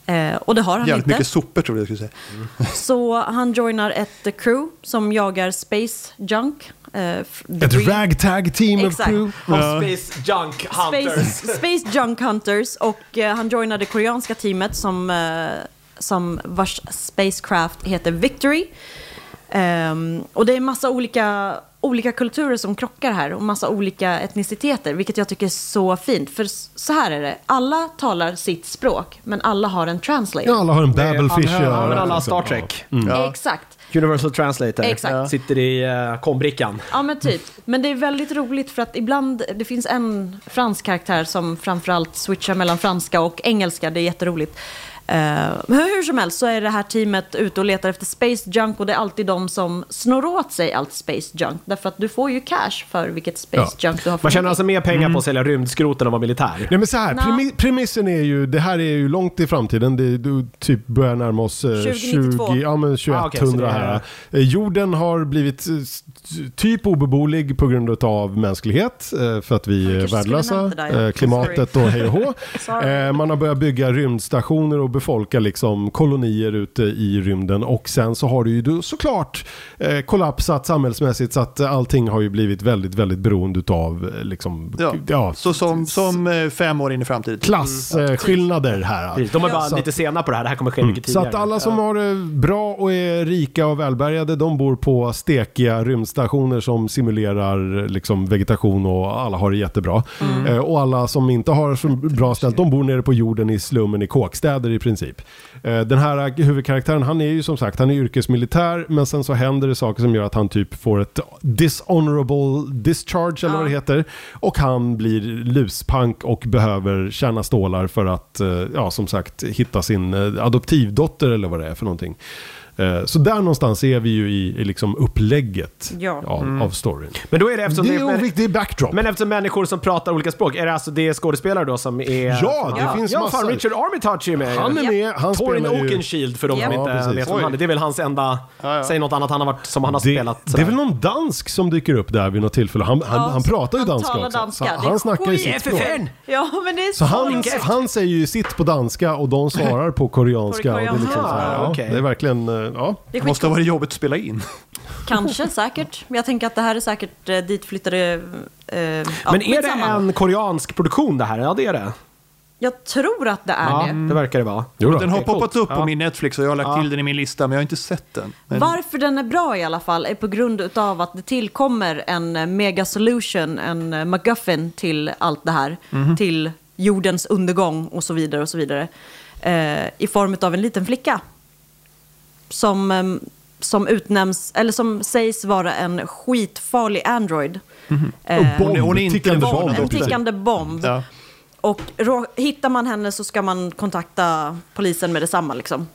Speaker 4: Eh, och det har han
Speaker 3: Mm. Jävligt
Speaker 4: inte.
Speaker 3: mycket sopor tror jag jag skulle säga.
Speaker 4: Så han joinar ett eh, crew som jagar space junk. Eh, f-
Speaker 1: Ett
Speaker 4: debris.
Speaker 1: ragtag team of
Speaker 4: Exakt.
Speaker 1: crew.
Speaker 2: Av Space Junk Hunters.
Speaker 4: Space, Space Junk Hunters och eh, han joinar det koreanska teamet som, eh, som vars spacecraft heter Victory. Ehm, och det är massa olika, olika kulturer som krockar här och massa olika etniciteter, vilket jag tycker är så fint. För s- så här är det, alla talar sitt språk, men alla har en translator.
Speaker 1: Ja, alla har en Babelfish i
Speaker 2: Ja, men
Speaker 1: örat,
Speaker 2: alla har
Speaker 1: liksom.
Speaker 2: Star Trek.
Speaker 3: Ja.
Speaker 4: Exakt.
Speaker 2: Universal Translator.
Speaker 4: Exakt.
Speaker 2: Ja. Sitter i eh, kombrickan.
Speaker 4: Ja men typ. Men det är väldigt roligt för att ibland, det finns en fransk karaktär som framförallt switchar mellan franska och engelska, det är jätteroligt. Eh, Men hur som helst så är det här teamet ute och letar efter space junk och det är alltid de som snor åt sig allt space junk. Därför att du får ju cash för vilket space junk du har
Speaker 2: Man tjänar
Speaker 4: mycket.
Speaker 2: alltså mer pengar på att sälja rymdskroten än att vara militär.
Speaker 1: Nej men så här,
Speaker 4: Nå.
Speaker 1: premi- premissen är ju, det här är ju långt i framtiden, det du typ börjar närma oss eh,
Speaker 4: 2092.
Speaker 1: 20, ja men 2100
Speaker 2: Ah, okej, så det är-
Speaker 1: här. Eh, Jorden har blivit eh, s- typ obeboelig på grund av mänsklighet, eh, för att vi
Speaker 4: kanske
Speaker 1: är
Speaker 4: skulle
Speaker 1: värdelösa.
Speaker 4: nämnt det där, ja.
Speaker 1: Eh, Klimatet och hej och hå.
Speaker 4: Sorry.
Speaker 1: Eh, Man har börjat bygga rymdstationer och befolka liksom kolonier ute i rymden och sen så har det ju då såklart eh, kollapsat samhällsmässigt så att eh, allting har ju blivit väldigt, väldigt beroende av liksom,
Speaker 3: Ja.
Speaker 1: ja,
Speaker 3: Så som, som eh, fem år in i framtiden.
Speaker 1: klasskillnader här.
Speaker 2: Precis, De är bara
Speaker 1: Så att-
Speaker 2: lite sena på det här, det här kommer ske mycket
Speaker 1: Så
Speaker 2: tidigare.
Speaker 1: att alla som har det bra och är rika och välbärgade, de bor på stekiga rymdstationer som simulerar liksom vegetation och alla har det jättebra. Eh, Och alla som inte har så bra ställt, de bor nere på jorden i slummen i kåkstäder i princip. Eh, Den här huvudkaraktären, han är ju som sagt, han är yrkesmilitär, men sen så händer det saker som gör att han typ får ett dishonorable discharge, eller vad det heter. Och han blir luspank och behöver tjäna stålar för att, eh, ja som sagt, hitta sin eh, adoptivdotter eller vad det är för någonting. Eh, Så där någonstans är vi ju i, i liksom upplägget
Speaker 4: Ja.
Speaker 1: av, av storyn.
Speaker 2: Men då är det Mm. eftersom
Speaker 1: Det
Speaker 2: det
Speaker 1: är
Speaker 2: är,
Speaker 1: oviktigt, det är backdrop.
Speaker 2: men eftersom människor som pratar olika språk, är det alltså det är skådespelare då som är...
Speaker 1: Ja, det finns
Speaker 2: ja,
Speaker 1: massor.
Speaker 2: Fan, Richard Armitage är med ju.
Speaker 1: han är
Speaker 4: Ja.
Speaker 1: med, han
Speaker 2: Torin
Speaker 1: spelar ju...
Speaker 2: Oakenshield för de som
Speaker 4: Ja,
Speaker 2: inte
Speaker 1: precis.
Speaker 2: vet vem
Speaker 3: Oj.
Speaker 2: han är. Det är väl hans enda...
Speaker 3: Ja, ja.
Speaker 2: Säg något annat han har varit, som han har
Speaker 1: Det,
Speaker 2: spelat.
Speaker 1: det är
Speaker 2: sådär.
Speaker 1: väl någon dansk som dyker upp där vid något tillfälle. Han, han,
Speaker 4: Ja,
Speaker 1: han pratar ju
Speaker 4: han
Speaker 1: danska
Speaker 4: talar
Speaker 1: också.
Speaker 4: danska.
Speaker 1: Så
Speaker 4: Det är
Speaker 1: han snackar ju
Speaker 4: skit.
Speaker 1: sitt språk.
Speaker 2: FFN!
Speaker 4: Ja men det är
Speaker 1: Så han,
Speaker 4: roligt.
Speaker 1: han säger ju sitt på danska och de svarar på koreanska. Och det, är liksom så här,
Speaker 2: Ah,
Speaker 1: ja,
Speaker 2: okej.
Speaker 1: det är verkligen, eh, ja.
Speaker 4: Det är
Speaker 3: Det måste ha
Speaker 4: skitcoolt.
Speaker 3: varit jobbigt att spela in.
Speaker 4: Kanske, säkert. Men Jag tänker att det här är säkert eh, ditflyttade... Eh, ja,
Speaker 2: Men är det
Speaker 4: skitsamma.
Speaker 2: en koreansk produktion det här? Ja, det är det.
Speaker 4: Jag tror att det är
Speaker 2: Ja,
Speaker 4: det.
Speaker 2: det verkar det vara.
Speaker 1: Jo då.
Speaker 3: Den har
Speaker 2: Det är coolt.
Speaker 3: poppat upp på
Speaker 2: Ja.
Speaker 3: min Netflix och jag har lagt till den i min lista men jag har inte sett den. Men
Speaker 4: Varför den är bra i alla fall är på grund utav att det tillkommer en eh, mega solution, en eh, MacGuffin till allt det här. Till jordens undergång och så vidare och så vidare. Eh, I form av en liten flicka. Som, eh, som utnämns, eller som sägs vara en skitfarlig android. Eh,
Speaker 1: Bomb,
Speaker 3: hon är inte
Speaker 1: tickande
Speaker 3: van
Speaker 1: bomb.
Speaker 3: att
Speaker 4: en
Speaker 3: Bomb.
Speaker 4: tickande bomb.
Speaker 3: Ja.
Speaker 4: Och rå- hittar man henne så ska man kontakta polisen med detsamma. Liksom.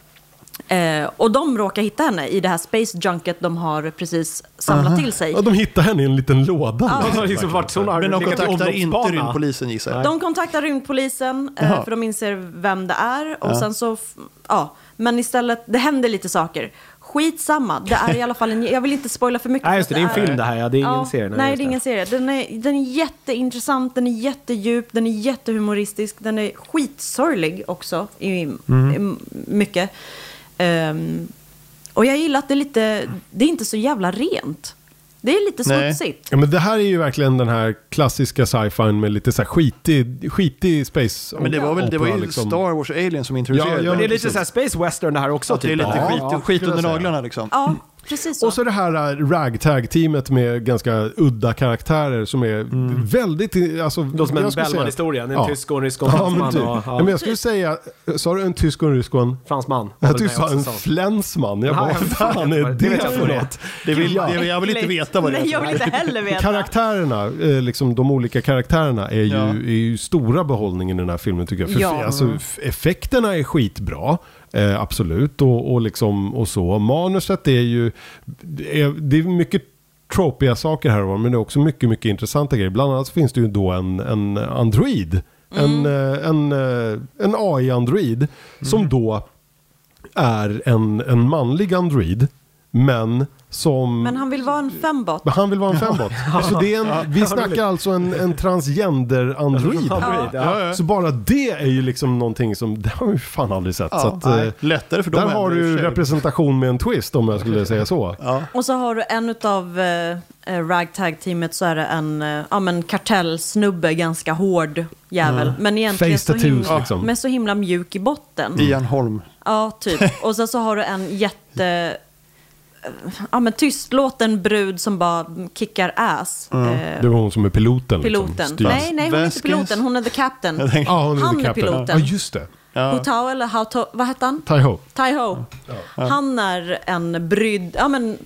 Speaker 4: Eh, och de råkar hitta henne i det här space junket de har precis samlat till sig.
Speaker 1: Ja, de hittar henne i en liten låda.
Speaker 2: Hon har liksom varit, hon har
Speaker 3: men de
Speaker 2: legat i
Speaker 3: kontaktar inte
Speaker 2: omloppsbana.
Speaker 3: rymdpolisen gissar jag.
Speaker 4: De kontaktar rymdpolisen eh,
Speaker 3: Jaha.
Speaker 4: för de inser vem det är. Och sen så, f- ja. Men istället, det händer lite saker. Skitsamma, det är i alla fall en, jag vill inte spoila för mycket.
Speaker 2: Nej, just det.
Speaker 4: för
Speaker 2: Det är en film det här. Ja, det är ingen
Speaker 4: Ja,
Speaker 2: serie.
Speaker 4: Nej,
Speaker 2: just
Speaker 4: det är ingen serie. Den är, den är jätteintressant, den är jättedjup, den är jättehumoristisk, den är skitsorglig också i, i
Speaker 2: Mhm.
Speaker 4: mycket. Ehm, och jag gillar att det är lite, det är inte så jävla rent. Det är lite
Speaker 3: Nej.
Speaker 4: smutsigt.
Speaker 1: Ja, men det här är ju verkligen den här klassiska sci-fin med lite så här skitig, skitig space
Speaker 3: Men det var väl det var
Speaker 1: opera,
Speaker 3: ju
Speaker 1: liksom.
Speaker 3: Star Wars och Alien som introducerade
Speaker 1: Ja, ja,
Speaker 2: Men det är
Speaker 3: den.
Speaker 2: lite såhär space western det här också. typ.
Speaker 3: Det är lite
Speaker 2: Ja.
Speaker 3: skit,
Speaker 2: Ja.
Speaker 3: skit
Speaker 1: skulle jag
Speaker 3: under
Speaker 1: säga.
Speaker 3: naglarna liksom.
Speaker 4: Ja, precis så.
Speaker 1: Och så det här äh, ragtag-teamet med ganska udda karaktärer som är
Speaker 3: Mm.
Speaker 1: väldigt... Alltså,
Speaker 2: Låter som en
Speaker 1: jag skulle säga-
Speaker 2: Bellman-historia. En tysk och en rysk och en
Speaker 1: ja, men
Speaker 2: fransman
Speaker 1: typ.
Speaker 2: och-
Speaker 1: ja.
Speaker 2: ja.
Speaker 1: men jag skulle säga, sa du en tysk och en rysk och en...
Speaker 2: Fransman.
Speaker 1: Jag tyckte du sa
Speaker 2: Var väl
Speaker 1: en
Speaker 2: med också, så.
Speaker 1: flänsman. Jag bara,
Speaker 2: Nej,
Speaker 1: vad fan
Speaker 2: det
Speaker 1: är
Speaker 2: vet
Speaker 1: det
Speaker 2: jag
Speaker 1: för
Speaker 2: vad det är.
Speaker 1: något?
Speaker 3: Det vill,
Speaker 1: Ja.
Speaker 3: det, jag vill inte veta vad det är.
Speaker 4: Nej, jag vill inte heller veta.
Speaker 1: Karaktärerna, eh, liksom de olika karaktärerna är ju,
Speaker 3: Ja.
Speaker 1: är ju stora behållningen i den här filmen tycker jag. För
Speaker 4: Ja.
Speaker 1: alltså, f- effekterna är skitbra. Eh, absolut, och, och, liksom, och så. Manuset är ju... Det är, det är mycket tropiga saker här och var, men det är också mycket, mycket intressanta grejer. Bland annat så finns det ju då en, en android. En,
Speaker 4: Mm.
Speaker 1: eh, en, eh, en AI-android som då är en, en manlig android, men som...
Speaker 4: Men han vill vara en fembot.
Speaker 1: Men han vill vara en fembot. Så det är en, vi snackar alltså en, en transgender-android.
Speaker 2: Android, ja.
Speaker 1: Så bara det är ju liksom någonting som, det har vi fan aldrig sett. så att, eh,
Speaker 3: Nej, Lättare för dem
Speaker 1: där
Speaker 3: ändå
Speaker 1: har
Speaker 3: i och
Speaker 1: du
Speaker 3: för sig.
Speaker 1: representation med en twist om jag skulle säga så.
Speaker 4: Och så har du en av eh, eh, ragtag-teamet så är det en eh, ja, men kartellsnubbe, ganska hård jävel. Men egentligen
Speaker 1: Mm. Face
Speaker 4: så
Speaker 1: tattoos,
Speaker 4: himla,
Speaker 1: liksom.
Speaker 4: men så himla mjuk i botten.
Speaker 3: Ian Holm.
Speaker 4: Ja, typ. Och sen så har du en jätte... eh, Ja, men tystlåten brud som bara kickar ass. Eh,
Speaker 1: Det var Mm. hon som är liksom piloten.
Speaker 4: piloten.
Speaker 1: Liksom, styr-
Speaker 4: nej, nej, hon är inte
Speaker 3: Vasquez.
Speaker 4: piloten. Hon är the captain.
Speaker 3: Jag tänker-
Speaker 1: Ja, hon är,
Speaker 4: Han
Speaker 1: the
Speaker 4: är
Speaker 1: captain.
Speaker 4: piloten.
Speaker 1: Ja, just det.
Speaker 3: Ja.
Speaker 4: Hu Tao, eller Hao Tao, vad hette han?
Speaker 1: Taiho.
Speaker 4: Tai Ho. Han är en brydd, ja men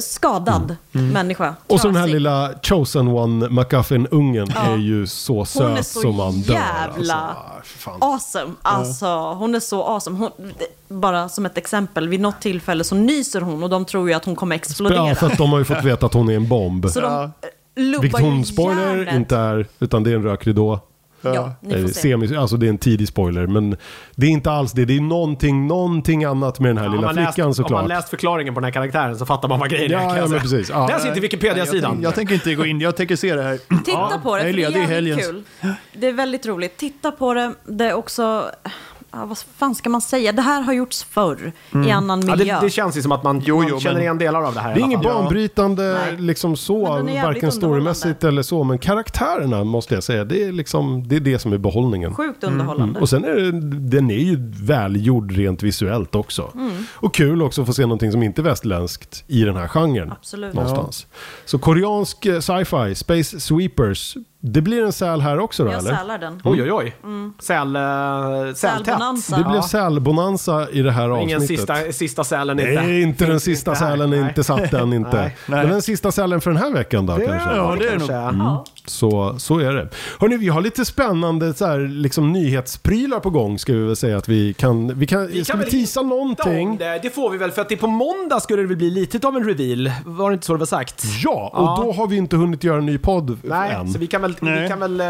Speaker 4: skadad människa.
Speaker 1: Mm. Och så den här
Speaker 4: Trasig.
Speaker 1: lilla Chosen One McGuffin-ungen är ju så söt
Speaker 4: Hon är så
Speaker 1: som man dör. Alltså.
Speaker 4: jävla
Speaker 1: Ah, fy fan.
Speaker 4: Awesome, alltså hon är så awesome. Hon, bara som ett exempel, vid något tillfälle så nyser hon och de tror ju att hon kommer explodera.
Speaker 1: Ja, för att de har ju fått veta att hon är en bomb.
Speaker 4: Så de
Speaker 3: Ja.
Speaker 4: eh, lubbar
Speaker 1: Vilket hon,
Speaker 4: ju
Speaker 1: spoiler,
Speaker 4: järnet.
Speaker 1: inte är, utan det är en rökridå.
Speaker 4: Ja, ni
Speaker 1: Eh,
Speaker 4: får se.
Speaker 1: Semi, alltså det är en tidig spoiler, men det är inte alls det. Det är någonting, någonting annat med den här
Speaker 2: om
Speaker 1: lilla
Speaker 2: man läst,
Speaker 1: flickan
Speaker 2: Om man
Speaker 1: såklart.
Speaker 2: läst förklaringen på den här karaktären så fattar man vad grejen
Speaker 1: Ja,
Speaker 2: är. kan
Speaker 1: ja,
Speaker 2: jag
Speaker 1: men
Speaker 2: säga.
Speaker 1: precis. Ja.
Speaker 2: Läs inte Wikipedia-sidan.
Speaker 3: Jag, jag tänker inte gå in, jag tänker se det här.
Speaker 4: Titta på det,
Speaker 3: jag
Speaker 4: för det är
Speaker 3: är ledig i
Speaker 4: jävligt
Speaker 3: helgen.
Speaker 4: kul. Det är väldigt roligt. Titta på det, det är också... Ja, vad fan ska man säga? Det här har gjorts förr
Speaker 1: Mm.
Speaker 4: i annan
Speaker 2: Ja,
Speaker 4: miljö.
Speaker 2: det, det känns ju som att man,
Speaker 3: Jo, jo,
Speaker 2: man känner
Speaker 3: men-
Speaker 2: igen delar av det här
Speaker 1: Det
Speaker 2: i
Speaker 1: är
Speaker 2: alla
Speaker 1: inget
Speaker 2: fall.
Speaker 1: banbrytande
Speaker 4: Nej.
Speaker 1: liksom så,
Speaker 4: Men den är jävligt
Speaker 1: varken storymässigt eller så, men karaktärerna måste jag säga, det är liksom, det är det som är behållningen.
Speaker 4: Sjukt underhållande.
Speaker 1: Mm. Och sen är det, den är ju välgjord rent visuellt också.
Speaker 4: Mm.
Speaker 1: Och kul också att få se någonting som inte är västerländskt i den här genren.
Speaker 4: Absolut.
Speaker 1: Någonstans. Så koreansk eh, sci-fi, Space Sweepers, det blir en säl här också då
Speaker 4: Jag
Speaker 1: eller?
Speaker 4: sälar den.
Speaker 2: Oj, oj, oj. Mm. Säl, eh, sältätt.
Speaker 4: Sälbonanza.
Speaker 1: Det blev
Speaker 2: Ja.
Speaker 1: sälbonanza i det här avsnittet.
Speaker 2: Ingen sista, sista sälen inte.
Speaker 1: Nej, inte den sista
Speaker 2: här.
Speaker 1: sälen är
Speaker 2: Nej.
Speaker 1: inte satt än inte.
Speaker 2: Nej,
Speaker 3: nej.
Speaker 1: Men den sista sälen för den här veckan då kanske?
Speaker 3: ja, det är
Speaker 2: kanske.
Speaker 4: Ja.
Speaker 1: Så, så är det. Hörni, vi har lite spännande så här, liksom, nyhetsprylar på gång ska vi väl säga att vi kan... Vi kan, ska
Speaker 2: kan
Speaker 1: vi
Speaker 2: väl
Speaker 1: tisa
Speaker 2: Prata om
Speaker 1: någonting?
Speaker 2: Det, det får vi väl, för att det på måndag skulle det väl bli lite av en reveal. Var det inte så det var sagt?
Speaker 1: Ja, och
Speaker 2: Ja.
Speaker 1: då har vi inte hunnit göra en ny podd
Speaker 2: Nej,
Speaker 1: än.
Speaker 2: så vi kan väl... Vi
Speaker 3: Nej.
Speaker 2: kan väl eh,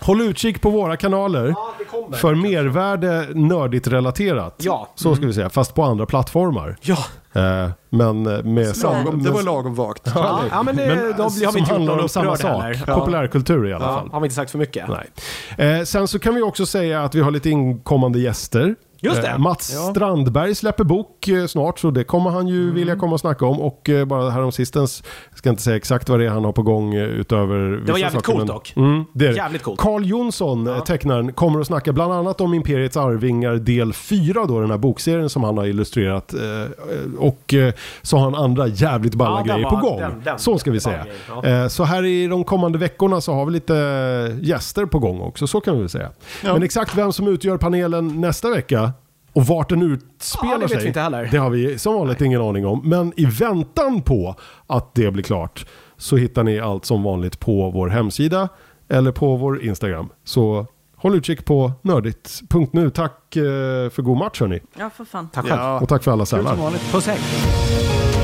Speaker 1: Håll utkik på våra kanaler.
Speaker 2: ja, det kommer.
Speaker 1: För mervärde nördigt relaterat.
Speaker 2: Ja.
Speaker 1: Så ska vi säga, fast på andra plattformar.
Speaker 2: Ja.
Speaker 1: Eh, men med
Speaker 3: Lagom, det
Speaker 1: med-
Speaker 3: var lagom vagt.
Speaker 2: Ja, ja, men, eh, då har vi
Speaker 1: som
Speaker 2: inte gjort
Speaker 1: handlar
Speaker 2: någon
Speaker 1: om samma
Speaker 2: upprörd
Speaker 1: sak.
Speaker 2: heller. Ja.
Speaker 1: Populärkultur i alla
Speaker 2: Ja,
Speaker 1: fall.
Speaker 2: har vi inte sagt för mycket?
Speaker 1: Nej. Eh, sen så kan vi också säga att vi har lite inkommande gäster.
Speaker 2: Just det.
Speaker 1: Eh, Mats Strandberg släpper bok eh, snart så det kommer han ju vilja komma och snacka om. Och eh, bara häromsistens, jag ska inte säga exakt vad det är han har på gång eh, utöver Det
Speaker 2: jävligt coolt dock.
Speaker 1: Mm, det är det.
Speaker 2: Jävligt coolt.
Speaker 1: Carl Jonsson, eh, tecknaren, kommer att snacka bland annat om Imperiets arvingar del 4 då, den här bokserien som han har illustrerat. eh, eh, Och eh, så har han andra jävligt balla
Speaker 2: Ja, den
Speaker 1: grejer
Speaker 2: var-
Speaker 1: på gång.
Speaker 2: den- den-
Speaker 1: så ska vi
Speaker 2: den var
Speaker 1: säga.
Speaker 2: grej, ja.
Speaker 1: Eh, Så här i de kommande veckorna så har vi lite eh, gäster på gång också, så kan vi väl säga. Men exakt vem som utgör panelen nästa vecka och vart den utspelar
Speaker 2: Ja, det vet
Speaker 1: sig,
Speaker 2: vi inte heller.
Speaker 1: det har vi som vanligt ingen aning om. Men i väntan på att det blir klart så hittar ni allt som vanligt på vår hemsida eller på vår Instagram. Så håll utkik på nördigt.nu. Tack eh, för god match hörni.
Speaker 4: ja, för fan.
Speaker 2: Tack själv.
Speaker 3: Ja,
Speaker 1: Och tack för alla
Speaker 3: kul som
Speaker 1: sälar.
Speaker 3: vanligt.
Speaker 2: Puss hej.